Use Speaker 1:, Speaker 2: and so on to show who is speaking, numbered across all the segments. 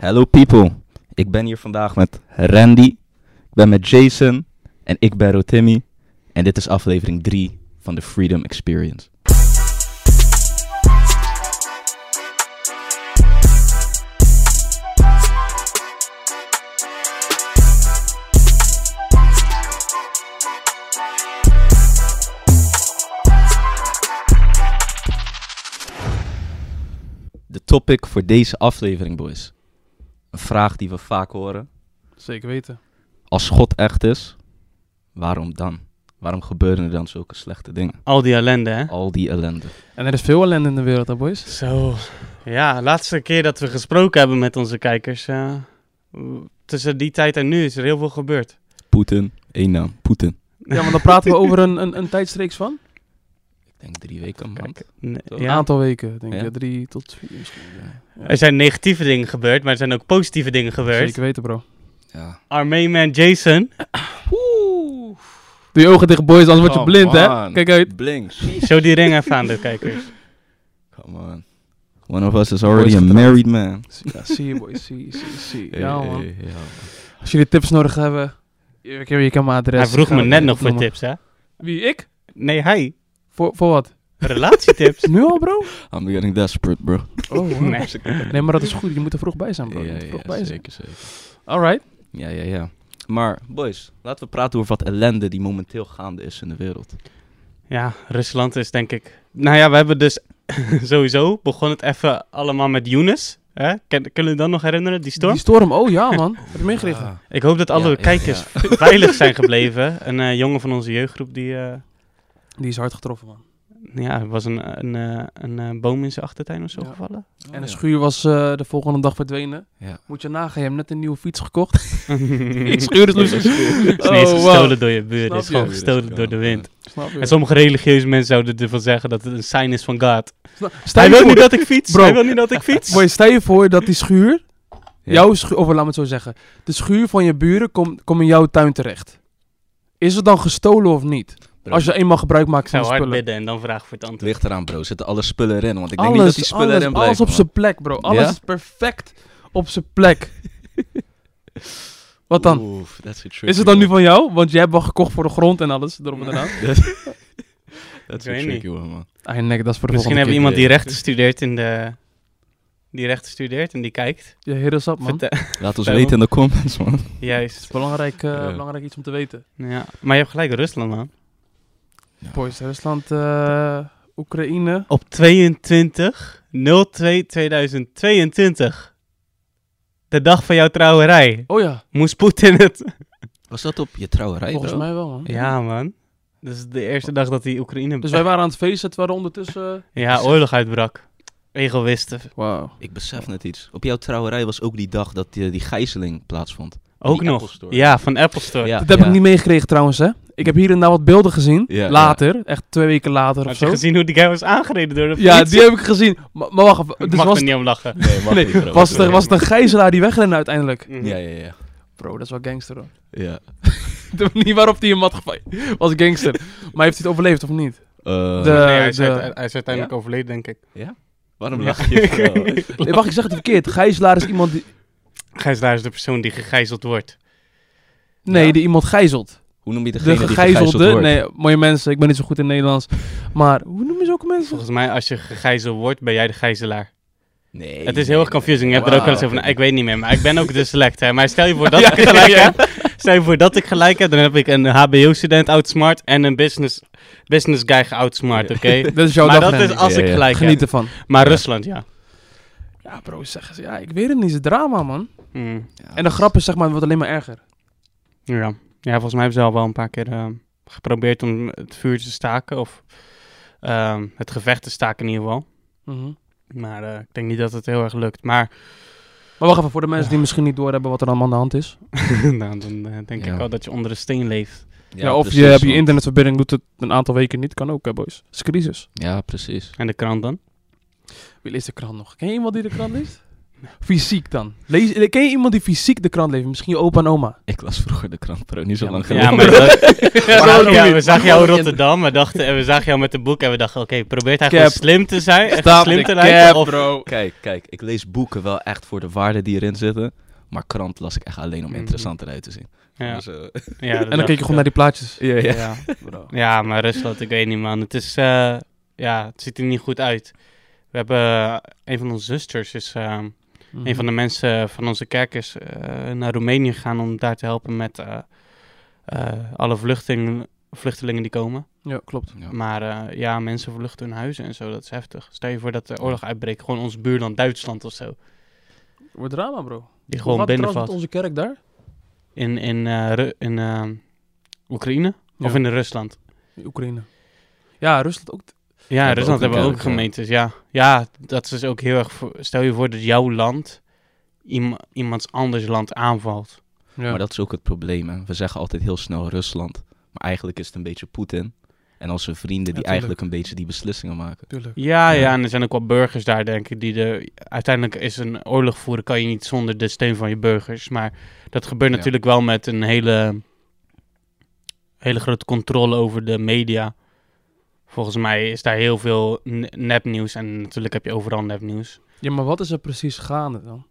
Speaker 1: Hello people, ik ben hier vandaag met Randy, ik ben met Jason en ik ben Rotimi. En dit is aflevering 3 van de Freedom Experience. De topic voor deze aflevering, boys. Een vraag die we vaak horen.
Speaker 2: Zeker weten.
Speaker 1: Als God echt is, waarom dan? Waarom gebeuren er dan zulke slechte dingen?
Speaker 3: Al die ellende, hè?
Speaker 1: Al die ellende.
Speaker 2: En er is veel ellende in de wereld, hè, boys?
Speaker 3: Zo. Ja, laatste keer dat we gesproken hebben met onze kijkers. eh, w- tussen die tijd en nu is er heel veel gebeurd.
Speaker 1: Poetin, één naam, Poetin.
Speaker 2: Ja, maar dan praten we over een, een, een tijdstreeks van?
Speaker 1: Ik denk drie weken, een maand.
Speaker 3: Nee,
Speaker 1: Zo.
Speaker 2: Een
Speaker 3: ja.
Speaker 2: aantal weken, denk ik.
Speaker 1: Ja.
Speaker 2: Ja, drie tot vier misschien. ja. Ja.
Speaker 3: Er zijn negatieve dingen gebeurd, maar er zijn ook positieve dingen gebeurd.
Speaker 2: Zeker weten, bro.
Speaker 1: Ja.
Speaker 3: Armee-man Jason.
Speaker 2: Doe je ogen dicht, boys, anders word je
Speaker 1: Oh,
Speaker 2: blind, hè?
Speaker 1: man.
Speaker 2: Kijk uit.
Speaker 1: Blinks.
Speaker 3: Show die ring even aan de kijkers.
Speaker 1: Come on. One of us is already a
Speaker 2: getrouwd.
Speaker 1: married man.
Speaker 2: Ja, zie je, boys. Zie, zie, zie. Ja,
Speaker 1: Hey,
Speaker 2: man.
Speaker 1: hey, hey, ja, man.
Speaker 2: Als jullie tips nodig hebben, je, je- je kan mijn adres...
Speaker 3: Hij vroeg me
Speaker 2: gaan
Speaker 3: net nog voor
Speaker 2: opnoemen.
Speaker 3: tips, hè?
Speaker 2: Wie, ik?
Speaker 3: Nee, hij.
Speaker 2: Voor, voor wat?
Speaker 3: Relatietips.
Speaker 2: Nu al, bro?
Speaker 1: I'm getting desperate, bro.
Speaker 2: Oh, wow.
Speaker 3: Nee.
Speaker 2: Nee, maar dat is goed. Je moet er vroeg bij zijn, bro. Je
Speaker 1: Ja,
Speaker 2: moet er
Speaker 1: ja,
Speaker 2: vroeg bij zijn.
Speaker 1: zeker, zeker.
Speaker 2: All right.
Speaker 1: Ja, ja, ja. Maar, boys, laten we praten over wat ellende die momenteel gaande is in de wereld.
Speaker 3: Ja, Rusland is denk ik. Nou ja, we hebben dus sowieso begon het even allemaal met Younes. Hè? Ken- Kunnen jullie dat nog herinneren, die storm?
Speaker 2: Die storm, oh ja, man. Heb je meegekregen?
Speaker 3: Ik hoop dat alle
Speaker 1: Ah. Ja, ja,
Speaker 3: kijkers veilig zijn gebleven. Een eh, jongen van onze jeugdgroep die. eh,
Speaker 2: Die is hard getroffen, man.
Speaker 3: ja, er was een, een, eh, een, eh, boom in zijn achtertuin of zo
Speaker 2: Ja.
Speaker 3: gevallen.
Speaker 2: en de schuur was eh, de volgende dag verdwenen.
Speaker 1: Oh, Ja.
Speaker 2: Moet je nagaan, je hebt net een nieuwe fiets gekocht. Die
Speaker 3: Het
Speaker 2: schuur is nog steeds-
Speaker 3: is niet eens
Speaker 2: Oh, wow.
Speaker 3: gestolen door je buurt,
Speaker 2: Snap
Speaker 3: het is
Speaker 2: je?
Speaker 3: gewoon gestolen door de wind.
Speaker 2: Snap je?
Speaker 3: En sommige religieuze mensen zouden ervan zeggen dat het een sign is van God.
Speaker 2: Sna- Stel
Speaker 3: Hij
Speaker 2: je
Speaker 3: wil
Speaker 2: voor,
Speaker 3: niet dat ik fiets,
Speaker 2: Bro.
Speaker 3: hij wil niet dat ik fiets.
Speaker 2: Boy, stel je voor dat die schuur,
Speaker 1: Ja.
Speaker 2: jouw schuur, of laat me het zo zeggen, de schuur van je buren komt komt in jouw tuin terecht. Is het dan gestolen of niet?
Speaker 1: Bro, Nou,
Speaker 2: Als je eenmaal gebruik
Speaker 3: Ik
Speaker 2: maakt van
Speaker 3: zou
Speaker 2: de
Speaker 3: hard
Speaker 2: spullen.
Speaker 3: bidden en dan vraag voor het
Speaker 1: Het
Speaker 3: antwoord.
Speaker 1: ligt eraan, bro. Zitten alle spullen erin? Want ik denk
Speaker 2: alles,
Speaker 1: niet dat die spullen
Speaker 2: alles,
Speaker 1: erin blijven.
Speaker 2: alles op zijn plek, bro. Alles
Speaker 1: Ja?
Speaker 2: is perfect op zijn plek. Wat dan?
Speaker 1: Oef, that's a tricky
Speaker 2: Is het dan nu
Speaker 1: one.
Speaker 2: van jou? Want jij hebt wel gekocht voor de grond en alles, erop en eraan.
Speaker 1: That's
Speaker 3: Ik
Speaker 1: a
Speaker 3: weet
Speaker 1: tricky one, man.
Speaker 2: Ah, nek, dat is voor de
Speaker 3: Misschien
Speaker 2: volgende
Speaker 3: hebben we iemand die
Speaker 1: idee.
Speaker 3: rechten studeert in de... Die rechten studeert en die kijkt.
Speaker 2: keer. Je hit us up, man.
Speaker 3: Vertel-
Speaker 1: Laat ons
Speaker 3: Vertel.
Speaker 1: weten in de comments, man.
Speaker 3: Juist.
Speaker 2: Belangrijk, eh,
Speaker 1: Ja.
Speaker 2: belangrijk iets om te weten.
Speaker 3: Ja. Maar je hebt gelijk, Rusland, man.
Speaker 2: Boys, Rusland, eh, Oekraïne.
Speaker 3: Op 22 02 2022. De dag van jouw trouwerij.
Speaker 2: Oh ja,
Speaker 3: Moest Poetin het.
Speaker 1: Was dat op je trouwerij,
Speaker 2: volgens
Speaker 1: bro?
Speaker 2: mij wel, man.
Speaker 3: Ja, man. Dat is de eerste dag dat hij Oekraïne.
Speaker 2: Dus wij waren aan het feesten, terwijl er ondertussen... eh,
Speaker 3: Ja, oorlog uitbrak. Egoïsten.
Speaker 2: Wauw.
Speaker 1: Ik besef net iets. Op jouw trouwerij was ook die dag dat die, die gijzeling plaatsvond.
Speaker 3: Ook
Speaker 1: Die
Speaker 3: nog.
Speaker 1: Apple Store.
Speaker 3: Ja, van Apple Store.
Speaker 1: Ja,
Speaker 2: Dat heb
Speaker 1: ja.
Speaker 2: ik niet meegekregen trouwens, hè. Ik heb hier en daar wat beelden gezien.
Speaker 1: Ja,
Speaker 2: later, echt twee weken later of
Speaker 3: Had je
Speaker 2: zo.
Speaker 3: gezien hoe die guy was aangereden door de
Speaker 2: Ja,
Speaker 3: politie?
Speaker 2: die heb ik gezien. Maar, maar wacht even.
Speaker 3: Ik
Speaker 2: Dus
Speaker 3: mag
Speaker 2: was,
Speaker 3: er niet om lachen.
Speaker 1: Nee, mag niet, bro.
Speaker 2: was, er, was het een gijzelaar die wegrende uiteindelijk?
Speaker 3: Mhm.
Speaker 1: Ja, ja, ja.
Speaker 2: Bro, dat is wel gangster, hoor.
Speaker 1: ja.
Speaker 2: De manier waarop hij hem had gevangen was gangster. Maar heeft hij het overleefd of niet?
Speaker 1: Eh,
Speaker 2: De-
Speaker 3: Nee, hij is,
Speaker 2: de-
Speaker 3: uite- hij is uiteindelijk overleden, denk ik.
Speaker 1: Waarom
Speaker 3: Ja.
Speaker 1: lach je? bro?
Speaker 2: Nee, wacht, ik zeg het verkeerd. Gijzelaar is iemand die...
Speaker 3: Gijzelaar is de persoon die gegijzeld wordt.
Speaker 2: Nee,
Speaker 1: Ja.
Speaker 2: die iemand gijzelt.
Speaker 1: Hoe noem je
Speaker 2: De
Speaker 1: degene die gegijzeld
Speaker 2: gegijzelde...
Speaker 1: wordt?
Speaker 2: Nee, mooie mensen. Ik ben niet zo goed in Nederlands. Maar hoe noem je zulke mensen?
Speaker 3: Volgens mij, als je gegijzeld wordt, ben jij de gijzelaar.
Speaker 1: Nee,
Speaker 3: Het is heel erg
Speaker 1: nee, nee.
Speaker 3: confusing. Je hebt er ook wel eens
Speaker 1: Wauw.
Speaker 3: over. na- Ik weet niet meer, maar ik ben ook de select. Hè. Maar stel je voor dat ik gelijk heb. Stel je voor dat ik gelijk heb, dan heb ik een HBO-student outsmart en een business, business guy geoutsmart, oké?
Speaker 2: Dat is jouw
Speaker 3: Maar
Speaker 2: dag,
Speaker 3: dat is
Speaker 2: Randy.
Speaker 3: als
Speaker 1: Ja,
Speaker 3: ik
Speaker 1: ja.
Speaker 3: gelijk
Speaker 2: Geniet
Speaker 3: heb.
Speaker 2: ervan.
Speaker 3: Maar
Speaker 1: Ja.
Speaker 3: Rusland, ja.
Speaker 2: Ja, bro, zeggen ze. Ja, ik weet het niet. Het is drama, man.
Speaker 3: Mm,
Speaker 1: Ja, dus-
Speaker 2: En de grap is, zeg maar, het wordt alleen maar erger.
Speaker 3: ja. Ja, volgens mij hebben ze al wel een paar keer eh, geprobeerd om het vuur te staken. Of ehm, het gevecht te staken in ieder geval.
Speaker 2: Mhm.
Speaker 3: Maar eh, ik denk niet dat het heel erg lukt. Maar
Speaker 2: Maar wacht even, voor de mensen die misschien niet doorhebben wat er allemaal aan de hand is.
Speaker 3: nou, dan eh, denk
Speaker 1: Ja.
Speaker 3: ik wel dat je onder een steen leeft.
Speaker 2: Ja, of je
Speaker 1: precies,
Speaker 2: hebt je
Speaker 1: man.
Speaker 2: internetverbinding, doet het een aantal weken niet. Kan ook, hè, boys. Het is crisis.
Speaker 1: Ja, precies.
Speaker 3: En de krant dan?
Speaker 2: Wie leest de krant nog? Ken je iemand die de krant leest? Fysiek dan. Lees, eh, ken je iemand die fysiek de krant leest? Misschien je opa en oma.
Speaker 1: Ik las vroeger de krant, bro. Niet zo
Speaker 2: Ja,
Speaker 1: lang
Speaker 3: Ja,
Speaker 1: geleden.
Speaker 3: maar dat- we zagen jou- we zagen jou in
Speaker 2: Waarom?
Speaker 3: Rotterdam we dachten, en we zagen jou met een boek en we dachten, oké, probeert hij
Speaker 2: Cap.
Speaker 3: gewoon slim te zijn? Echt slim te lijken? Of,
Speaker 2: bro.
Speaker 1: Kijk, kijk. Ik lees boeken wel echt voor de waarden die erin zitten. Maar krant las ik echt alleen om
Speaker 2: Mhm.
Speaker 1: interessant eruit te zien.
Speaker 3: ja,
Speaker 1: Dus, eh,
Speaker 3: ja, dat
Speaker 2: En dan
Speaker 3: dacht
Speaker 2: keek je
Speaker 3: ik wel.
Speaker 2: gewoon naar die plaatjes.
Speaker 1: ja, ja.
Speaker 2: bro.
Speaker 3: Ja, maar Rusland, ik weet niet, man. Het is, eh, ja, het ziet er niet goed uit. We hebben, eh, een van onze zusters is, eh,
Speaker 2: Mhm.
Speaker 3: een van de mensen van onze kerk is eh, naar Roemenië gegaan om daar te helpen met eh, eh, alle vluchtelingen, vluchtelingen die komen.
Speaker 2: Ja, klopt.
Speaker 1: Ja.
Speaker 3: Maar eh, ja, mensen verluchten hun huizen en zo, dat is heftig. Stel je voor dat de oorlog uitbreekt, gewoon ons buurland Duitsland of zo.
Speaker 2: Wordt drama, bro.
Speaker 3: Die
Speaker 2: Hoe
Speaker 3: gewoon
Speaker 2: gaat het trouwens
Speaker 3: binnenvalt.
Speaker 2: met onze kerk daar?
Speaker 3: In, in, eh, Ru- in eh, Oekraïne?
Speaker 2: Ja.
Speaker 3: Of in Rusland?
Speaker 2: Oekraïne. Ja, Rusland ook.
Speaker 3: Ja, in
Speaker 1: hebben
Speaker 3: Rusland
Speaker 1: ook een
Speaker 3: hebben we ook
Speaker 1: kerk, ja.
Speaker 3: gemeentes, ja. Ja, dat is dus ook heel erg... voor- stel je voor dat jouw land iem- iemands anders land aanvalt.
Speaker 2: Ja.
Speaker 1: Maar dat is ook het probleem. Hè. We zeggen altijd heel snel Rusland. Maar eigenlijk is het een beetje Poetin. En onze vrienden die
Speaker 2: tuurlijk.
Speaker 1: eigenlijk een beetje die beslissingen maken.
Speaker 2: Tuurlijk.
Speaker 3: Ja, ja,
Speaker 1: Ja.
Speaker 3: en er zijn ook wel burgers daar, denk ik, die de... Uiteindelijk is een oorlog voeren kan je niet zonder de steun van je burgers. Maar dat gebeurt
Speaker 1: Ja.
Speaker 3: natuurlijk wel met een hele... Hele grote controle over de media. Volgens mij is daar heel veel ne- nepnieuws. En natuurlijk heb je overal nepnieuws.
Speaker 2: Ja, maar wat is er precies gaande dan?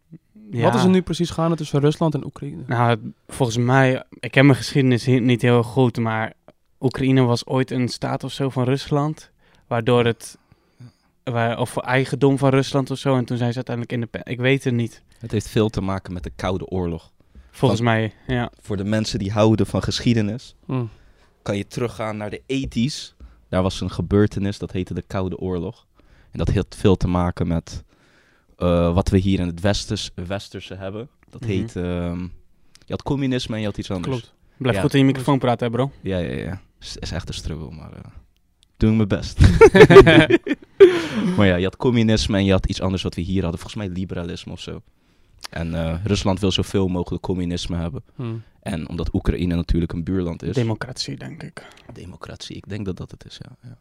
Speaker 3: Ja.
Speaker 2: Wat is er nu precies gaande tussen Rusland en Oekraïne?
Speaker 3: Nou, het- volgens mij, ik ken mijn geschiedenis hier niet heel goed, maar Oekraïne was ooit een staat of zo van Rusland, waardoor het, waar, of eigendom van Rusland of zo, en toen zijn ze uiteindelijk in de pen. Ik weet het niet,
Speaker 1: Het heeft veel te maken met de Koude Oorlog.
Speaker 3: volgens mij, ja.
Speaker 1: Voor de mensen die houden van geschiedenis,
Speaker 2: Hm.
Speaker 1: kan je teruggaan naar de 80s. Daar was een gebeurtenis, dat heette de Koude Oorlog. En dat heeft veel te maken met eh, wat we hier in het westers, westerse hebben. Dat
Speaker 3: Mhm.
Speaker 1: heet, ehm, je had communisme en je had iets anders.
Speaker 2: Klopt.
Speaker 3: Blijf
Speaker 1: Ja.
Speaker 3: goed in je microfoon praten, hè, bro.
Speaker 1: Ja, ja, ja. Het is echt een struggle, maar eh, doe ik mijn best. maar ja, je had communisme en je had iets anders wat we hier hadden. Volgens mij liberalisme of zo. En eh, Rusland wil zoveel mogelijk communisme hebben.
Speaker 2: Hm.
Speaker 1: En omdat Oekraïne natuurlijk een buurland is.
Speaker 3: Democratie, denk ik.
Speaker 1: Democratie, ik denk dat dat het is, ja. ja.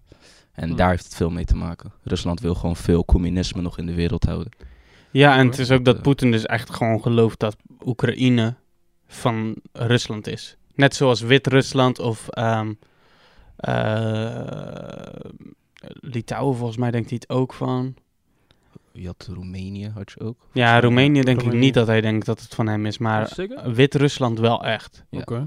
Speaker 1: En
Speaker 2: Hmm.
Speaker 1: daar heeft het veel mee te maken. Rusland wil gewoon veel communisme nog in de wereld houden.
Speaker 3: Ja, en het
Speaker 1: Hoor.
Speaker 3: is ook dat
Speaker 1: Eh.
Speaker 3: Poetin dus echt gewoon gelooft dat Oekraïne van Rusland is. Net zoals Wit-Rusland of ehm eh, Litouwen, volgens mij denkt hij het ook van.
Speaker 1: Je had Roemenië, had je ook?
Speaker 3: Ja, Roemenië denk ik
Speaker 2: Roemenië. Dus-
Speaker 3: niet dat hij denkt dat het van hem is, maar
Speaker 2: Zeker?
Speaker 3: Wit-Rusland wel echt.
Speaker 1: Ja,
Speaker 2: Oké.
Speaker 1: ja.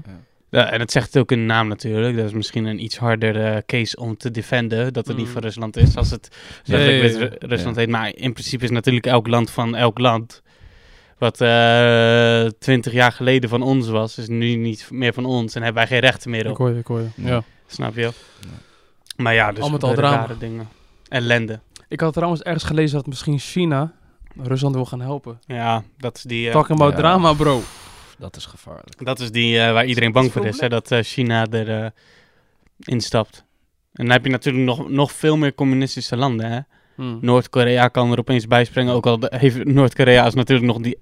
Speaker 3: Ja, en dat zegt het ook in de naam natuurlijk. Dat is misschien een iets harder eh, case om te defenden, dat het niet
Speaker 2: Mm.
Speaker 3: van Rusland is, als het
Speaker 1: Ja,
Speaker 3: letterlijk
Speaker 2: ja, ja, ja.
Speaker 3: Wit-Rusland
Speaker 1: Ja.
Speaker 3: heet. Maar in principe is natuurlijk elk land van elk land. Wat eh, twintig jaar geleden van ons was, is nu niet meer van ons en hebben wij geen rechten meer
Speaker 2: Ik
Speaker 3: op.
Speaker 2: hoor je, ik hoor je.
Speaker 1: Ja.
Speaker 2: Ja.
Speaker 3: Snap je? Maar ja, dus
Speaker 2: Al met al
Speaker 3: gebeuren
Speaker 2: drama.
Speaker 3: rare dingen. Ellende.
Speaker 2: Ik had trouwens ergens gelezen dat misschien China Rusland wil gaan helpen.
Speaker 3: Ja, dat is die... eh,
Speaker 2: Talking about
Speaker 1: Ja.
Speaker 2: drama, bro.
Speaker 1: Dat is gevaarlijk.
Speaker 3: Dat is die eh, waar iedereen bang
Speaker 2: is
Speaker 3: voor is, hè?
Speaker 2: probleem.
Speaker 3: dat eh, China er eh, instapt. En dan heb je natuurlijk nog, nog veel meer communistische landen. Hè?
Speaker 2: Hm.
Speaker 3: Noord-Korea kan er opeens bij springen, ook al de- heeft Noord-Korea is natuurlijk nog die...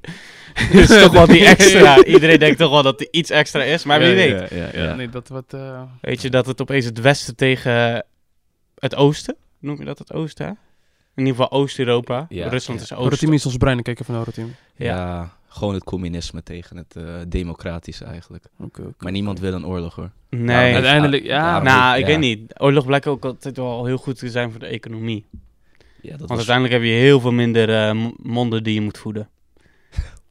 Speaker 3: is toch wel die extra. Iedereen denkt toch wel dat er iets extra is, maar wie
Speaker 2: Ja,
Speaker 3: weet.
Speaker 1: Ja, ja,
Speaker 2: Ja,
Speaker 1: ja.
Speaker 2: Nee, dat wat... eh,
Speaker 3: Weet je dat het opeens het westen tegen het oosten, noem je dat het oosten? hè? In ieder geval Oost-Europa.
Speaker 1: Ja,
Speaker 3: Rusland
Speaker 1: ja.
Speaker 3: is
Speaker 2: Rotim
Speaker 3: oosten.
Speaker 2: is ons brein. Ik kijk even naar Rotim.
Speaker 3: Ja.
Speaker 1: Ja, gewoon het communisme tegen het eh, democratische eigenlijk.
Speaker 2: Oké. oké.
Speaker 1: Maar niemand wil een oorlog hoor.
Speaker 3: Nee.
Speaker 1: Ja,
Speaker 2: Uiteindelijk, ja.
Speaker 1: Ja,
Speaker 2: Nou,
Speaker 3: nou, ik
Speaker 1: ja.
Speaker 3: weet niet. Oorlog blijkt ook altijd wel heel goed te zijn voor de economie.
Speaker 1: Ja, dat
Speaker 3: Want uiteindelijk heb je heel veel minder eh, m- monden die je moet voeden.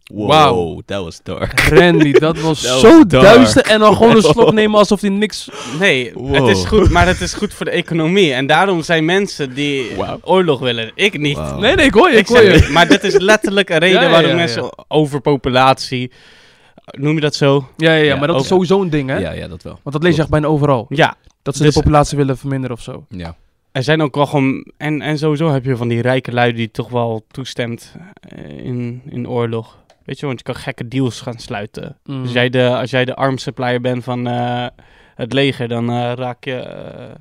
Speaker 1: Wow,
Speaker 2: Wauw.
Speaker 1: that was dark.
Speaker 2: Randy, dat was
Speaker 1: Dat
Speaker 2: zo
Speaker 1: was dark. Oh.
Speaker 2: duister. En dan gewoon een slok nemen alsof hij niks...
Speaker 3: Nee,
Speaker 1: Wow.
Speaker 3: het is goed, maar het is goed voor de economie. En daarom zijn mensen die
Speaker 1: Wauw.
Speaker 3: oorlog willen. Ik niet.
Speaker 1: Wauw.
Speaker 2: Nee, nee, ik hoor je, ik
Speaker 3: Ik
Speaker 2: hoor
Speaker 3: zeg,
Speaker 2: je.
Speaker 3: niet, maar dit is letterlijk een reden
Speaker 2: Ja, ja,
Speaker 3: waarom
Speaker 2: ja,
Speaker 3: mensen overpopulatie, noem je dat zo?
Speaker 2: Ja, ja, ja,
Speaker 1: Ja,
Speaker 2: maar dat is
Speaker 1: ook.
Speaker 2: sowieso een ding, hè?
Speaker 1: Ja, ja, dat wel.
Speaker 2: Want dat lees je echt bijna overal.
Speaker 3: Ja,
Speaker 2: Dat ze
Speaker 3: Dus-
Speaker 2: de populatie willen verminderen of zo.
Speaker 1: Ja.
Speaker 3: er zijn ook wel gewoon... En, en sowieso heb je van die rijke lui die toch wel toestemt eh, in, in oorlog. Weet je, want je kan gekke deals gaan sluiten.
Speaker 2: Mm.
Speaker 3: Als jij de, als jij de armsupplier bent van eh, het leger, dan eh, raak je. eh,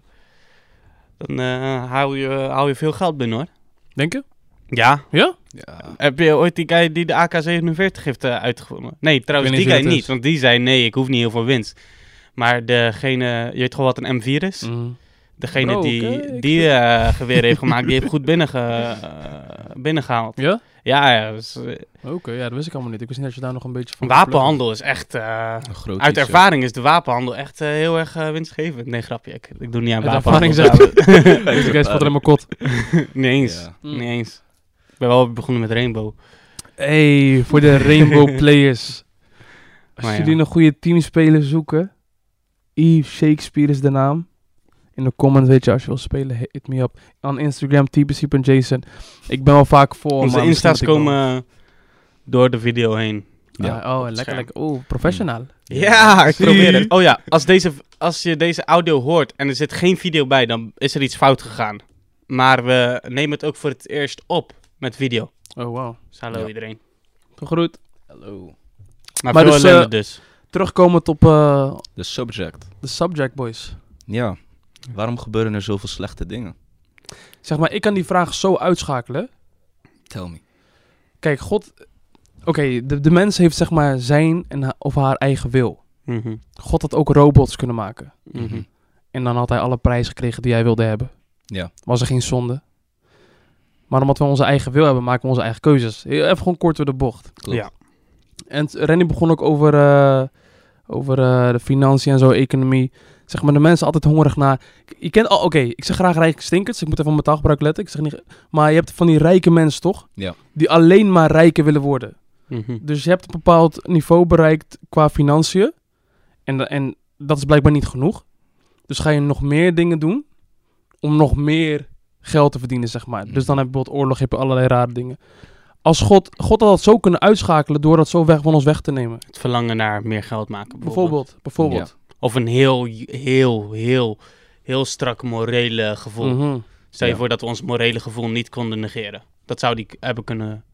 Speaker 3: dan eh, hou, je, hou je veel geld binnen hoor.
Speaker 2: Denk je?
Speaker 3: Ja.
Speaker 2: Ja?
Speaker 1: ja.
Speaker 3: Heb je ooit die guy die de AK-47 heeft eh, uitgevonden? Nee, trouwens,
Speaker 2: Ik weet niet
Speaker 3: die guy
Speaker 2: wie dat
Speaker 3: niet.
Speaker 2: is.
Speaker 3: Want die zei: nee, ik hoef niet heel veel winst. Maar degene. Je weet gewoon wat een M4 is?
Speaker 2: Mm.
Speaker 3: Degene
Speaker 2: Bro,
Speaker 3: die,
Speaker 2: kijk.
Speaker 3: die eh geweer heeft gemaakt, die heeft goed binnenge, eh, binnengehaald.
Speaker 2: Ja?
Speaker 3: Ja, ja dus, eh,
Speaker 2: Oké, ja, dat wist ik allemaal niet. Ik wist niet dat je daar nog een beetje van... kon
Speaker 3: wapenhandel is echt... eh,
Speaker 1: Een groot
Speaker 3: uit
Speaker 1: iets,
Speaker 3: ervaring is de wapenhandel echt eh, heel erg eh, winstgevend. Nee, grapje. Ik, ik doe niet aan
Speaker 2: Uit
Speaker 3: wapenhandel.
Speaker 2: ervaring zegt-
Speaker 1: joh.
Speaker 2: plukken. Deze valt er in mijn kot.
Speaker 3: niet eens.
Speaker 1: Ja.
Speaker 3: Niet eens. Ik ben wel begonnen met Rainbow.
Speaker 2: Oh, Hey, voor de Rainbow Players. Als
Speaker 3: Maar ja.
Speaker 2: jullie een goede teamspeler zoeken, Eve Shakespeare is de naam. In de comments weet je, als je wil spelen, hit me up. Aan Instagram, tbc.jason. Ik ben wel vaak voor.
Speaker 3: Onze
Speaker 2: maar
Speaker 3: insta's
Speaker 2: misschien dat dus ik
Speaker 3: komen eh, door de video heen.
Speaker 2: wel-
Speaker 1: Ja.
Speaker 2: Ah, oh,
Speaker 3: het
Speaker 2: lekker,
Speaker 3: scherm.
Speaker 2: lekker. Oh, professionaal.
Speaker 3: Mm. Ja, ik
Speaker 2: Zie.
Speaker 3: probeer het. Oh ja, als, deze, als je deze audio hoort en er zit geen video bij, dan is er iets fout gegaan. Maar we nemen het ook voor het eerst op met video.
Speaker 2: Oh, wow.
Speaker 3: Dus hallo
Speaker 1: Ja.
Speaker 3: iedereen.
Speaker 2: Gegroet.
Speaker 1: Hallo.
Speaker 3: Maar,
Speaker 2: Maar
Speaker 3: veel
Speaker 2: dus,
Speaker 3: dus,
Speaker 2: eh,
Speaker 3: dus.
Speaker 2: Terugkomend op eh,
Speaker 1: De subject.
Speaker 2: de subject, boys.
Speaker 1: Ja. Waarom gebeuren er zoveel slechte dingen?
Speaker 2: Zeg maar, ik kan die vraag zo uitschakelen.
Speaker 1: Tell me.
Speaker 2: Kijk, God... Oké, de, de mens heeft zeg maar zijn en ha- of haar eigen wil.
Speaker 3: Mhm,
Speaker 2: God had ook robots kunnen maken.
Speaker 3: mhm.
Speaker 2: En dan had hij alle prijzen gekregen die hij wilde hebben.
Speaker 1: Ja.
Speaker 2: Was er geen zonde. Maar omdat we onze eigen wil hebben, maken we onze eigen keuzes. Heel Even gewoon kort door de bocht.
Speaker 1: Klopt.
Speaker 3: Ja.
Speaker 2: En t- Rennie begon ook over, eh, over eh, de financiën en zo, economie. Zeg maar, de mensen altijd hongerig naar... Je kent al, oké, ik zeg graag rijke stinkers. Ik moet even op mijn taalgebruik letten. Ik zeg niet, maar je hebt van die rijke mensen, toch?
Speaker 1: Ja.
Speaker 2: Die alleen maar rijker willen worden.
Speaker 3: mhm.
Speaker 2: Dus je hebt een bepaald niveau bereikt qua financiën. En, da- en dat is blijkbaar niet genoeg. Dus ga je nog meer dingen doen om nog meer geld te verdienen, zeg maar. Dus dan heb je bijvoorbeeld oorlog, heb je allerlei rare dingen. Als God, God had dat zo kunnen uitschakelen door dat zo weg van ons weg te nemen.
Speaker 3: Het verlangen naar meer geld maken. Bijvoorbeeld.
Speaker 2: Bijvoorbeeld, bijvoorbeeld.
Speaker 3: Of een heel, heel, heel, heel strak morele gevoel.
Speaker 2: Mhm.
Speaker 3: Stel je
Speaker 1: Ja.
Speaker 3: voor dat we ons morele gevoel niet konden negeren. Dat zou die k- hebben kunnen.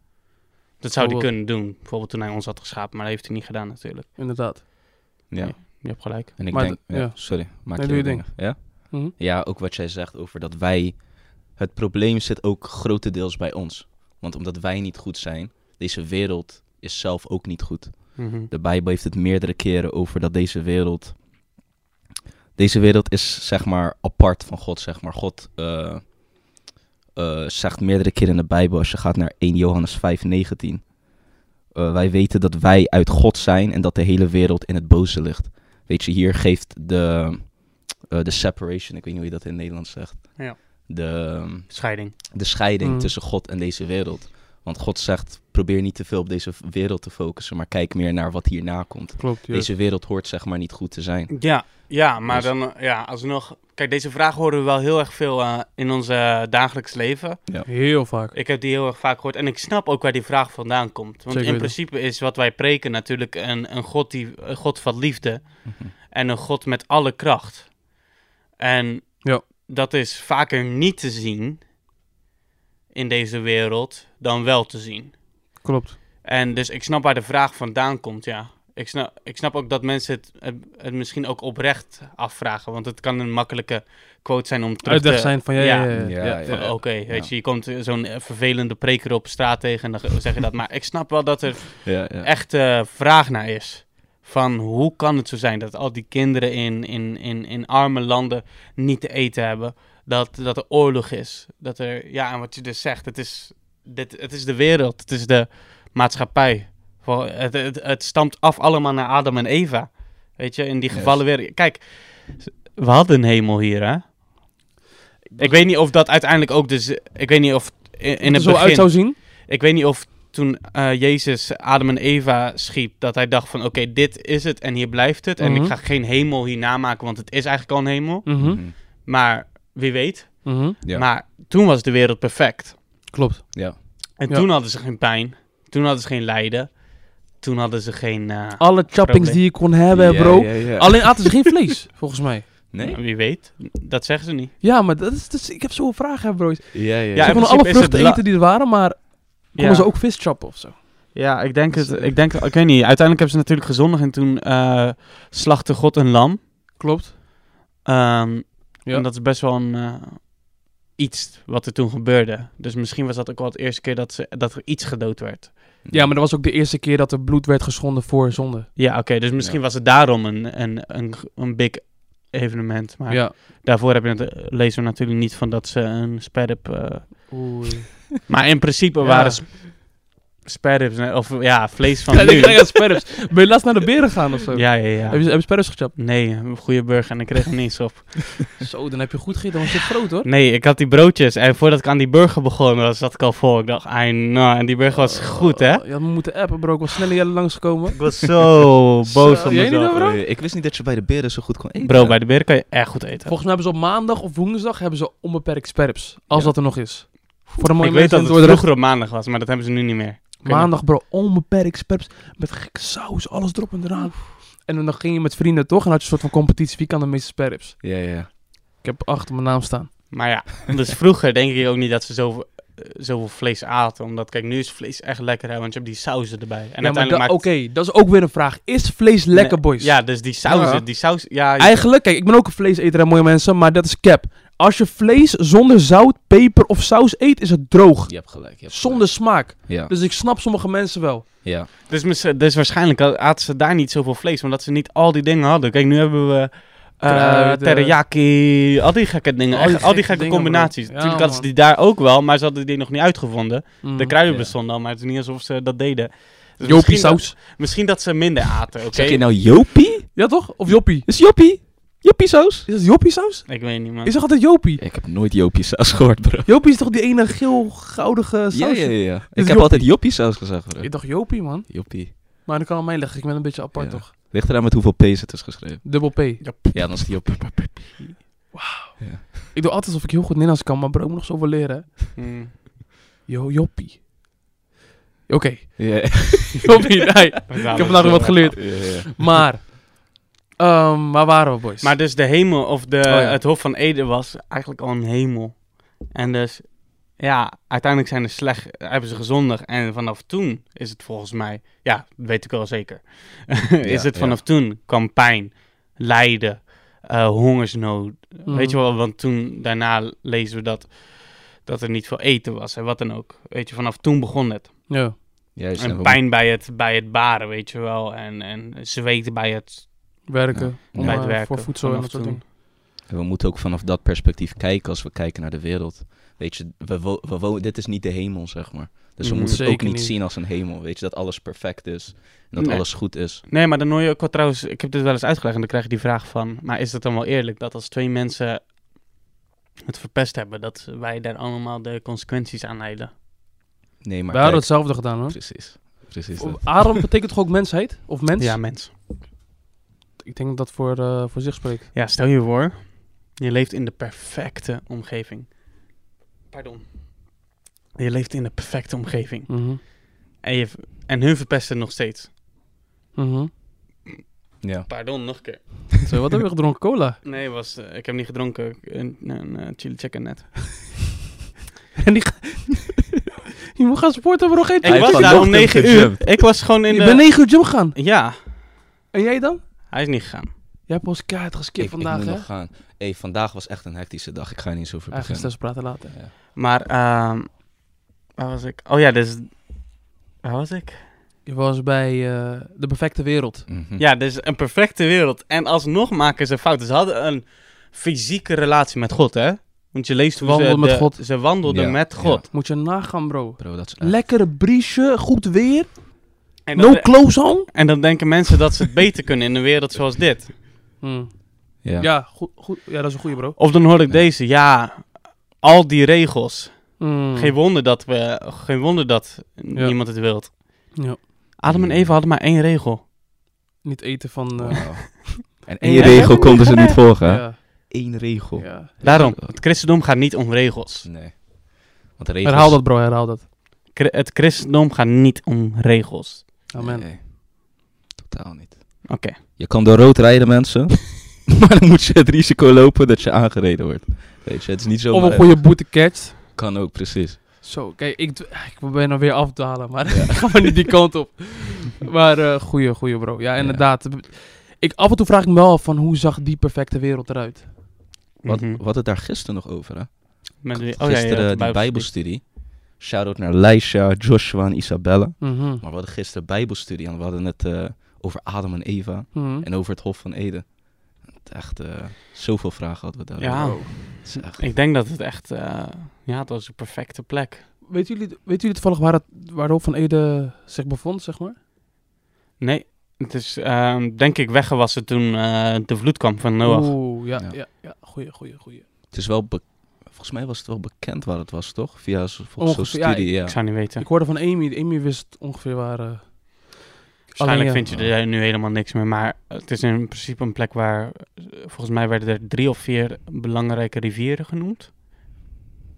Speaker 3: Dat zou die
Speaker 2: Bijvoorbeeld.
Speaker 3: kunnen doen. Bijvoorbeeld toen hij ons had geschapen, maar dat heeft hij niet gedaan natuurlijk.
Speaker 2: Mhm. Inderdaad.
Speaker 1: Ja.
Speaker 3: Je hebt gelijk.
Speaker 1: En ik
Speaker 2: Maar
Speaker 1: denk,
Speaker 2: d-
Speaker 1: ja,
Speaker 2: ja.
Speaker 1: sorry, maak
Speaker 2: Nee,
Speaker 1: je
Speaker 2: doe je
Speaker 1: dingen. Ja?
Speaker 2: Mhm.
Speaker 1: ja, ook wat jij zegt over dat wij, het probleem zit ook grotendeels bij ons. Want omdat wij niet goed zijn, deze wereld is zelf ook niet goed.
Speaker 3: Mhm.
Speaker 1: De Bijbel heeft het meerdere keren over dat deze wereld, deze wereld is zeg maar apart van God, zeg maar. God eh, eh, zegt meerdere keren in de Bijbel, als je gaat naar 1 Johannes 5, 19. eh, wij weten dat wij uit God zijn en dat de hele wereld in het boze ligt. Weet je, hier geeft de, eh, de separation, ik weet niet hoe je dat in het Nederlands zegt.
Speaker 3: Ja.
Speaker 1: De,
Speaker 3: Scheiding.
Speaker 1: de scheiding
Speaker 2: Mm.
Speaker 1: tussen God en deze wereld. Want God zegt, probeer niet te veel op deze wereld te focussen, maar kijk meer naar wat hierna komt.
Speaker 2: Klopt, ja.
Speaker 1: Deze wereld hoort zeg maar niet goed te zijn.
Speaker 3: Ja, ja maar
Speaker 1: Dus-
Speaker 3: dan, eh, ja, alsnog. Kijk, deze vraag horen we wel heel erg veel eh, in ons eh, dagelijks leven.
Speaker 2: Heel vaak.
Speaker 3: Ik heb die heel erg vaak gehoord en ik snap ook waar die vraag vandaan komt. Want
Speaker 2: Zeker
Speaker 3: in
Speaker 2: weten.
Speaker 3: principe is wat wij preken natuurlijk een, een, God, die, een God van liefde
Speaker 2: Mhm.
Speaker 3: en een God met alle kracht. En
Speaker 2: Ja.
Speaker 3: dat is vaker niet te zien in deze wereld dan wel te zien.
Speaker 2: Klopt.
Speaker 3: En dus ik snap waar de vraag vandaan komt, ja. Ik snap, ik snap ook dat mensen het, het, het misschien ook oprecht afvragen. Want het kan een makkelijke quote zijn om terug
Speaker 2: Uitweg
Speaker 3: te...
Speaker 2: zijn van, ja, ja,
Speaker 3: Ja.
Speaker 2: ja. ja.
Speaker 1: Ja,
Speaker 3: Van, Oké, weet
Speaker 1: Ja.
Speaker 3: je, je komt eh, zo'n eh, vervelende preker op straat tegen en dan zeg je dat. Maar ik snap wel dat er
Speaker 1: Ja, ja.
Speaker 3: echt eh, vraag naar is. Van hoe kan het zo zijn dat al die kinderen in, in, in, in arme landen niet te eten hebben? Dat, dat er oorlog is. Dat er, ja, en wat je dus zegt, het is, dit, het is de wereld, het is de maatschappij. Voor- Het, het, het stamt af allemaal naar Adam en Eva. Weet je, in die
Speaker 1: Yes.
Speaker 3: gevallen weer. Kijk, we hadden een hemel hier, hè? Ik weet niet of dat uiteindelijk ook dus. Ik weet niet of in, in
Speaker 2: er
Speaker 3: het
Speaker 2: zo uit
Speaker 3: begin.
Speaker 2: zou zien.
Speaker 3: Ik weet niet of toen eh, Jezus Adam en Eva schiep, dat hij dacht van oké, dit is het en hier blijft het. En
Speaker 2: Mhm.
Speaker 3: ik ga geen hemel hierna maken, want het is eigenlijk al een hemel.
Speaker 2: Mhm.
Speaker 1: Mhm.
Speaker 3: Maar wie weet.
Speaker 2: Mhm.
Speaker 1: Ja.
Speaker 3: Maar toen was de wereld perfect.
Speaker 2: Klopt.
Speaker 1: Ja.
Speaker 3: En
Speaker 2: Ja.
Speaker 3: toen hadden ze geen pijn. Toen hadden ze geen lijden. Toen hadden ze geen... eh,
Speaker 2: Alle choppings
Speaker 3: Probleem.
Speaker 2: die je kon hebben,
Speaker 1: Ja,
Speaker 2: bro.
Speaker 1: ja, ja.
Speaker 2: Alleen aten ze geen vlees, volgens mij.
Speaker 1: Nee?
Speaker 3: Wie weet. Dat zeggen ze niet.
Speaker 2: Ja, maar dat is, dat is- ik heb zo'n vraag, hè, bro.
Speaker 1: Ja, ja,
Speaker 2: ze konden
Speaker 3: in principe
Speaker 2: alle
Speaker 3: is het
Speaker 2: vruchten
Speaker 3: la-
Speaker 2: eten die er waren, maar konden ze ook vis choppen of zo.
Speaker 3: Ja, ik denk
Speaker 1: Dus,
Speaker 3: het.
Speaker 1: eh,
Speaker 3: Ik denk, ik weet niet. Uiteindelijk hebben ze natuurlijk gezondigd en toen eh, slachtte God een lam.
Speaker 2: Klopt.
Speaker 3: Ehm,
Speaker 2: Ja.
Speaker 3: En dat is best wel een, eh, iets wat er toen gebeurde. Dus misschien was dat ook wel de eerste keer dat, ze, dat er iets gedood werd.
Speaker 2: Ja, maar dat was ook de eerste keer dat er bloed werd geschonden voor zonde.
Speaker 3: Ja, oké. dus misschien
Speaker 1: Ja.
Speaker 3: was het daarom een, een, een, een big evenement. Maar
Speaker 2: Ja.
Speaker 3: daarvoor heb je het, eh, lezen we natuurlijk niet van dat ze een sperp... eh
Speaker 2: Oei.
Speaker 3: maar in principe
Speaker 2: Ja.
Speaker 3: waren s- sperrips, eh, of ja, vlees van
Speaker 2: ja,
Speaker 3: nu.
Speaker 2: ik denk aan sperps. Ben je laatst naar de beren gaan of zo?
Speaker 3: Ja, ja, ja.
Speaker 2: Heb je, heb je sperps gechapt?
Speaker 3: Nee, een goede burger en ik kreeg er niets op.
Speaker 2: Zo, dan heb je goed gegeten, want het is groot hoor.
Speaker 3: Nee, ik had die broodjes en voordat ik aan die burger begon, was, zat ik al vol. Ik dacht, ai, nou, en die burger was
Speaker 2: Oh,
Speaker 3: goed, hè?
Speaker 2: Ja, we moeten appen bro, ik was sneller jelle langsgekomen.
Speaker 3: Ik was zo boos
Speaker 2: Zo,
Speaker 3: op
Speaker 2: jij niet
Speaker 3: mezelf.
Speaker 2: over- Bro?
Speaker 1: Eh, ik wist niet dat je bij de beren zo goed kon eten.
Speaker 3: Bro, bij de beer kan je echt goed eten.
Speaker 2: Volgens mij hebben ze op maandag of woensdag hebben ze onbeperkt sperps. Als
Speaker 1: Ja.
Speaker 2: dat er nog is. Voor de mooie
Speaker 3: ik weet
Speaker 2: mensen
Speaker 3: dat het
Speaker 2: in Dordrecht.
Speaker 3: vroeger op maandag was, maar dat hebben ze nu niet meer. Kunnen.
Speaker 2: Maandag, bro, onbeperkt sperps. Met gekke saus, alles erop en eraan. En dan ging je met vrienden toch en had je een soort van competitie. Wie kan de meeste sperps?
Speaker 1: Ja, ja.
Speaker 2: Ik heb achter mijn naam staan.
Speaker 3: Maar ja, dus vroeger denk ik ook niet dat ze zoveel, eh, zoveel vlees aten. Omdat, kijk, nu is vlees echt lekker, hè, want je hebt die sauzen erbij. En
Speaker 2: ja, maar
Speaker 3: uiteindelijk
Speaker 2: da-
Speaker 3: maakt...
Speaker 2: Oké, dat is ook weer een vraag. Is vlees lekker,
Speaker 3: Nee,
Speaker 2: boys?
Speaker 3: Ja, dus die sauzen,
Speaker 2: Ja.
Speaker 3: die saus... Ja, je-
Speaker 2: Eigenlijk, kijk, ik ben ook een vleeseter en mooie mensen, maar dat is cap. Als je vlees zonder zout, peper of saus eet, is het droog.
Speaker 1: Je hebt gelijk. Je hebt
Speaker 2: Zonder smaak.
Speaker 1: gelijk. Ja,
Speaker 2: Dus ik snap sommige mensen wel.
Speaker 1: ja.
Speaker 3: dus, mis- dus waarschijnlijk aten ze daar niet zoveel vlees, omdat ze niet al die dingen hadden. Kijk, nu hebben we... eh,
Speaker 2: Kruiden.
Speaker 3: teriyaki, al die gekke dingen,
Speaker 2: Al die
Speaker 3: echt, al
Speaker 2: gekke
Speaker 3: die gekke
Speaker 2: dingen, bro.
Speaker 3: combinaties.
Speaker 2: Ja,
Speaker 3: Natuurlijk hadden ze
Speaker 2: man.
Speaker 3: die daar ook wel, maar ze hadden die nog niet uitgevonden.
Speaker 2: mm. Mhm.
Speaker 3: De kruiden
Speaker 1: Ja.
Speaker 3: bestonden al, maar het is niet alsof ze dat deden. Dus
Speaker 2: Jopie
Speaker 3: misschien
Speaker 2: saus.
Speaker 3: dat- misschien dat ze minder aten, oké?
Speaker 1: Zeg je nou Jopie?
Speaker 2: Ja toch? Of joppie?
Speaker 1: Is Joppie? Joppie saus?
Speaker 2: Is dat joppie saus?
Speaker 3: Ik weet niet, man.
Speaker 2: nou- Is dat altijd joppie?
Speaker 1: Ik heb nooit Jopie saus gehoord, bro.
Speaker 2: Joppie is toch die ene eh, geel-goudige saus?
Speaker 1: Ja, ja, ja. Ik heb
Speaker 2: Joppie.
Speaker 1: altijd Joppie saus gezegd, bro.
Speaker 2: Ik dacht joppie, man.
Speaker 1: Joppie.
Speaker 2: Maar dan kan aan mij liggen. Ik ben een beetje apart,
Speaker 1: Ja.
Speaker 2: toch?
Speaker 1: Ligt eraan met hoeveel P's het is geschreven.
Speaker 2: Dubbel P.
Speaker 1: Ja, dan is het Joppie.
Speaker 2: Ik doe altijd alsof ik heel goed Nederlands kan, maar bro, ik moet nog zoveel leren.
Speaker 3: Mm.
Speaker 2: Jo, joppie. Oké.
Speaker 1: Ja,
Speaker 2: Joppie, nee. Ik heb vandaag weer
Speaker 3: eh,
Speaker 2: wat geleerd.
Speaker 1: ja, ja.
Speaker 2: Maar, ehm, waar waren we, boys?
Speaker 3: Maar dus de hemel, of de,
Speaker 2: Oh, ja.
Speaker 3: het Hof van Eden was eigenlijk al een hemel. En dus, ja, uiteindelijk zijn er slecht, hebben ze gezondig. En vanaf toen is het volgens mij, ja, dat weet ik wel zeker. is
Speaker 1: Ja,
Speaker 3: het vanaf toen kwam pijn, lijden, eh, hongersnood.
Speaker 2: Mhm.
Speaker 3: Weet je wel, want toen, daarna lezen we dat, dat er niet veel eten was en wat dan ook. Weet je, vanaf toen begon het.
Speaker 2: Ja.
Speaker 1: Juist,
Speaker 3: En
Speaker 1: we
Speaker 3: pijn bij het, bij het baren, weet je wel. En, en zweet bij het,
Speaker 2: Werken.
Speaker 1: Ja.
Speaker 2: Om,
Speaker 3: bij
Speaker 2: eh,
Speaker 3: het werken.
Speaker 2: Voor voedsel en
Speaker 3: vanaf
Speaker 2: dat soort
Speaker 3: toen.
Speaker 2: dingen.
Speaker 1: En we moeten ook vanaf dat perspectief kijken als we kijken naar de wereld. Weet je, we wo- we wo- dit is niet de hemel, zeg maar. Dus we
Speaker 3: Mhm.
Speaker 1: moeten het ook
Speaker 2: Mm, Zeker
Speaker 1: niet
Speaker 2: niet.
Speaker 1: zien als een hemel. Weet je, dat alles perfect is. En dat
Speaker 3: Nee.
Speaker 1: alles goed is.
Speaker 3: Nee, maar dan hoor je ook wel trouwens... Ik heb dit wel eens uitgelegd en dan krijg je die vraag van... Maar is dat dan wel eerlijk dat als twee mensen het verpest hebben... dat wij daar allemaal de consequenties aan leiden?
Speaker 1: Nee, maar
Speaker 2: We hadden
Speaker 1: kijk,
Speaker 2: hetzelfde gedaan, hoor.
Speaker 1: Precies. Precies
Speaker 2: Voor-
Speaker 1: dat.
Speaker 2: Adam betekent toch ook mensheid? Of mens?
Speaker 3: Ja, mens.
Speaker 2: Ik denk dat dat voor, eh, voor zich spreekt.
Speaker 3: Ja, stel je voor... Je leeft in de perfecte omgeving. Pardon. Je leeft in de perfecte omgeving.
Speaker 2: Mhm.
Speaker 3: En, je, en hun verpesten nog steeds.
Speaker 2: Mhm.
Speaker 1: Ja.
Speaker 3: Pardon, nog een keer.
Speaker 2: Zo, wat hebben we gedronken? Cola.
Speaker 3: Nee, was, eh, ik heb niet gedronken. Een, een, eh, chili chicken net.
Speaker 2: En die... ga- je moet gaan sporten, bro. Geen
Speaker 3: Ik
Speaker 1: Hij heeft
Speaker 3: was
Speaker 1: vanochtend
Speaker 3: daar om 9
Speaker 1: gejumpt.
Speaker 3: uur. Ik was gewoon in
Speaker 2: Je
Speaker 3: de...
Speaker 2: bent 9 uur gym gegaan.
Speaker 3: Ja,
Speaker 2: En jij dan?
Speaker 3: hij is niet gegaan.
Speaker 2: Jij hebt ons kaart geskipt
Speaker 1: Ik,
Speaker 2: vandaag,
Speaker 1: ik moet
Speaker 2: hè?
Speaker 1: nog gaan. Hey, vandaag was echt een hectische dag. Ik ga er niet zo over
Speaker 2: Eigenlijk is
Speaker 1: beginnen.
Speaker 2: dat praten later.
Speaker 1: Ja.
Speaker 3: Maar, ehm waar was ik? Oh ja, dus... Waar was ik?
Speaker 2: Je was bij eh, de perfecte wereld.
Speaker 1: Mhm.
Speaker 3: Ja, dus een perfecte wereld. En alsnog maken ze fouten. Ze hadden een fysieke relatie met God, hè? Want je leest hoe ze...
Speaker 2: Wandelden met
Speaker 3: de-
Speaker 2: God.
Speaker 3: Ze wandelden
Speaker 1: Ja,
Speaker 3: met
Speaker 1: ja.
Speaker 3: God.
Speaker 2: Moet je nagaan, bro.
Speaker 1: Bro, dat is echt-
Speaker 2: Lekkere briesje, goed weer.
Speaker 3: En, dan,
Speaker 2: No clothes on.
Speaker 3: en dan denken mensen dat ze het beter kunnen in een wereld zoals dit.
Speaker 1: Ja.
Speaker 2: Hmm. Ja, goed, goed. ja, dat is een goede bro.
Speaker 3: Of dan hoor ik
Speaker 1: Ja.
Speaker 3: deze. Ja, al die regels.
Speaker 1: Hmm.
Speaker 2: Mm.
Speaker 3: Geen wonder dat we... Geen wonder dat
Speaker 2: Ja.
Speaker 3: niemand het wilt.
Speaker 2: Ja,
Speaker 3: Adam
Speaker 1: Hmm.
Speaker 3: en Eva hadden maar één regel.
Speaker 2: niet eten van... eh,
Speaker 1: Wauw. En één regel
Speaker 3: Ja.
Speaker 1: konden ze niet volgen. hè?
Speaker 2: ja,
Speaker 1: Eén regel.
Speaker 2: ja.
Speaker 3: Daarom, het christendom gaat niet om regels.
Speaker 1: Nee. Want de regels...
Speaker 2: Herhaal dat, bro. Herhaal dat.
Speaker 3: Chri- het christendom gaat niet om regels.
Speaker 2: Amen.
Speaker 1: Nee. Totaal niet.
Speaker 3: Oké.
Speaker 1: Je kan door rood rijden, mensen. maar dan moet je het risico lopen dat je aangereden wordt. Weet je, het is niet zo.
Speaker 2: Of een goede boete catch.
Speaker 1: Kan ook, precies.
Speaker 2: Zo, kijk, ik, ik ben nou weer afdalen, maar ik ga maar niet die kant op. Maar eh goeie, goeie bro. Ja, inderdaad. Ik, af en toe vraag ik me wel af van hoe zag die perfecte wereld eruit?
Speaker 1: Wat,
Speaker 3: Mhm.
Speaker 1: wat het daar gisteren nog over, hè?
Speaker 3: Met wie- oh, ja, ja,
Speaker 1: gisteren
Speaker 3: de
Speaker 1: die
Speaker 3: Bijbelstudie.
Speaker 1: bijbelstudie. Shout-out naar Leisha, Joshua en Isabella.
Speaker 2: Mhm.
Speaker 1: Maar we hadden gisteren bijbelstudie en we hadden het eh, over Adam en Eva.
Speaker 2: Mhm.
Speaker 1: En over het Hof van Eden. Echt eh, zoveel vragen hadden we daar.
Speaker 3: Ja.
Speaker 1: Het is echt-
Speaker 3: Ik denk dat het echt... eh, ja, het was een perfecte plek.
Speaker 2: Weet jullie, weet jullie toevallig waar het, waar Rolf van Ede zich bevond, zeg maar?
Speaker 3: Nee, het is ehm, denk ik weggewassen toen eh, de vloed kwam van Noach.
Speaker 2: Oeh, ja, ja.
Speaker 1: Ja.
Speaker 2: ja, Goeie, goeie, goeie.
Speaker 1: het is wel... be- Volgens mij was het wel bekend waar het was, toch? Via zo- volgens zo'n
Speaker 2: Ongeveer, ja,
Speaker 1: studie, ja.
Speaker 3: Ik zou niet weten.
Speaker 2: Ik hoorde van Amy. Amy wist ongeveer waar... eh,
Speaker 3: Waarschijnlijk
Speaker 2: Alleen, eh,
Speaker 3: vind je er nu helemaal niks meer. Maar het is in principe een plek waar... eh, Volgens mij werden er drie of vier belangrijke rivieren genoemd.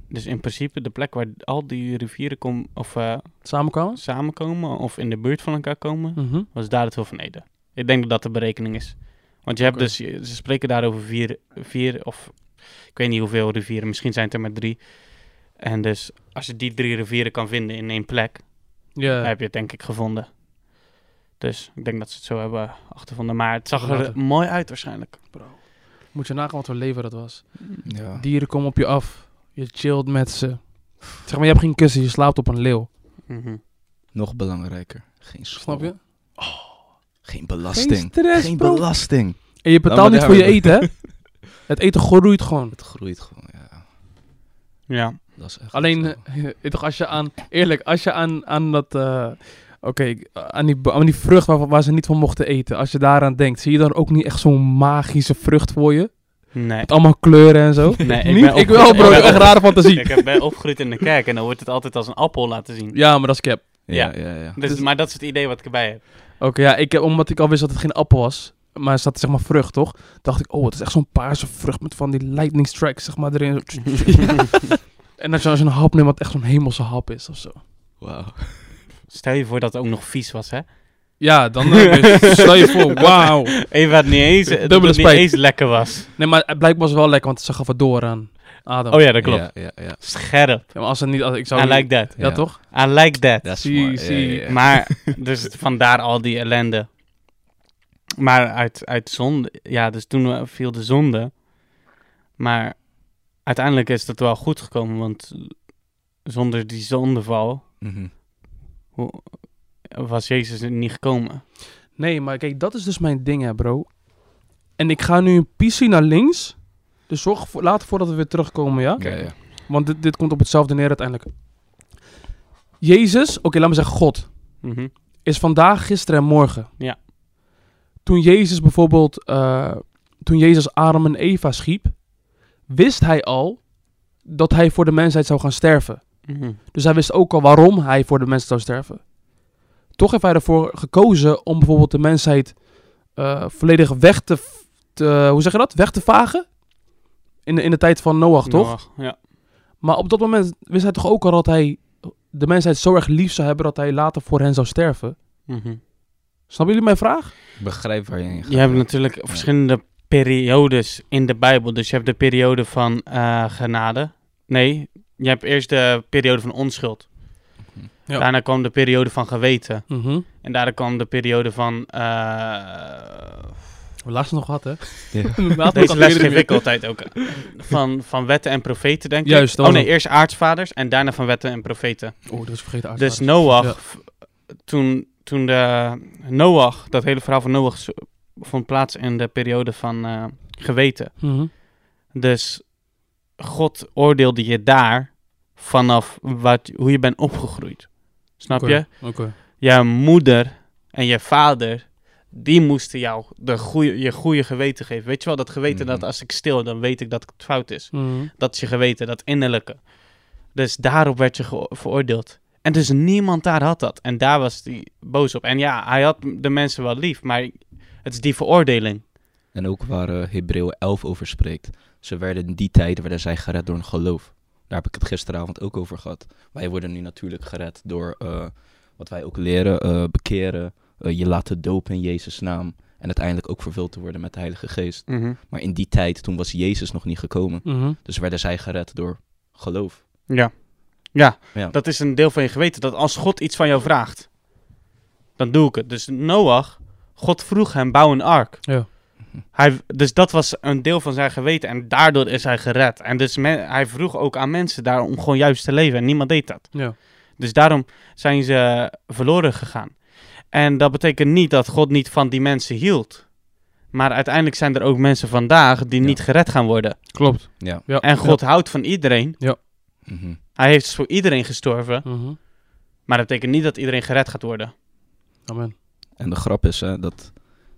Speaker 3: Dus in principe de plek waar al die rivieren kom, of, eh,
Speaker 2: samenkwamen?
Speaker 3: samenkomen... of in de buurt van elkaar komen...
Speaker 2: Mhm.
Speaker 3: was daar het Hul van Ede. Ik denk dat dat de berekening is. Want je hebt
Speaker 2: Oké.
Speaker 3: dus, je- ze spreken daar over vier, vier of ik weet niet hoeveel rivieren, misschien zijn het er maar drie. En dus als je die drie rivieren kan vinden in één plek, dan
Speaker 2: Ja,
Speaker 3: heb je het denk ik gevonden. Dus ik denk dat ze het zo hebben achtervonden. Maar het zag er
Speaker 2: Later.
Speaker 3: mooi uit waarschijnlijk.
Speaker 2: bro. Moet je nagaan wat voor leven dat was.
Speaker 1: Ja.
Speaker 2: Dieren komen op je af. Je chillt met ze. Zeg maar, je hebt geen kussen. Je slaapt op een leeuw.
Speaker 3: Mhm.
Speaker 1: Nog belangrijker. Geen
Speaker 2: Snap je?
Speaker 1: school, Geen belasting.
Speaker 2: stress,
Speaker 1: Ah, Geen
Speaker 2: bro.
Speaker 1: belasting.
Speaker 2: En je
Speaker 1: maar
Speaker 2: betaalt niet
Speaker 1: daar
Speaker 2: voor je
Speaker 1: hebben
Speaker 2: eten, hè? Het eten groeit gewoon.
Speaker 1: Het groeit gewoon, ja.
Speaker 3: Ja,
Speaker 1: Dat is echt...
Speaker 2: Alleen,
Speaker 1: eh,
Speaker 2: eh, eh, toch als je aan, eerlijk, als je aan, aan dat, eh, oké, ik- aan, die, bo- aan die vrucht waar, waar ze niet van mochten eten, als je daaraan denkt, zie je dan ook niet echt zo'n magische vrucht voor je?
Speaker 3: nee.
Speaker 2: Met allemaal kleuren en zo?
Speaker 3: Nee, ik
Speaker 2: niet?
Speaker 3: ben
Speaker 2: ik wel,
Speaker 3: opgegroeid-
Speaker 2: bro,
Speaker 3: ik ben
Speaker 2: echt rare fantasie.
Speaker 3: Ik heb- ben opgegroeid in de kerk en dan wordt het altijd als een appel laten zien.
Speaker 2: Ja, maar dat is cap.
Speaker 1: ja, ja, ja.
Speaker 3: Dus, maar dat is het idee wat ik erbij heb.
Speaker 2: Oké, ja, ik heb, omdat ik al wist dat het geen appel was, maar er zat zeg maar vrucht, toch? Dacht ik, oh, het is echt zo'n paarse vrucht met van die lightning strikes, zeg maar, erin. En als je als je een hap neemt, wat echt zo'n hemelse hap is of zo.
Speaker 1: Wauw.
Speaker 3: Stel je voor dat het ook nog vies was, hè?
Speaker 2: Ja, dan eh, dus stel je voor, wauw.
Speaker 3: Even dat niet eens, dat
Speaker 2: Dubbele
Speaker 3: het niet
Speaker 2: spijt.
Speaker 3: eens lekker was.
Speaker 2: Nee, maar het blijkbaar was het wel lekker, want ze gaf het door aan Adam.
Speaker 3: Oh ja, dat klopt.
Speaker 1: Ja, ja, ja.
Speaker 3: Scherp.
Speaker 2: Ja, maar als het niet... Als, ik zou
Speaker 3: I like that.
Speaker 2: Ja, toch?
Speaker 3: I like that.
Speaker 1: Dat is
Speaker 2: Zie,
Speaker 1: mooi. Ja,
Speaker 2: zie.
Speaker 1: ja, ja.
Speaker 3: Maar, dus vandaar al die ellende. Maar uit, uit zonde, ja, dus toen eh, viel de zonde. Maar uiteindelijk is dat wel goed gekomen, want zonder die zondeval
Speaker 1: Mhm.
Speaker 3: hoe- was Jezus er niet gekomen.
Speaker 2: Nee, maar kijk, dat is dus mijn ding, hè, bro. En ik ga nu een pissie naar links. Dus zorg voor, laat ervoor dat we weer terugkomen, ja?
Speaker 1: Ja, ja.
Speaker 2: Want dit, dit komt op hetzelfde neer uiteindelijk. Jezus, oké, laat me zeggen God,
Speaker 3: Mhm.
Speaker 2: is vandaag, gisteren en morgen.
Speaker 3: Ja.
Speaker 2: Toen Jezus bijvoorbeeld... eh, toen Jezus Adam en Eva schiep, wist hij al dat hij voor de mensheid zou gaan sterven.
Speaker 3: Mhm.
Speaker 2: Dus hij wist ook al waarom hij voor de mensheid zou sterven. Toch heeft hij ervoor gekozen om bijvoorbeeld de mensheid eh, volledig weg te, v- te- Hoe zeg je dat? Weg te vagen? In de, in de tijd van Noach, toch?
Speaker 3: Noach, Ja.
Speaker 2: Maar op dat moment wist hij toch ook al dat hij de mensheid zo erg lief zou hebben dat hij later voor hen zou sterven.
Speaker 3: Mhm.
Speaker 2: Snappen jullie mijn vraag?
Speaker 1: Ik begrijp waar je heen gaat.
Speaker 3: Je hebt natuurlijk verschillende periodes in de Bijbel. Dus je hebt de periode van eh, genade. Nee, je hebt eerst de periode van onschuld.
Speaker 2: Ja.
Speaker 3: Daarna kwam de periode van geweten.
Speaker 2: Mhm.
Speaker 3: En daarna kwam de periode van... eh,
Speaker 2: We laatst nog wat, hè?
Speaker 1: Ja.
Speaker 2: Laatst nog
Speaker 3: deze
Speaker 2: wat
Speaker 3: les
Speaker 2: eerder
Speaker 3: geef ik
Speaker 2: weer.
Speaker 3: altijd ook. eh, Van, van wetten en profeten, denk ik.
Speaker 2: Juist, dat
Speaker 3: Oh
Speaker 2: was
Speaker 3: nee, eerst aartsvaders en daarna van wetten en profeten.
Speaker 2: Oh, dat is vergeten. uit te
Speaker 3: Dus
Speaker 2: maken.
Speaker 3: Noach,
Speaker 2: Ja.
Speaker 3: f- toen, toen de Noach, dat hele verhaal van Noach zo- vond plaats in de periode van eh, geweten.
Speaker 2: Mhm.
Speaker 3: Dus God oordeelde je daar vanaf wat, hoe je bent opgegroeid. Snap je?
Speaker 2: Oké, Oké.
Speaker 3: Je moeder en je vader, die moesten jou de goeie, je goede geweten geven. Weet je wel, dat geweten
Speaker 1: Mhm.
Speaker 3: dat als ik stil, dan weet ik dat het fout is.
Speaker 2: Mhm.
Speaker 3: Dat is je geweten, dat innerlijke. Dus daarop werd je geo- veroordeeld. En dus niemand daar had dat. En daar was hij boos op. En ja, hij had de mensen wel lief, maar het is die veroordeling.
Speaker 1: En ook waar eh Hebreeën 11 over spreekt. Ze werden in die tijd werden zij gered door een geloof. Daar heb ik het gisteravond ook over gehad. Wij worden nu natuurlijk gered door eh, wat wij ook leren, eh, bekeren, eh, je laten dopen in Jezus' naam. En uiteindelijk ook vervuld te worden met de Heilige Geest. Maar in die tijd, toen was Jezus nog niet gekomen.
Speaker 2: Mhm.
Speaker 1: Dus werden zij gered door geloof.
Speaker 3: Ja. ja.
Speaker 1: Ja.
Speaker 3: dat is een deel van je geweten. Dat als God iets van jou vraagt, dan doe ik het. Dus Noach, God vroeg hem, bouw een ark.
Speaker 2: Ja.
Speaker 3: Hij, dus dat was een deel van zijn geweten en daardoor is hij gered. En dus men- hij vroeg ook aan mensen daar om gewoon juist te leven en niemand deed dat.
Speaker 2: Ja.
Speaker 3: Dus daarom zijn ze verloren gegaan. En dat betekent niet dat God niet van die mensen hield. Maar uiteindelijk zijn er ook mensen vandaag die
Speaker 1: Ja. Oh,
Speaker 3: niet gered gaan worden.
Speaker 2: Klopt.
Speaker 1: Ja.
Speaker 2: Ja.
Speaker 3: En God houdt van iedereen.
Speaker 1: Mhm.
Speaker 3: Hij heeft voor iedereen gestorven.
Speaker 2: Ja. Mhm.
Speaker 3: Maar dat betekent niet dat iedereen gered gaat worden.
Speaker 2: Amen.
Speaker 1: En de grap is, hè, dat,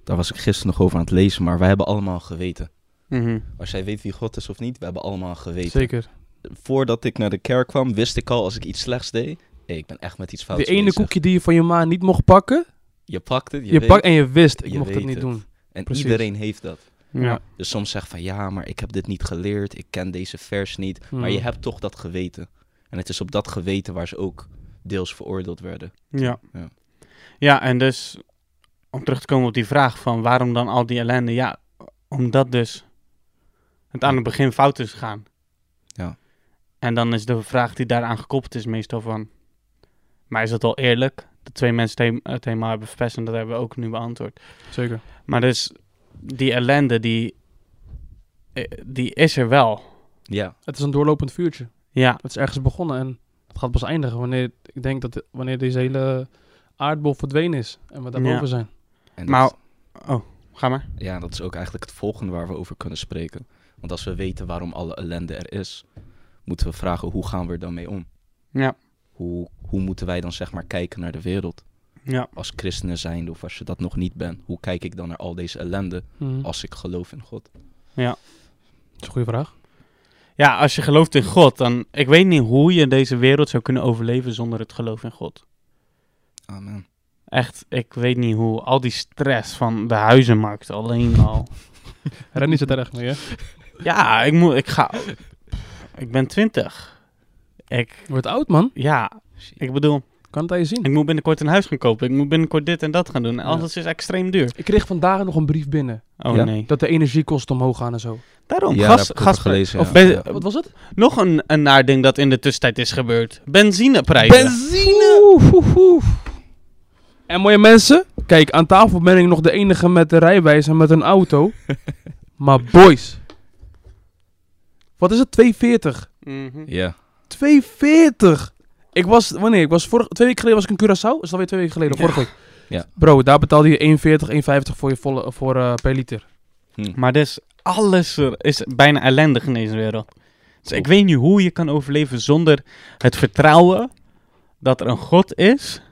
Speaker 1: daar was ik gisteren nog over aan het lezen, maar wij hebben allemaal geweten. Als jij weet wie God is of niet, we hebben allemaal geweten.
Speaker 2: Zeker.
Speaker 1: Voordat ik naar de kerk kwam, wist ik al als ik iets slechts deed, hey, ik ben echt met iets fouts
Speaker 2: Die ene
Speaker 1: bezig.
Speaker 2: koekje die je van je ma niet mocht pakken,
Speaker 1: Je pakt het, je,
Speaker 2: je
Speaker 1: weet
Speaker 2: pakt en je wist, ik
Speaker 1: Je
Speaker 2: mocht het
Speaker 1: weet
Speaker 2: niet
Speaker 1: het.
Speaker 2: doen.
Speaker 1: En
Speaker 2: Precies.
Speaker 1: iedereen heeft dat.
Speaker 2: Ja.
Speaker 1: Dus soms zeg van ja, maar ik heb dit niet geleerd, ik ken deze vers niet. Maar je
Speaker 2: Mm.
Speaker 1: hebt toch dat geweten. En het is op dat geweten waar ze ook deels veroordeeld werden.
Speaker 3: Ja.
Speaker 1: Ja.
Speaker 3: Ja, en dus om terug te komen op die vraag van waarom dan al die ellende? Ja, omdat dus het aan het begin fout is gegaan.
Speaker 1: Ja.
Speaker 3: En dan is de vraag die daaraan gekoppeld is meestal van, maar is dat wel eerlijk? De twee mensen het he- het helemaal hebben verpest en dat hebben we ook nu beantwoord.
Speaker 2: Zeker.
Speaker 3: Maar dus die ellende, die, eh, die is er wel.
Speaker 1: Ja,
Speaker 2: Het is een doorlopend vuurtje.
Speaker 3: Ja,
Speaker 2: Het is ergens begonnen en het gaat pas eindigen wanneer ik denk dat de- wanneer deze hele aardbol verdwenen is en we daarboven
Speaker 3: Ja.
Speaker 2: zijn.
Speaker 1: en
Speaker 3: maar...
Speaker 1: dat,
Speaker 3: Oh, ga maar.
Speaker 1: ja, dat is ook eigenlijk het volgende waar we over kunnen spreken. Want als we weten waarom alle ellende er is, moeten we vragen hoe gaan we er dan mee om?
Speaker 3: Ja,
Speaker 1: Hoe, hoe moeten wij dan zeg maar kijken naar de wereld?
Speaker 3: ja,
Speaker 1: Als christenen zijnde of als je dat nog niet bent, hoe kijk ik dan naar al deze ellende
Speaker 2: Mhm.
Speaker 1: als ik geloof in God?
Speaker 2: Dat is een goede vraag.
Speaker 3: Ja, als je gelooft in God, dan... Ik weet niet hoe je deze wereld zou kunnen overleven zonder het geloof in God.
Speaker 1: Amen.
Speaker 3: Echt, ik weet niet hoe. Al die stress van de huizenmarkt alleen al.
Speaker 2: Rennie zit er echt mee, hè?
Speaker 3: ja, ik moet... Ik ga... Ik ben twintig. Ik...
Speaker 2: Wordt oud, man.
Speaker 3: Ja, ik bedoel,
Speaker 2: Kan het aan je zien.
Speaker 3: ik moet binnenkort een huis gaan kopen. Ik moet binnenkort dit en dat gaan doen. Alles is extreem duur.
Speaker 2: Ik kreeg vandaag nog een brief binnen
Speaker 3: Oh
Speaker 1: Ja?
Speaker 3: nee.
Speaker 2: dat de energiekosten omhoog gaan en zo.
Speaker 3: Daarom,
Speaker 1: Ja,
Speaker 3: gas,
Speaker 1: daar heb ik over
Speaker 3: gas,
Speaker 1: gelezen,
Speaker 3: of
Speaker 1: ja.
Speaker 3: ben-
Speaker 1: Ja.
Speaker 2: Wat was het?
Speaker 3: Nog een, een naar ding dat in de tussentijd is gebeurd. Benzineprijzen.
Speaker 2: Benzine! En mooie mensen, kijk, aan tafel ben ik nog de enige met de rijwijs en met een auto. maar boys, wat is het? 240.
Speaker 3: Mhm.
Speaker 1: Ja,
Speaker 2: 240! Ik was, wanneer? Ik was vorig, twee weken geleden was ik in Curaçao. Is dat weer twee weken geleden? Vorige week.
Speaker 1: Ja.
Speaker 2: Bro, daar betaalde je 1,40, 1,50 voor, je volle, voor eh, per liter.
Speaker 3: Maar dus alles er is bijna ellendig in deze wereld. Dus
Speaker 2: Oh.
Speaker 3: ik weet niet hoe je kan overleven zonder het vertrouwen dat er een God is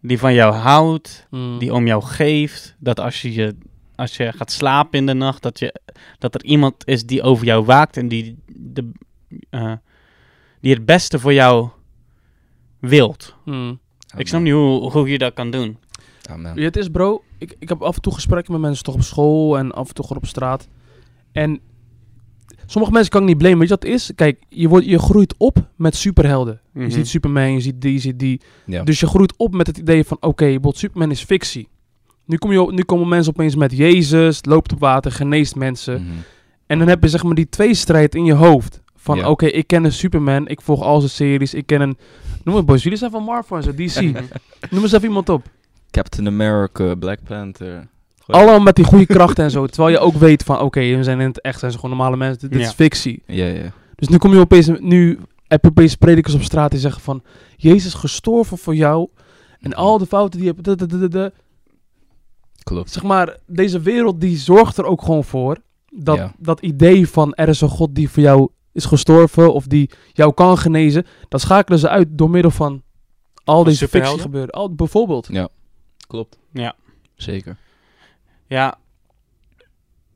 Speaker 3: die van jou houdt,
Speaker 1: Hmm.
Speaker 2: Hm.
Speaker 3: die om jou geeft. Dat als je, je, als je gaat slapen in de nacht, dat, je, dat er iemand is die over jou waakt en die, de, eh, die het beste voor jou wilt.
Speaker 1: Hmm.
Speaker 2: Mm.
Speaker 3: Ik snap niet hoe, hoe je dat kan doen.
Speaker 1: Amen.
Speaker 2: Ja, het is bro, ik, ik heb af en toe gesprekken met mensen toch op school en af en toe gewoon op straat. En sommige mensen kan ik niet blamen. Weet je wat het is? Kijk, je, wordt, je groeit op met superhelden.
Speaker 3: Mhm.
Speaker 2: Je ziet Superman, je ziet die, je ziet die.
Speaker 1: Ja.
Speaker 2: Dus je groeit op met het idee van, oké, bijvoorbeeld Superman is fictie. Nu, kom je, op- nu komen mensen opeens met Jezus, loopt op water, geneest mensen.
Speaker 1: Mhm.
Speaker 2: En dan heb je zeg maar die tweestrijd in je hoofd. Van
Speaker 1: Ja.
Speaker 2: oké, ik ken een Superman, ik volg al zijn series, ik ken een... Noem het boys, jullie zijn van Marvel en zo, DC.
Speaker 3: Mhm.
Speaker 2: Noem eens even iemand op.
Speaker 1: Captain America, Black Panther. Goeie-
Speaker 2: Allemaal met die goede krachten en zo. Terwijl je ook weet van, oké, we zijn in het echt, zijn ze gewoon normale mensen. Dit, dit
Speaker 3: Ja.
Speaker 2: is fictie.
Speaker 1: Ja, ja.
Speaker 2: Dus nu kom je opeens, nu heb je opeens predikers op straat die zeggen van... Jezus is gestorven voor jou. En
Speaker 1: Mhm.
Speaker 2: al de fouten die je hebt... duh, duh, duh, duh, duh.
Speaker 1: Klopt.
Speaker 2: Zeg maar, deze wereld die zorgt er ook gewoon voor. Dat,
Speaker 1: Ja.
Speaker 2: dat idee van, er is een God die voor jou is gestorven... of die jou kan genezen. Dat schakelen ze uit door middel van al deze fictie
Speaker 3: superhelden?
Speaker 2: gebeuren. Al, bijvoorbeeld.
Speaker 1: Klopt.
Speaker 3: Ja.
Speaker 1: Zeker.
Speaker 3: Ja,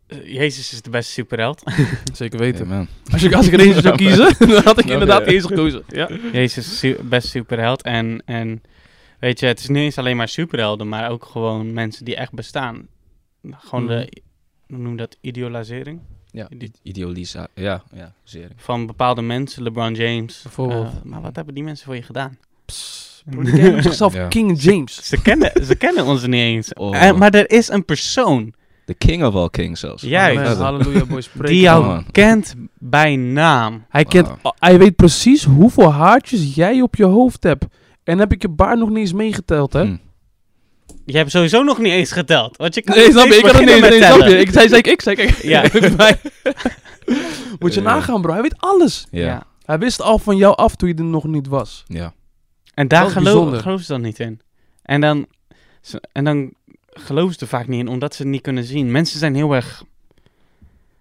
Speaker 3: Eh, Jezus is de beste superheld.
Speaker 2: Zeker weten.
Speaker 1: Amen.
Speaker 2: Als ik, als ik er eentje zou kiezen, dan had ik
Speaker 1: Ja.
Speaker 2: inderdaad deze gekozen. Ja.
Speaker 3: Jezus is su- best superheld. En, en weet je, het is niet eens alleen maar superhelden, maar ook gewoon mensen die echt bestaan. Gewoon
Speaker 2: Mhm.
Speaker 3: de, hoe noem je dat, idealisering
Speaker 1: Ja.
Speaker 3: Die-
Speaker 1: Idealisa. Ja, ja. Zeker.
Speaker 3: van bepaalde mensen. LeBron James.
Speaker 2: Bijvoorbeeld.
Speaker 3: Eh, maar wat hebben die mensen voor je gedaan?
Speaker 2: Bro, die kennen zichzelf
Speaker 1: Ja.
Speaker 2: King James.
Speaker 3: Ze kennen, ze kennen ons niet eens.
Speaker 1: Oh.
Speaker 3: Eh, maar er is een persoon
Speaker 1: The king of all kings zelfs.
Speaker 3: Juist.
Speaker 2: Amen. Halleluja, boys. Preek
Speaker 3: die
Speaker 2: het,
Speaker 3: jou
Speaker 2: man.
Speaker 1: man.
Speaker 3: kent bij naam.
Speaker 2: Hij, kent, oh,
Speaker 1: Wauw.
Speaker 2: hij weet precies hoeveel haartjes jij op je hoofd hebt. En heb ik je baard nog niet eens meegeteld, hè?
Speaker 1: Hm.
Speaker 3: Je hebt sowieso nog niet eens geteld. Want je kan
Speaker 2: Nee, snap je? Ik kan het niet
Speaker 3: beginnen
Speaker 2: eens. Nee,
Speaker 3: met
Speaker 2: snap
Speaker 3: tellen.
Speaker 2: je? Ik zei, zei ik, ik zei, kijk.
Speaker 3: Ja.
Speaker 2: Moet je
Speaker 1: Eh.
Speaker 2: nagaan, bro. Hij weet alles.
Speaker 1: Ja. Ja.
Speaker 3: Ja.
Speaker 2: Hij wist al van jou af toen je er nog niet was.
Speaker 3: En daar
Speaker 2: Dat is
Speaker 3: geloof,
Speaker 2: bijzonder.
Speaker 3: geloof ze dan niet in. En dan, en dan geloven ze er vaak niet in, omdat ze het niet kunnen zien. Mensen zijn heel erg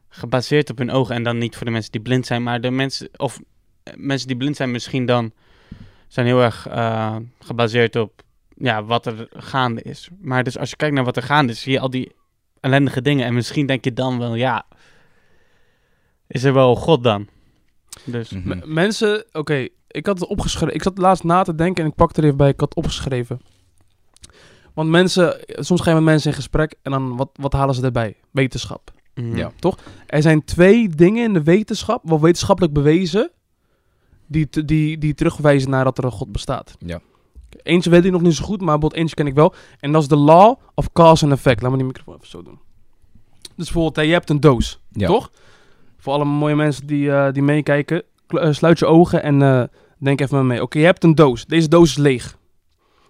Speaker 3: gebaseerd op hun ogen. En dan niet voor de mensen die blind zijn, maar de mensen, of eh, mensen die blind zijn misschien dan, zijn heel erg eh, gebaseerd op ja, wat er gaande is. Maar dus als je kijkt naar wat er gaande is, zie je al die ellendige dingen. En misschien denk je dan wel, ja, is er wel God dan? Dus,
Speaker 1: Mhm.
Speaker 2: M- mensen, oké, ik had het opgeschreven. Ik zat laatst na te denken en ik pakte er even bij. Ik had het opgeschreven. Want mensen, soms gaan je met mensen in gesprek en dan wat, wat halen ze erbij? Wetenschap.
Speaker 3: mhm.
Speaker 1: Ja.
Speaker 2: Er zijn twee dingen in de wetenschap, wel wetenschappelijk bewezen, die, te- die, die terugwijzen naar dat er een God bestaat.
Speaker 1: Ja.
Speaker 2: Eentje weet ik nog niet zo goed, maar bijvoorbeeld eentje ken ik wel. En dat is de law of cause and effect. Laat me die microfoon even zo doen. Dus bijvoorbeeld, hè, je hebt een doos,
Speaker 1: Ja.
Speaker 2: toch? Voor alle mooie mensen die, eh, die meekijken, kl- eh, sluit je ogen en eh, denk even met me mee. Oké, je hebt een doos. Deze doos is leeg.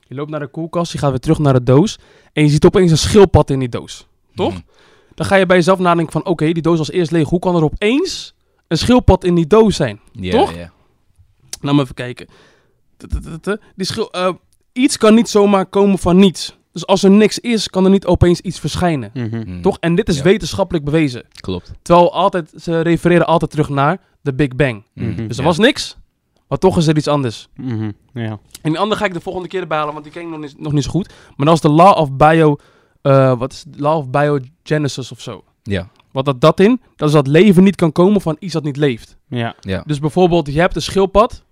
Speaker 2: Je loopt naar de koelkast, je gaat weer terug naar de doos. En je ziet opeens een schildpad in die doos. Toch?
Speaker 1: Mhm.
Speaker 2: Dan ga je bij jezelf nadenken van... oké, die doos was eerst leeg. Hoe kan er opeens een schildpad in die doos zijn?
Speaker 1: Mhm. Ja,
Speaker 2: Toch?
Speaker 1: Ja.
Speaker 2: Nou, maar even kijken. Tutututu. Die schil, eh, iets kan niet zomaar komen van niets. Dus als er niks is, kan er niet opeens iets verschijnen.
Speaker 3: Mhm.
Speaker 1: Mhm.
Speaker 2: Toch? En dit is
Speaker 1: Ja.
Speaker 2: wetenschappelijk bewezen.
Speaker 1: Klopt.
Speaker 2: Terwijl altijd, ze refereren altijd terug naar de Big Bang.
Speaker 1: Mhm.
Speaker 3: Mhm.
Speaker 2: Dus
Speaker 1: Ja.
Speaker 2: er was niks, maar toch is er iets anders.
Speaker 3: Mhm. Ja.
Speaker 2: En die andere ga ik de volgende keer erbij halen, want die ken ik nog niet, nog niet zo goed. Maar dat is de Law of Bio... eh, wat is het? Law of Biogenesis of zo.
Speaker 1: Ja.
Speaker 2: Wat dat, dat in? Dat is dat leven niet kan komen van iets dat niet leeft.
Speaker 3: Ja.
Speaker 1: Ja.
Speaker 2: Dus bijvoorbeeld, je hebt een schildpad.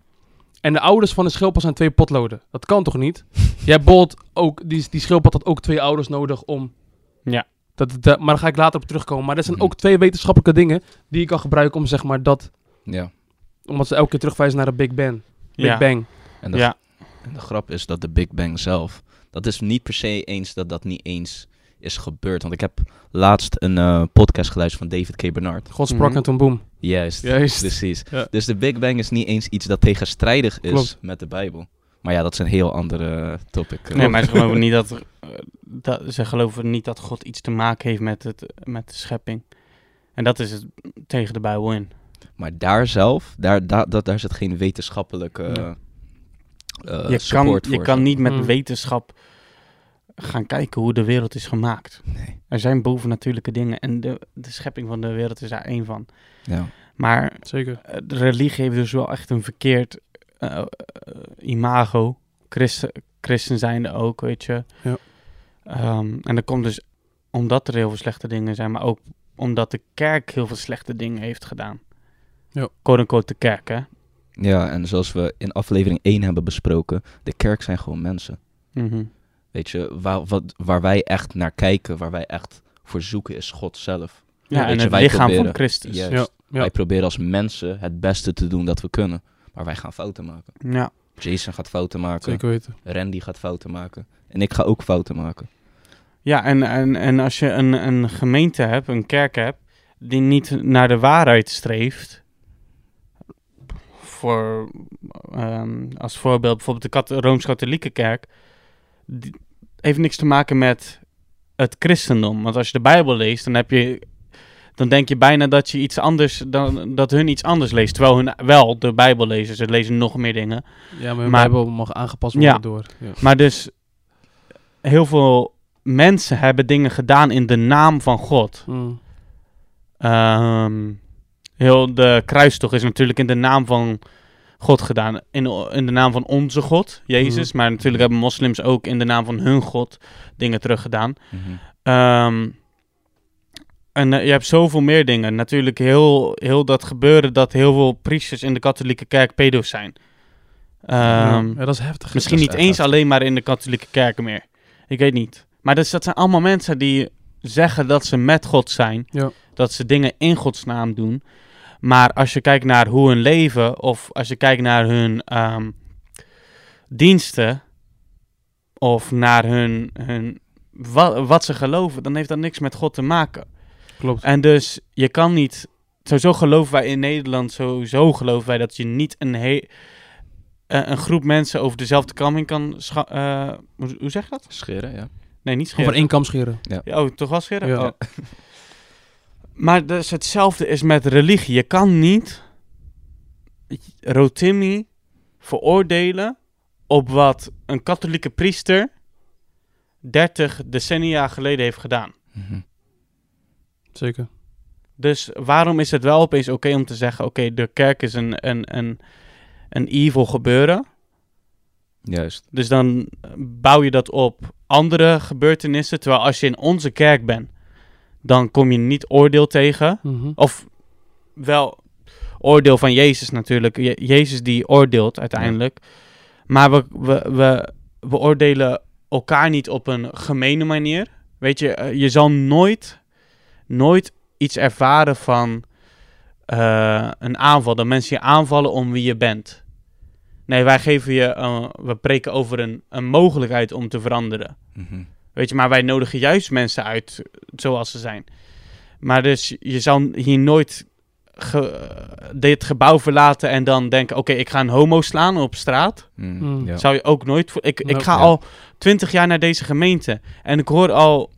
Speaker 2: En de ouders van de schildpad zijn twee potloden. Dat kan toch niet? je hebt bijvoorbeeld ook, die, die schildpad had ook twee ouders nodig om.
Speaker 3: Ja.
Speaker 2: Dat, dat- maar daar ga ik later op terugkomen. Maar dat zijn
Speaker 1: Mhm.
Speaker 2: ook twee wetenschappelijke dingen die je kan gebruiken om zeg maar dat.
Speaker 1: ja.
Speaker 2: Omdat ze elke keer terugwijzen naar de Big Bang. Big
Speaker 3: Ja.
Speaker 2: Bang.
Speaker 1: En de,
Speaker 3: Ja.
Speaker 1: en de grap is dat de Big Bang zelf... Dat is niet per se eens dat dat niet eens is gebeurd. Want ik heb laatst een eh, podcast geluisterd van David K. Bernard.
Speaker 2: God sprak
Speaker 3: Mhm.
Speaker 2: en toen boom.
Speaker 1: Juist.
Speaker 2: Juist.
Speaker 1: Precies.
Speaker 2: Ja.
Speaker 1: Dus de Big Bang is niet eens iets dat tegenstrijdig is
Speaker 2: Klopt.
Speaker 1: met de Bijbel. Maar ja, dat is een heel andere topic.
Speaker 3: Nee, maar ze geloven niet dat, er, eh, dat ze geloven niet dat God iets te maken heeft met, het, met de schepping. En dat is het tegen de Bijbel in.
Speaker 1: Maar daar zelf, daar, daar, dat, daar zit geen wetenschappelijke
Speaker 3: Ja.
Speaker 1: eh, eh,
Speaker 3: je kan,
Speaker 1: support voor.
Speaker 3: je kan niet met
Speaker 2: Mm.
Speaker 3: wetenschap gaan kijken hoe de wereld is gemaakt.
Speaker 1: Nee.
Speaker 3: Er zijn bovennatuurlijke dingen en de, de schepping van de wereld is daar één van.
Speaker 1: Ja.
Speaker 3: Maar
Speaker 2: Zeker.
Speaker 3: eh, de religie heeft dus wel echt een verkeerd eh, eh, imago. Christen, christen zijnde ook, weet je.
Speaker 2: Ja.
Speaker 3: Ehm, en dat komt dus omdat er heel veel slechte dingen zijn, maar ook omdat de kerk heel veel slechte dingen heeft gedaan.
Speaker 2: Ja.
Speaker 3: Quote unquote de kerk, hè?
Speaker 1: ja, en zoals we in aflevering 1 hebben besproken, de kerk zijn gewoon mensen.
Speaker 3: Mhm.
Speaker 1: Weet je, waar, wat, waar wij echt naar kijken, waar wij echt voor zoeken, is God zelf.
Speaker 3: Ja,
Speaker 1: weet
Speaker 3: en
Speaker 1: je,
Speaker 3: het
Speaker 1: wij
Speaker 3: lichaam
Speaker 1: proberen-
Speaker 3: van Christus.
Speaker 1: Juist.
Speaker 2: Ja.
Speaker 1: Wij
Speaker 2: ja.
Speaker 1: proberen als mensen het beste te doen dat we kunnen. Maar wij gaan fouten maken.
Speaker 3: Ja.
Speaker 1: Jason gaat fouten maken.
Speaker 2: Zeker weten.
Speaker 1: Randy gaat fouten maken. En ik ga ook fouten maken.
Speaker 3: Ja, en, en, en als je een, een gemeente hebt, een kerk hebt, die niet naar de waarheid streeft. Voor, ehm, als voorbeeld bijvoorbeeld de kat- Rooms-Katholieke kerk. Die heeft niks te maken met het christendom. Want als je de Bijbel leest, dan heb je. Dan denk je bijna dat je iets anders dan dat hun iets anders leest. Terwijl hun wel de Bijbel lezen. Ze lezen nog meer dingen.
Speaker 2: Ja, maar,
Speaker 3: Maar-
Speaker 2: Bijbel mag aangepast worden
Speaker 3: Ja.
Speaker 2: door. Ja.
Speaker 3: Maar dus heel veel mensen hebben dingen gedaan in de naam van God.
Speaker 2: Mm.
Speaker 3: Ehm, heel de kruistocht is natuurlijk in de naam van God gedaan. In, o- in de naam van onze God, Jezus. Maar natuurlijk hebben moslims ook in de naam van hun God dingen teruggedaan.
Speaker 1: Mhm.
Speaker 3: Ehm, en eh, je hebt zoveel meer dingen. Natuurlijk heel, heel dat gebeuren dat heel veel priesters in de katholieke kerk pedo's zijn. Ehm,
Speaker 2: ja, dat is heftig.
Speaker 3: Misschien
Speaker 1: Dat
Speaker 3: niet
Speaker 1: is
Speaker 3: eens
Speaker 1: echt hard.
Speaker 3: alleen maar in de katholieke kerken meer. Ik weet niet. Maar dus, dat zijn allemaal mensen die zeggen dat ze met God zijn.
Speaker 2: Ja.
Speaker 3: Dat ze dingen in Gods naam doen. Maar als je kijkt naar hoe hun leven, of als je kijkt naar hun ehm, diensten, of naar hun, hun wat, wat ze geloven, dan heeft dat niks met God te maken.
Speaker 2: Klopt.
Speaker 3: En dus je kan niet. Sowieso geloven wij in Nederland, sowieso geloven wij dat je niet een, he- eh, een groep mensen over dezelfde kam heen kan. scha- eh, hoe, hoe zeg je dat?
Speaker 1: Scheren, ja.
Speaker 3: Nee, niet
Speaker 2: Over
Speaker 3: scheren.
Speaker 2: één kam scheren.
Speaker 3: Ja, Oh, toch wel scheren?
Speaker 2: Ja.
Speaker 3: Oh. Maar dus hetzelfde is met religie. Je kan niet Rotimi veroordelen op wat een katholieke priester 30 decennia geleden heeft gedaan.
Speaker 1: Mhm.
Speaker 2: Zeker.
Speaker 3: Dus waarom is het wel opeens oké om te zeggen: oké, de kerk is een, een, een, een evil gebeuren.
Speaker 1: Juist.
Speaker 3: Dus dan bouw je dat op andere gebeurtenissen. Terwijl als je in onze kerk bent, dan kom je niet oordeel tegen.
Speaker 2: Mhm.
Speaker 3: Of wel oordeel van Jezus natuurlijk. Je- Jezus die oordeelt uiteindelijk. Maar we, we, we, we oordelen elkaar niet op een gemene manier. Weet je, eh, je zal nooit, nooit iets ervaren van eh, een aanval. Dat mensen je aanvallen om wie je bent. Nee, wij geven je, eh, we preken over een, een mogelijkheid om te veranderen.
Speaker 1: Mhm.
Speaker 3: Weet je, maar wij nodigen juist mensen uit eh, zoals ze zijn. Maar dus je zou hier nooit ge- eh, dit gebouw verlaten en dan denken: oké, ik ga een homo slaan op straat.
Speaker 1: Mm,
Speaker 2: Mm.
Speaker 1: ja.
Speaker 3: Hmm.
Speaker 1: Nou,
Speaker 3: Zou je ook nooit. vo- Ik, ik
Speaker 2: Nope.
Speaker 3: ga
Speaker 1: Ja.
Speaker 3: al twintig jaar naar deze gemeente en ik hoor al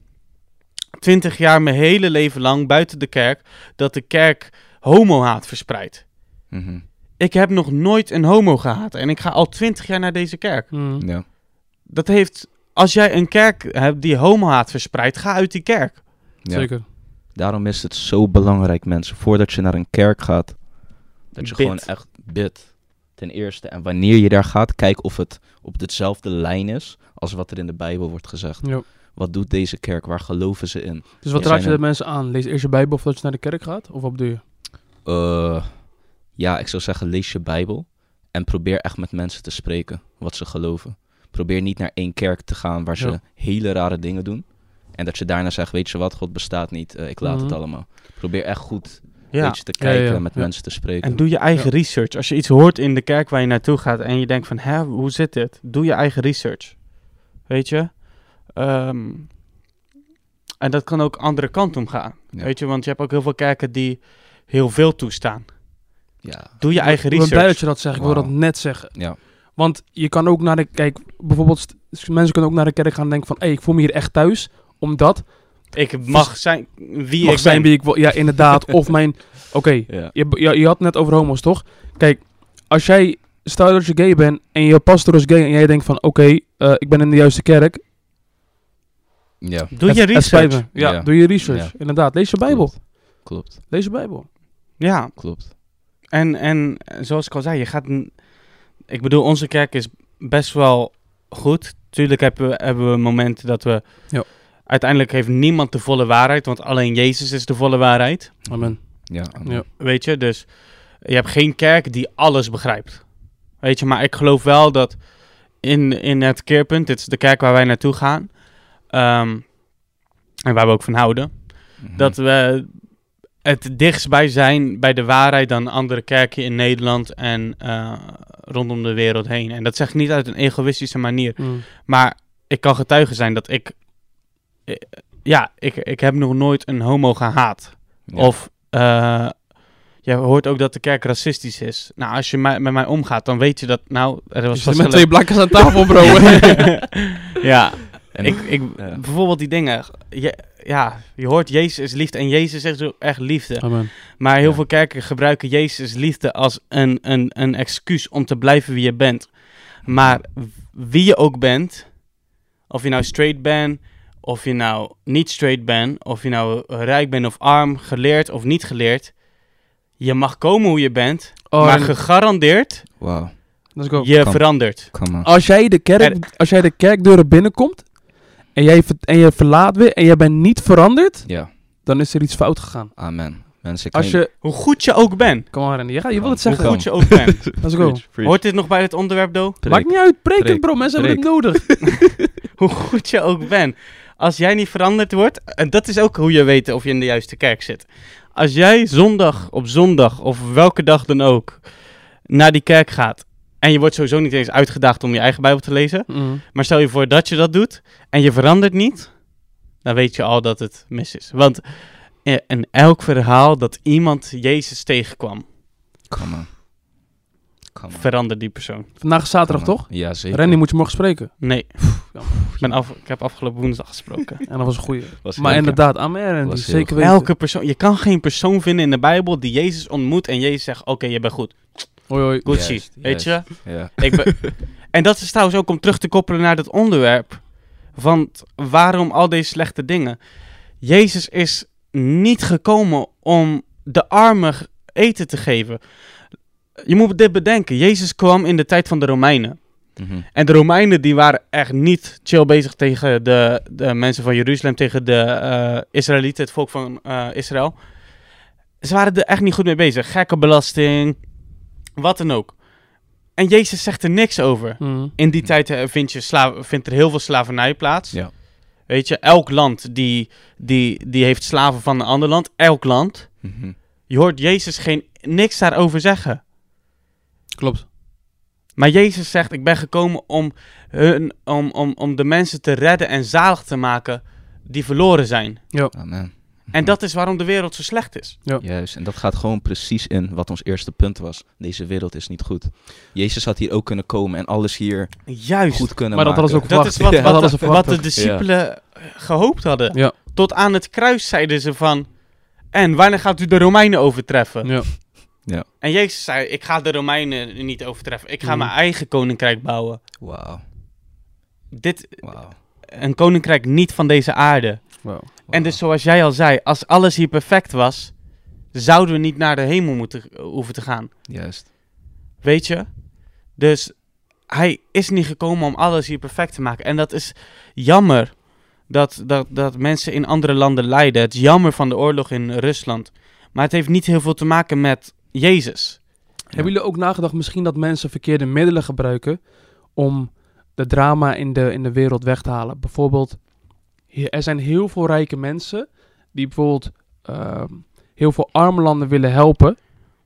Speaker 3: twintig jaar mijn hele leven lang buiten de kerk dat de kerk homohaat verspreidt.
Speaker 1: Mhm.
Speaker 3: Ik heb nog nooit een homo gehaat en ik ga al twintig jaar naar deze kerk.
Speaker 2: Mhm.
Speaker 1: Ja.
Speaker 3: Dat heeft. Als jij een kerk hebt die homohaat verspreidt, ga uit die kerk.
Speaker 1: Ja.
Speaker 2: Zeker.
Speaker 1: Daarom is het zo belangrijk, mensen, voordat je naar een kerk gaat, dat je
Speaker 3: Bid.
Speaker 1: gewoon echt bidt. Ten eerste. En wanneer je daar gaat, kijk of het op dezelfde lijn is als wat er in de Bijbel wordt gezegd.
Speaker 2: Ja.
Speaker 1: Wat doet deze kerk? Waar geloven ze in?
Speaker 2: Dus wat
Speaker 1: Ja,
Speaker 2: raad je
Speaker 1: zijn
Speaker 2: de
Speaker 1: er-
Speaker 2: mensen aan? Lees eerst je Bijbel voordat je naar de kerk gaat? Of op de
Speaker 1: Eh, ja, ik zou zeggen, lees je Bijbel en probeer echt met mensen te spreken wat ze geloven. Probeer niet naar één kerk te gaan waar ze
Speaker 2: Ja.
Speaker 1: hele rare dingen doen. En dat je daarna zegt, weet je wat, God bestaat niet, eh, ik laat
Speaker 2: Mhm.
Speaker 1: het allemaal. Probeer echt goed
Speaker 3: Ja.
Speaker 1: weet je, te
Speaker 2: Ja, ja,
Speaker 1: kijken
Speaker 2: ja.
Speaker 1: en met
Speaker 2: Ja.
Speaker 1: mensen te spreken.
Speaker 3: En doe je eigen research. Als je iets hoort in de kerk waar je naartoe gaat en je denkt van, hè, hoe zit dit? Doe je eigen research. Weet je? Ehm, en dat kan ook andere kant om gaan.
Speaker 1: Ja.
Speaker 3: Weet je, want je hebt ook heel veel kerken die heel veel toestaan.
Speaker 1: Ja,
Speaker 3: Doe je eigen
Speaker 2: Ik ben blij dat
Speaker 3: research.
Speaker 2: je dat zegt. Ik wil
Speaker 1: Wauw.
Speaker 2: dat net zeggen.
Speaker 1: ja.
Speaker 2: Want je kan ook naar de... Kijk, bijvoorbeeld... st- Mensen kunnen ook naar de kerk gaan en denken van... Hé, ik voel me hier echt thuis. Omdat...
Speaker 3: Ik mag zijn wie
Speaker 2: mag
Speaker 3: ik
Speaker 2: zijn
Speaker 3: ben.
Speaker 2: wie ik wil. Ja, inderdaad. of mijn... Oké,
Speaker 1: ja.
Speaker 2: je, je, je had het net over homo's, toch? Kijk, als jij... Stel dat je gay bent en je pastoor is gay en jij denkt van... Oké, eh, ik ben in de juiste kerk.
Speaker 1: ja.
Speaker 3: Doe
Speaker 2: Het-
Speaker 3: je
Speaker 2: het spijt
Speaker 3: research.
Speaker 2: me. Ja,
Speaker 1: Ja.
Speaker 2: doe je research.
Speaker 1: Ja.
Speaker 2: Inderdaad, lees je Bijbel.
Speaker 1: Klopt. Klopt,
Speaker 2: Lees je Bijbel.
Speaker 3: Ja,
Speaker 1: klopt.
Speaker 3: en, en zoals ik al zei, je gaat... n- Ik bedoel, onze kerk is best wel goed. Tuurlijk hebben we, hebben we momenten dat we...
Speaker 2: Ja.
Speaker 3: Uiteindelijk heeft niemand de volle waarheid, want alleen Jezus is de volle waarheid.
Speaker 2: Amen.
Speaker 1: Ja, amen.
Speaker 2: Ja.
Speaker 3: Weet je, dus je hebt geen kerk die alles begrijpt. Weet je, maar ik geloof wel dat in, in het keerpunt, dit is de kerk waar wij naartoe gaan... ehm, en waar we ook van houden,
Speaker 1: Mhm.
Speaker 3: dat we het dichtst bij zijn bij de waarheid dan andere kerken in Nederland en eh, rondom de wereld heen. En dat zeg ik niet uit een egoïstische manier,
Speaker 2: Mm.
Speaker 3: maar ik kan getuige zijn dat ik, eh, ja, ik, ik heb nog nooit een homo gehaat.
Speaker 1: Ja.
Speaker 3: Of eh, je hoort ook dat de kerk racistisch is. Nou, als je mij- met mij omgaat, dan weet je dat, nou, er was
Speaker 2: Je zit
Speaker 3: vast
Speaker 2: met
Speaker 3: wel
Speaker 2: twee blakkers aan tafel, bro.
Speaker 3: een- ja,
Speaker 1: En-
Speaker 3: ik, ik,
Speaker 1: ja.
Speaker 3: bijvoorbeeld die dingen. Je, ja, je hoort Jezus is liefde en Jezus is ook echt liefde.
Speaker 2: Amen.
Speaker 3: Maar heel
Speaker 1: Ja.
Speaker 3: veel kerken gebruiken Jezus liefde als een, een, een excuus om te blijven wie je bent. Maar w- wie je ook bent, of je nou straight bent, of je nou niet straight bent, of je nou rijk bent of arm, geleerd of niet geleerd, je mag komen hoe je bent,
Speaker 2: Oh,
Speaker 3: maar
Speaker 2: en-
Speaker 3: gegarandeerd
Speaker 1: Wauw,
Speaker 2: let's go.
Speaker 3: je
Speaker 1: Kan.
Speaker 3: verandert.
Speaker 1: come on.
Speaker 2: Als jij, de kerk, als jij de kerkdeuren binnenkomt en jij, ver- en je verlaat weer en jij bent niet veranderd,
Speaker 1: Ja,
Speaker 2: dan is er iets fout gegaan.
Speaker 1: amen. Mensen, ik
Speaker 2: Als
Speaker 1: kan
Speaker 2: je...
Speaker 3: Hoe goed je ook bent,
Speaker 2: Kom maar, Randy. Je, gaat- je wil het
Speaker 1: Hoe
Speaker 2: zeggen.
Speaker 1: kan-
Speaker 3: goed je ook bent.
Speaker 2: Let's go.
Speaker 1: Preach, preach,
Speaker 3: Hoort dit nog bij het onderwerp, Do?
Speaker 1: preach.
Speaker 2: Maakt niet uit. Preek het,
Speaker 1: Preek.
Speaker 2: bro. Mensen hebben
Speaker 1: Preek.
Speaker 2: het nodig.
Speaker 3: hoe goed je ook bent. Als jij niet veranderd wordt, en dat is ook hoe je weet of je in de juiste kerk zit. Als jij zondag op zondag of welke dag dan ook naar die kerk gaat. En je wordt sowieso niet eens uitgedaagd om je eigen Bijbel te lezen.
Speaker 2: Mm.
Speaker 3: Maar stel je voor dat je dat doet en je verandert niet. Dan weet je al dat het mis is. Want eh, in elk verhaal dat iemand Jezus tegenkwam,
Speaker 1: Come on. Come on.
Speaker 3: verandert die persoon.
Speaker 2: Vandaag is zaterdag,
Speaker 1: Come on.
Speaker 2: toch?
Speaker 1: Ja, zeker.
Speaker 2: Randy moet je morgen spreken.
Speaker 3: Nee,
Speaker 2: jammer.
Speaker 3: ik, ben af, ik heb afgelopen woensdag gesproken.
Speaker 2: En dat was een goeie.
Speaker 1: Was
Speaker 2: Maar
Speaker 1: leuk, ja.
Speaker 2: inderdaad, amen. Randy.
Speaker 1: Was heel
Speaker 2: Zeker
Speaker 1: goed.
Speaker 2: weten.
Speaker 3: Elke persoon, je kan geen persoon vinden in de Bijbel die Jezus ontmoet en Jezus zegt: Oké, je bent goed.
Speaker 2: Hoi, hoi.
Speaker 3: Gucci.
Speaker 1: Juist,
Speaker 3: weet
Speaker 1: juist. Ja.
Speaker 3: je? Ik ben... en dat is trouwens ook om terug te koppelen naar dat onderwerp. Want waarom al deze slechte dingen? Jezus is niet gekomen om de armen g- eten te geven. Je moet dit bedenken. Jezus kwam in de tijd van de Romeinen.
Speaker 1: Mhm.
Speaker 3: En de Romeinen die waren echt niet chill bezig tegen de, de mensen van Jeruzalem, tegen de eh, Israëlieten, het volk van eh, Israël. Ze waren er echt niet goed mee bezig. Gekke belasting, wat dan ook. En Jezus zegt er niks over.
Speaker 2: Mhm.
Speaker 3: In die
Speaker 1: Hm.
Speaker 3: tijd eh, vind je sla- vindt er heel veel slavernij plaats.
Speaker 1: Ja.
Speaker 3: Weet je, elk land die, die, die heeft slaven van een ander land. Elk land.
Speaker 1: Mhm.
Speaker 3: Je hoort Jezus geen, niks daarover zeggen.
Speaker 2: Klopt.
Speaker 3: Maar Jezus zegt, ik ben gekomen om, hun, om, om, om de mensen te redden en zalig te maken die verloren zijn.
Speaker 1: Amen.
Speaker 3: En dat is waarom de wereld zo slecht is.
Speaker 1: Juist, en dat gaat gewoon precies in wat ons eerste punt was. Deze wereld is niet goed. Jezus had hier ook kunnen komen en alles hier
Speaker 3: Juist.
Speaker 1: goed kunnen
Speaker 2: Maar dat
Speaker 1: maken.
Speaker 2: hadden ze ook
Speaker 3: Dat is wat,
Speaker 2: Ja, dat
Speaker 3: wat,
Speaker 2: hadden ze
Speaker 3: de, wat
Speaker 2: verwacht
Speaker 3: de
Speaker 2: ook.
Speaker 3: discipelen eh, gehoopt hadden.
Speaker 2: Ja.
Speaker 3: Tot aan het kruis zeiden ze van... En wanneer gaat u de Romeinen overtreffen?
Speaker 2: Ja.
Speaker 3: En Jezus zei, ik ga de Romeinen niet overtreffen. Ik ga
Speaker 2: Mhm.
Speaker 3: mijn eigen koninkrijk bouwen.
Speaker 1: Wauw,
Speaker 3: Dit,
Speaker 1: wauw.
Speaker 3: een koninkrijk niet van deze aarde.
Speaker 2: Wow.
Speaker 3: En dus zoals jij al zei, als alles hier perfect was... zouden we niet naar de hemel moeten, eh, hoeven te gaan.
Speaker 1: Juist.
Speaker 3: Weet je? Dus hij is niet gekomen om alles hier perfect te maken. En dat is jammer dat, dat, dat mensen in andere landen lijden. Het is jammer van de oorlog in Rusland. Maar het heeft niet heel veel te maken met Jezus.
Speaker 2: Hebben jullie ook nagedacht misschien dat mensen verkeerde middelen gebruiken om de drama in de, in de wereld weg te halen? Bijvoorbeeld, he- er zijn heel veel rijke mensen die bijvoorbeeld ehm, heel veel arme landen willen helpen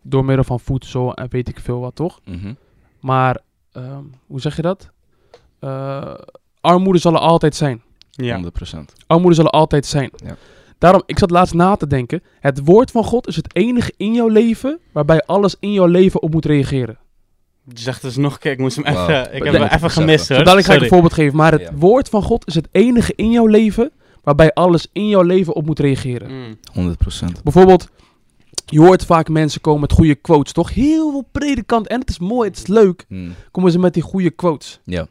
Speaker 2: door middel van voedsel en weet ik veel wat, toch?
Speaker 1: Mhm.
Speaker 2: Maar, ehm, hoe zeg je dat? Eh, armoede zal er altijd zijn.
Speaker 1: 100%.
Speaker 2: Armoede zal er altijd zijn.
Speaker 1: Ja.
Speaker 2: Daarom, ik zat laatst na te denken. Het woord van God is het enige in jouw leven waarbij alles in jouw leven op moet reageren.
Speaker 3: Zeg dus nog een keer, ik moest hem
Speaker 1: Wauw.
Speaker 3: even, ik heb
Speaker 2: Dat-
Speaker 3: hem even gemist hoor.
Speaker 2: Zo, dadelijk ga ik
Speaker 3: Sorry.
Speaker 2: een voorbeeld geven. Maar het
Speaker 1: Ja.
Speaker 2: woord van God is het enige in jouw leven waarbij alles in jouw leven op moet reageren.
Speaker 3: Mm.
Speaker 1: 100%.
Speaker 2: Bijvoorbeeld, je hoort vaak mensen komen met goede quotes, toch? Heel veel predikant en het is mooi, het is leuk.
Speaker 1: Mm.
Speaker 2: Komen ze met die goede quotes.
Speaker 1: Ja.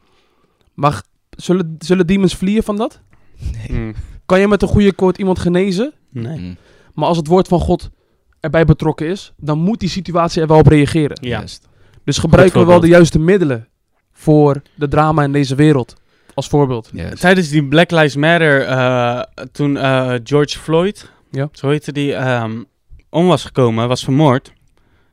Speaker 2: Maar g- zullen, zullen demons vliegen van dat?
Speaker 3: Mm.
Speaker 2: Kan je met een goede quote iemand genezen?
Speaker 3: Nee.
Speaker 1: Mm.
Speaker 2: Maar als het woord van God erbij betrokken is, dan moet die situatie er wel op reageren.
Speaker 3: Ja.
Speaker 1: Juist.
Speaker 2: Dus gebruiken we wel
Speaker 3: voorbeeld.
Speaker 2: de juiste middelen voor de drama in deze wereld. Als voorbeeld.
Speaker 1: Juist.
Speaker 3: Tijdens die Black Lives Matter, eh, toen eh, George Floyd,
Speaker 2: Ja.
Speaker 3: zo heette die, ehm, om was gekomen, was vermoord.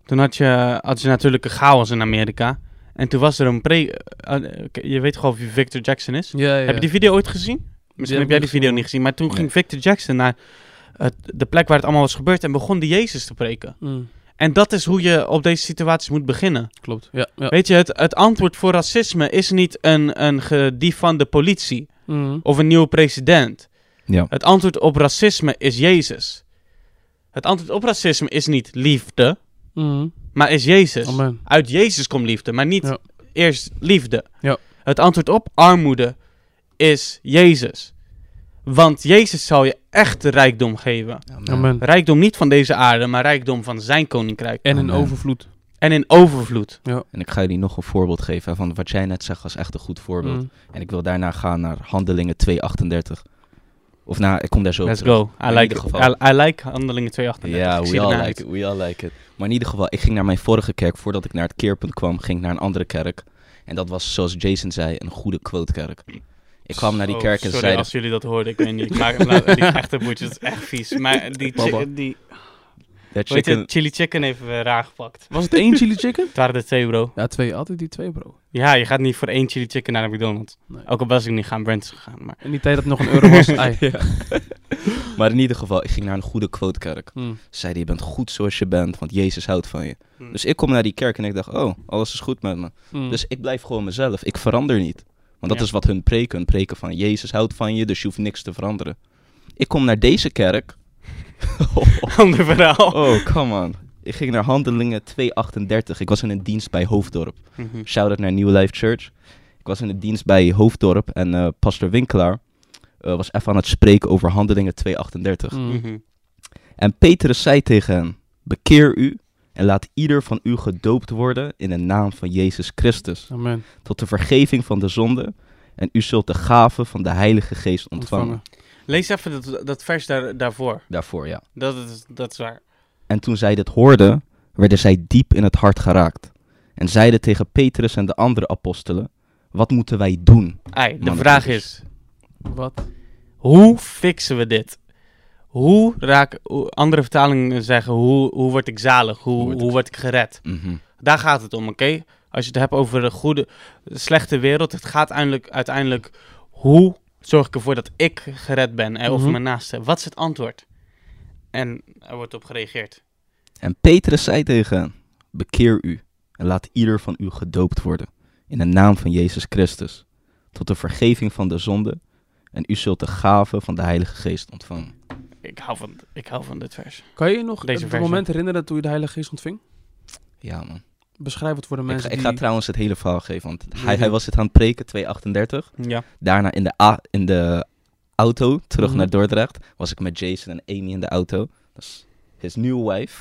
Speaker 3: Toen had je, had je natuurlijk een chaos in Amerika. En toen was er een pre... eh, eh, je weet gewoon wie Victor Jackson is?
Speaker 2: Ja, ja.
Speaker 3: Heb je die video ooit gezien? Misschien
Speaker 2: heb ik
Speaker 3: heb jij
Speaker 2: niet
Speaker 3: die
Speaker 2: gezien,
Speaker 3: video niet gezien. Maar toen
Speaker 1: Nee.
Speaker 3: ging Victor Jackson naar het- de plek waar het allemaal was gebeurd en begon de Jezus te preken.
Speaker 2: Mm,
Speaker 3: En dat is hoe je op deze situaties moet beginnen.
Speaker 2: klopt. Ja, ja.
Speaker 3: Weet je, het, het antwoord voor racisme is niet een, een gedief van de politie
Speaker 2: Mm.
Speaker 3: of een nieuwe president.
Speaker 1: Ja.
Speaker 3: Het antwoord op racisme is Jezus. Het antwoord op racisme is niet liefde,
Speaker 2: Mm.
Speaker 3: maar is Jezus.
Speaker 2: Amen.
Speaker 3: Uit Jezus komt liefde, maar niet
Speaker 2: Ja.
Speaker 3: eerst liefde.
Speaker 2: Ja.
Speaker 3: Het antwoord op armoede is Jezus. Want Jezus zal je echt rijkdom geven.
Speaker 2: Amen.
Speaker 3: Rijkdom niet van deze aarde, maar rijkdom van zijn koninkrijk.
Speaker 2: En in
Speaker 1: Amen.
Speaker 2: overvloed.
Speaker 3: En in overvloed.
Speaker 1: En ik ga jullie nog een voorbeeld geven van wat jij net zegt was echt een goed voorbeeld.
Speaker 2: Mm.
Speaker 1: En ik wil daarna gaan naar Handelingen 2.38. Of nou, ik kom daar zo op
Speaker 3: Let's
Speaker 1: terug.
Speaker 3: go. I
Speaker 1: in
Speaker 3: like,
Speaker 1: ieder geval.
Speaker 3: I, I like handelingen 238.
Speaker 1: Ja,
Speaker 3: Ik zie
Speaker 1: we
Speaker 3: ernaar
Speaker 1: all,
Speaker 3: uit.
Speaker 1: like it, we all like it. Maar in ieder geval, ik ging naar mijn vorige kerk. Voordat ik naar het keerpunt kwam, ging ik naar een andere kerk. En dat was, zoals Jason zei, een goede quotekerk. Ik kwam naar die
Speaker 3: Oh,
Speaker 1: kerk en
Speaker 3: sorry
Speaker 1: zei...
Speaker 3: als jullie dat hoorden, ik weet niet. Ik maak nou, die echte boertjes is echt vies. Maar die, chi-
Speaker 1: Baba.
Speaker 3: die
Speaker 1: dat
Speaker 3: weet je,
Speaker 1: chicken...
Speaker 3: chili chicken heeft eh, raar gepakt.
Speaker 2: Was het één chili chicken?
Speaker 3: Het waren er twee, bro.
Speaker 2: Ja, twee. Altijd die twee, bro.
Speaker 3: Ja, je gaat niet voor één chili chicken naar de McDonald's.
Speaker 2: Nee.
Speaker 3: Ook al was ik niet gaan Brent's gegaan, maar...
Speaker 2: In die tijd dat het nog een euro was. Ai.
Speaker 1: Ja. maar in ieder geval, ik ging naar een goede quotekerk.
Speaker 2: Mm.
Speaker 1: Ze zeiden, je bent goed zoals je bent, want Jezus houdt van je.
Speaker 3: Hmm.
Speaker 1: Dus ik kom naar die kerk en ik dacht, oh, alles is goed met me.
Speaker 2: Mm.
Speaker 1: Dus ik blijf gewoon mezelf. Ik verander niet. Want dat
Speaker 3: Ja.
Speaker 1: is wat hun preken. Hun preken van Jezus houdt van je, dus je hoeft niks te veranderen. Ik kom naar deze kerk. oh,
Speaker 3: Ander verhaal.
Speaker 1: come on. Ik ging naar Handelingen 238. Ik was in een dienst bij Hoofddorp.
Speaker 3: Mhm.
Speaker 1: Shout out naar New Life Church. Ik was in de dienst bij Hoofddorp en eh Pastor Winkelaar eh, was even aan het spreken over Handelingen 238.
Speaker 2: Mm.
Speaker 3: Mhm.
Speaker 1: En Petrus zei tegen hen: Bekeer u en laat ieder van u gedoopt worden in de naam van Jezus Christus
Speaker 2: Amen.
Speaker 1: tot de vergeving van de zonde. en u zult de gave van de Heilige Geest ontvangen.
Speaker 3: Lees even dat, dat vers daar, daarvoor.
Speaker 1: Daarvoor, ja.
Speaker 3: Dat is, dat is waar.
Speaker 1: En toen zij dit hoorden, werden zij diep in het hart geraakt. En zeiden tegen Petrus en de andere apostelen, wat moeten wij doen?
Speaker 3: Ei, de
Speaker 1: Mannen,
Speaker 3: vraag
Speaker 1: dus.
Speaker 3: is,
Speaker 2: Wat?
Speaker 3: hoe fixen we dit? Hoe raak... hoe- Andere vertalingen zeggen, hoe, hoe word ik zalig? Hoe,
Speaker 1: Hoe
Speaker 3: hoe,
Speaker 1: word ik-
Speaker 3: word ik gered?
Speaker 1: Mhm.
Speaker 3: Daar gaat het om, oké? Als je het hebt over de goede, de slechte wereld, het gaat uiteindelijk, uiteindelijk hoe zorg ik ervoor dat ik gered ben eh, of
Speaker 2: Mhm.
Speaker 3: mijn naaste? Wat is het antwoord? En er wordt op gereageerd.
Speaker 1: En Petrus zei tegen hen, bekeer u en laat ieder van u gedoopt worden in de naam van Jezus Christus, tot de vergeving van de zonde, en u zult de gave van de Heilige Geest ontvangen.
Speaker 3: Ik hou van, ik hou van dit vers.
Speaker 2: Kan je je nog
Speaker 3: Deze
Speaker 2: het
Speaker 3: versie.
Speaker 2: moment herinneren toen je de Heilige Geest ontving?
Speaker 1: Ja man.
Speaker 2: Beschrijf het voor de
Speaker 1: Ik ga,
Speaker 2: mensen
Speaker 1: ik ga
Speaker 2: die...
Speaker 1: trouwens het hele verhaal geven, want
Speaker 2: Doe
Speaker 1: hij,
Speaker 2: je
Speaker 1: hij
Speaker 2: ding.
Speaker 1: was het aan het preken, 238.
Speaker 3: Ja.
Speaker 1: Daarna in de, a- in de auto, terug
Speaker 2: Mhm.
Speaker 1: naar Dordrecht, was ik met Jason en Amy in de auto. Dat is his new wife.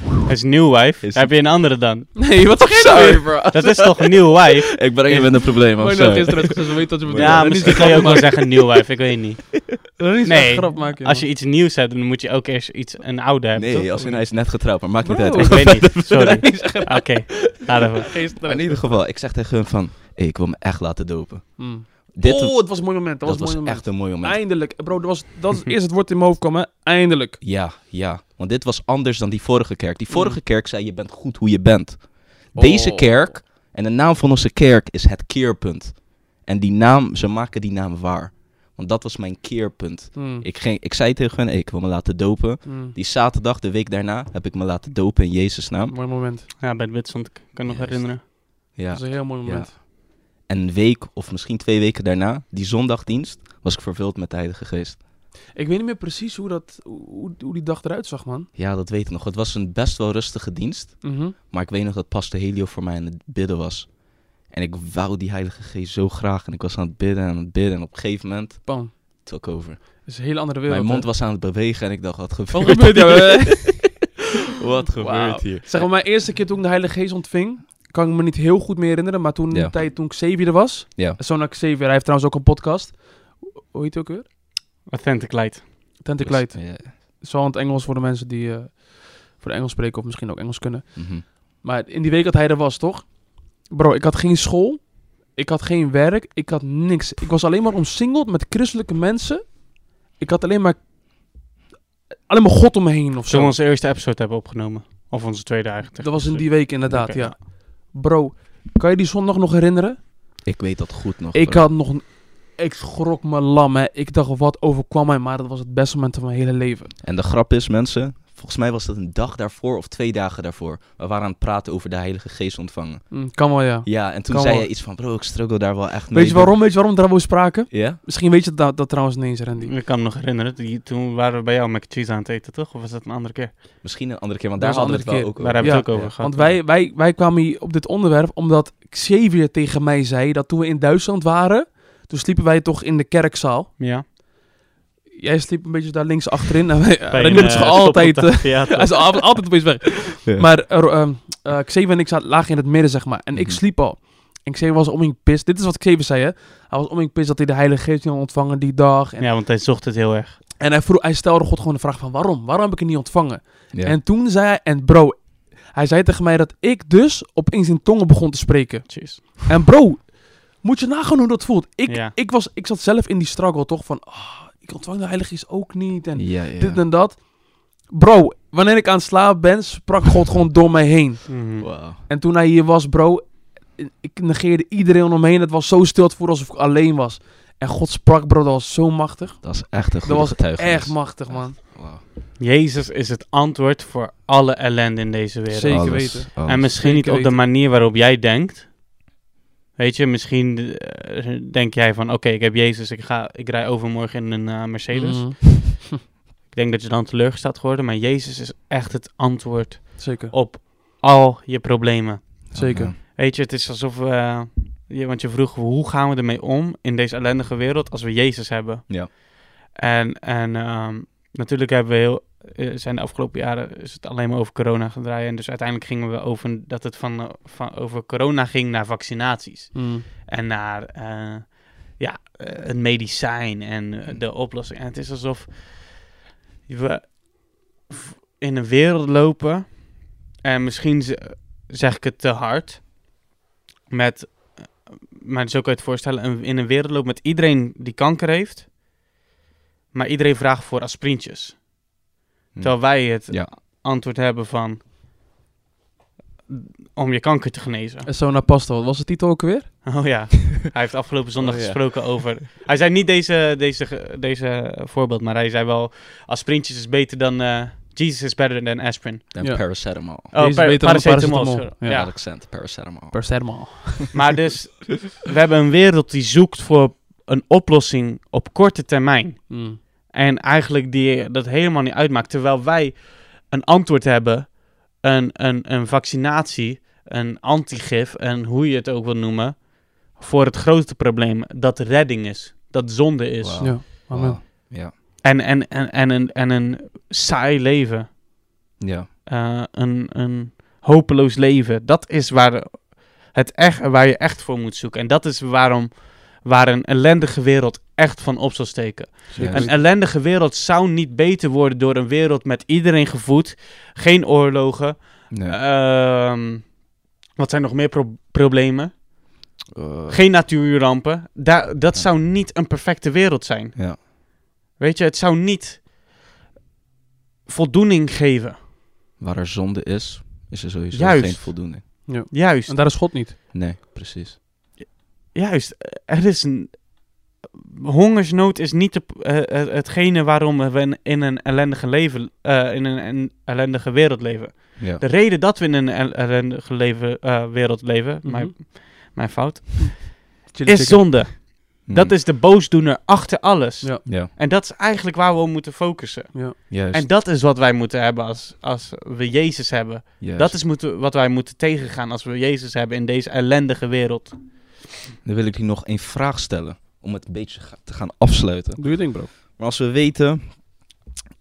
Speaker 3: Het is New Wife.
Speaker 1: Is-
Speaker 3: Heb je een andere dan?
Speaker 2: Nee, wat toch jij
Speaker 1: bro.
Speaker 3: Dat is toch New Wife?
Speaker 1: ik breng je met een probleem,
Speaker 2: Mooi
Speaker 1: of
Speaker 2: dat
Speaker 1: zo.
Speaker 2: gisteren het gezegd, weet wat je bedoelt.
Speaker 3: Ja,
Speaker 2: Dat is
Speaker 3: misschien
Speaker 2: die
Speaker 3: kan je ook wel
Speaker 2: grap
Speaker 3: zeggen New Wife. Ik weet niet.
Speaker 2: maken. Dat is
Speaker 3: Nee,
Speaker 2: een grap maken.
Speaker 3: Als je iets nieuws hebt, dan moet je ook eerst iets, een oude hebben. toch?
Speaker 1: Nee, als in hij is net getrouwd, maar maakt niet
Speaker 2: Bro.
Speaker 1: uit.
Speaker 3: Ik weet niet. Sorry.
Speaker 2: jongen.
Speaker 3: Oké, laat even.
Speaker 1: Maar in ieder geval, ik zeg tegen hun van, hey, ik wil me echt laten dopen.
Speaker 2: Hmm.
Speaker 1: Dit
Speaker 2: oh, het was een mooi moment. Dat,
Speaker 1: dat was
Speaker 2: was een mooi moment.
Speaker 1: echt een mooi moment.
Speaker 2: Eindelijk. Bro, dat, was, dat is eerst het woord in mijn hoofd kwam, hè. Eindelijk. Mm.
Speaker 1: Ja, ja. Want dit was anders dan die vorige kerk. Die vorige kerk zei, je bent goed hoe je bent. Deze
Speaker 2: Oh.
Speaker 1: kerk, en de naam van onze kerk is het keerpunt. En die naam, ze maken die naam waar. Want dat was mijn keerpunt.
Speaker 2: Hmm.
Speaker 1: Ik, ging, ik zei tegen hun, hey, ik wil me laten dopen.
Speaker 2: Hmm.
Speaker 1: Die zaterdag, de week daarna, heb ik me laten dopen in Jezus' naam.
Speaker 2: Mooi moment.
Speaker 3: Ja, bij het Witstand ik kan me nog
Speaker 1: Juist.
Speaker 3: herinneren.
Speaker 1: Ja.
Speaker 2: Dat was een heel mooi moment.
Speaker 1: En een week of misschien twee weken daarna, die zondagdienst, was ik vervuld met de Heilige Geest.
Speaker 2: Ik weet niet meer precies hoe, dat, hoe, hoe die dag eruit zag, man.
Speaker 1: Ja, dat weet ik nog. Het was een best wel rustige dienst.
Speaker 2: Mhm.
Speaker 1: Maar ik weet nog dat Pastor Helio voor mij aan het bidden was. En ik wou die Heilige Geest zo graag. En ik was aan het bidden en aan het bidden. En op een gegeven moment
Speaker 2: Bam.
Speaker 1: took over.
Speaker 2: Dat is een hele andere wereld.
Speaker 1: Mijn mond
Speaker 2: hè.
Speaker 1: was aan het bewegen en ik dacht, wat
Speaker 2: Wat
Speaker 1: gebeurt
Speaker 2: gebeurt
Speaker 1: hier?
Speaker 2: er?
Speaker 1: Wat
Speaker 2: Wauw.
Speaker 1: gebeurt hier?
Speaker 2: Zeg maar, mijn eerste keer toen ik de Heilige Geest ontving, kan ik me niet heel goed meer herinneren, maar toen in
Speaker 1: Ja.
Speaker 2: de tijd toen Xavier er was,
Speaker 1: Ja.
Speaker 2: zo'n Xavier, hij heeft trouwens ook een podcast. Hoe heet hij ook weer?
Speaker 3: Authentic Light.
Speaker 2: Tentic Light.
Speaker 1: Dus, Ja,
Speaker 2: Zo in het Engels voor de mensen die eh, voor de Engels spreken of misschien ook Engels kunnen.
Speaker 1: mhm.
Speaker 2: Maar in die week dat hij er was, toch? Bro, ik had geen school, ik had geen werk, ik had niks. Ik was alleen maar omsingeld met christelijke mensen. Ik had alleen maar, alleen maar God om me heen of zo.
Speaker 3: Zullen we onze eerste episode hebben opgenomen? Of onze tweede eigenlijk?
Speaker 2: Dat was in die week inderdaad,
Speaker 3: Oké.
Speaker 2: ja. Bro, kan je die zondag nog herinneren?
Speaker 1: Ik weet dat goed nog.
Speaker 2: Ik
Speaker 1: bro.
Speaker 2: had nog... een- Ik schrok me lam, hè. Ik dacht, wat overkwam mij? Maar dat was het beste moment van mijn hele leven.
Speaker 1: En de grap is, mensen, volgens mij was dat een dag daarvoor of twee dagen daarvoor. We waren aan het praten over de Heilige Geest ontvangen.
Speaker 2: Hm, kan wel, ja.
Speaker 1: Ja, en toen
Speaker 2: Kan
Speaker 1: zei
Speaker 2: wel.
Speaker 1: je iets van, bro, ik struggle daar wel echt mee.
Speaker 2: Weet je waarom? Weet je waarom we daarover spraken?
Speaker 1: Ja?
Speaker 2: Misschien weet je dat, dat trouwens niet eens, Randy.
Speaker 3: Ik kan me nog herinneren. Die- toen waren we bij jou mac and cheese aan het eten, toch? Of was dat een andere keer?
Speaker 1: Misschien een andere keer, want
Speaker 2: Dat
Speaker 1: daar
Speaker 2: is een
Speaker 1: hadden we het wel
Speaker 2: andere
Speaker 1: ook
Speaker 3: Daar
Speaker 1: over.
Speaker 3: hebben we het
Speaker 2: Ja,
Speaker 3: ook over
Speaker 1: ja.
Speaker 3: gehad.
Speaker 2: Want wij, wij, wij kwamen hier op dit onderwerp omdat Xavier tegen mij zei dat toen we in Duitsland waren, toen sliepen wij toch in de kerkzaal.
Speaker 3: Ja.
Speaker 2: Jij sliep een beetje daar links achterin en wij,
Speaker 3: Bij
Speaker 2: Randy
Speaker 3: een,
Speaker 2: is
Speaker 3: eh,
Speaker 2: altijd... eh,
Speaker 3: stopcontact. Ja,
Speaker 2: Hij is
Speaker 3: toch.
Speaker 2: altijd, altijd opeens weg.
Speaker 1: Ja.
Speaker 2: Maar er, ehm, eh, Xavier en ik zaten, lagen in het midden, zeg maar. En ik
Speaker 1: Mhm.
Speaker 2: sliep al. En Xavier was omheen pist. Dit is wat Xavier zei, hè. Hij was omheen pist dat hij de Heilige Geest niet had ontvangen die dag. En,
Speaker 3: ja, want hij zocht het heel erg.
Speaker 2: en hij, vroeg, hij stelde God gewoon de vraag van, waarom? Waarom heb ik het niet ontvangen?
Speaker 1: Ja.
Speaker 2: En toen zei hij, en bro... Hij zei tegen mij dat ik dus opeens in tongen begon te spreken.
Speaker 3: Cheers.
Speaker 2: En bro, moet je nagaan hoe dat voelt. Ik,
Speaker 3: Ja.
Speaker 2: ik, was, ik zat zelf in die struggle, toch? Van, ah, ik ontvang de Heilige Geest ook niet. En
Speaker 1: Ja, ja.
Speaker 2: dit en dat. Bro, wanneer ik aan het slapen ben, sprak God gewoon door mij heen.
Speaker 1: Wauw.
Speaker 2: En toen hij hier was, bro, ik negeerde iedereen omheen. Het was zo stil, het voelde alsof ik alleen was. En God sprak, bro, dat was zo machtig.
Speaker 1: Dat is echt een
Speaker 2: Dat
Speaker 1: goede
Speaker 2: was
Speaker 1: getuigenis.
Speaker 2: echt machtig, man.
Speaker 1: Wauw.
Speaker 3: Jezus is het antwoord voor alle ellende in deze wereld.
Speaker 2: Zeker
Speaker 1: Alles,
Speaker 2: weten.
Speaker 1: alles.
Speaker 3: En misschien niet
Speaker 2: Zeker
Speaker 3: op de
Speaker 2: weten.
Speaker 3: manier waarop jij denkt. Weet je, misschien eh, denk jij van... Oké, ik heb Jezus, ik, ga, ik rij overmorgen in een eh, Mercedes.
Speaker 2: Mhm.
Speaker 3: Ik denk dat je dan teleurgesteld geworden, maar Jezus is echt het antwoord
Speaker 1: Oh.
Speaker 2: Zeker,
Speaker 3: op al je problemen.
Speaker 2: zeker.
Speaker 1: Amen.
Speaker 3: Weet je, het is alsof we, eh, je, want je vroeg hoe gaan we ermee om in deze ellendige wereld als we Jezus hebben.
Speaker 1: Ja.
Speaker 3: En, en ehm, natuurlijk hebben we heel, eh, zijn de afgelopen jaren is het alleen maar over corona gedraaid. En dus uiteindelijk gingen we over dat het van, eh, van, over corona ging naar vaccinaties.
Speaker 2: Mhm.
Speaker 3: En naar eh, eh, een medicijn en eh, de oplossing. En het is alsof we v- in een wereld lopen. En misschien ze- zeg ik het te hard. Met, eh, maar zo kan je het voorstellen. een- In een wereld lopen met iedereen die kanker heeft. Maar iedereen vraagt voor aspirintjes.
Speaker 1: Hm.
Speaker 3: Terwijl wij het
Speaker 1: Ja.
Speaker 3: antwoord hebben van... Om je kanker te genezen.
Speaker 2: En zo naar Pasto, wat was de titel ook weer?
Speaker 3: Oh ja, hij heeft afgelopen zondag
Speaker 1: Oh ja.
Speaker 3: gesproken over... Hij zei niet deze, deze, ge- deze voorbeeld, maar hij zei wel... Aspirintjes is beter dan... eh, Jesus is better than aspirin.
Speaker 1: En
Speaker 2: Ja.
Speaker 1: paracetamol.
Speaker 3: Oh,
Speaker 2: Deze is beter dan paracetamol.
Speaker 3: sorry.
Speaker 1: Ja.
Speaker 3: Ja.
Speaker 1: Accent, paracetamol.
Speaker 2: Per serma.
Speaker 3: Maar dus, we hebben een wereld die zoekt voor een oplossing op korte termijn.
Speaker 2: Mm.
Speaker 3: En eigenlijk die dat helemaal niet uitmaakt. Terwijl wij een antwoord hebben, een, een, een vaccinatie, een antigif en hoe je het ook wil noemen. Voor het grote probleem dat redding is, dat zonde is.
Speaker 1: Wauw.
Speaker 2: Ja, amen.
Speaker 1: Wauw. Ja.
Speaker 3: En, en, en, en, een, en een saai leven,
Speaker 1: Ja.
Speaker 3: Eh, een, een hopeloos leven. Dat is waar, het echt, waar je echt voor moet zoeken. En dat is waarom, waar een ellendige wereld echt van op zal steken.
Speaker 1: Juist.
Speaker 3: Een ellendige wereld zou niet beter worden door een wereld met iedereen gevoed. Geen oorlogen.
Speaker 1: Nee.
Speaker 3: Ehm, wat zijn nog meer pro- problemen?
Speaker 1: Eh,
Speaker 3: Geen natuurrampen. Da- dat
Speaker 1: Ja.
Speaker 3: zou niet een perfecte wereld zijn.
Speaker 1: ja.
Speaker 3: Weet je, het zou niet voldoening geven.
Speaker 1: Waar er zonde is, is er sowieso
Speaker 3: Juist.
Speaker 1: geen voldoening.
Speaker 3: Juist,
Speaker 2: En daar is God niet.
Speaker 1: Nee, precies.
Speaker 3: juist. Er is een... Hongersnood is niet de, eh, eh, hetgene waarom we in- in een ellendige, leven, eh, in een, een ellendige wereld leven.
Speaker 1: Ja.
Speaker 3: De reden dat we in een el- ellendige leven, eh, wereld leven,
Speaker 2: Mhm.
Speaker 3: mijn, mijn fout,
Speaker 2: Chili
Speaker 3: is
Speaker 2: chicken.
Speaker 3: zonde.
Speaker 1: Mm.
Speaker 3: Dat is de boosdoener achter alles.
Speaker 2: Mhm. Ja.
Speaker 1: Ja,
Speaker 3: En dat is eigenlijk waar we op moeten focussen.
Speaker 1: juist.
Speaker 3: En dat is wat wij moeten hebben als, als we Jezus hebben.
Speaker 1: juist.
Speaker 3: Dat is moeten, wat wij moeten tegengaan als we Jezus hebben in deze ellendige wereld.
Speaker 1: Dan wil ik u nog één vraag stellen. Om het een beetje ga- te gaan afsluiten.
Speaker 2: Doe je ding, bro.
Speaker 1: Maar als we weten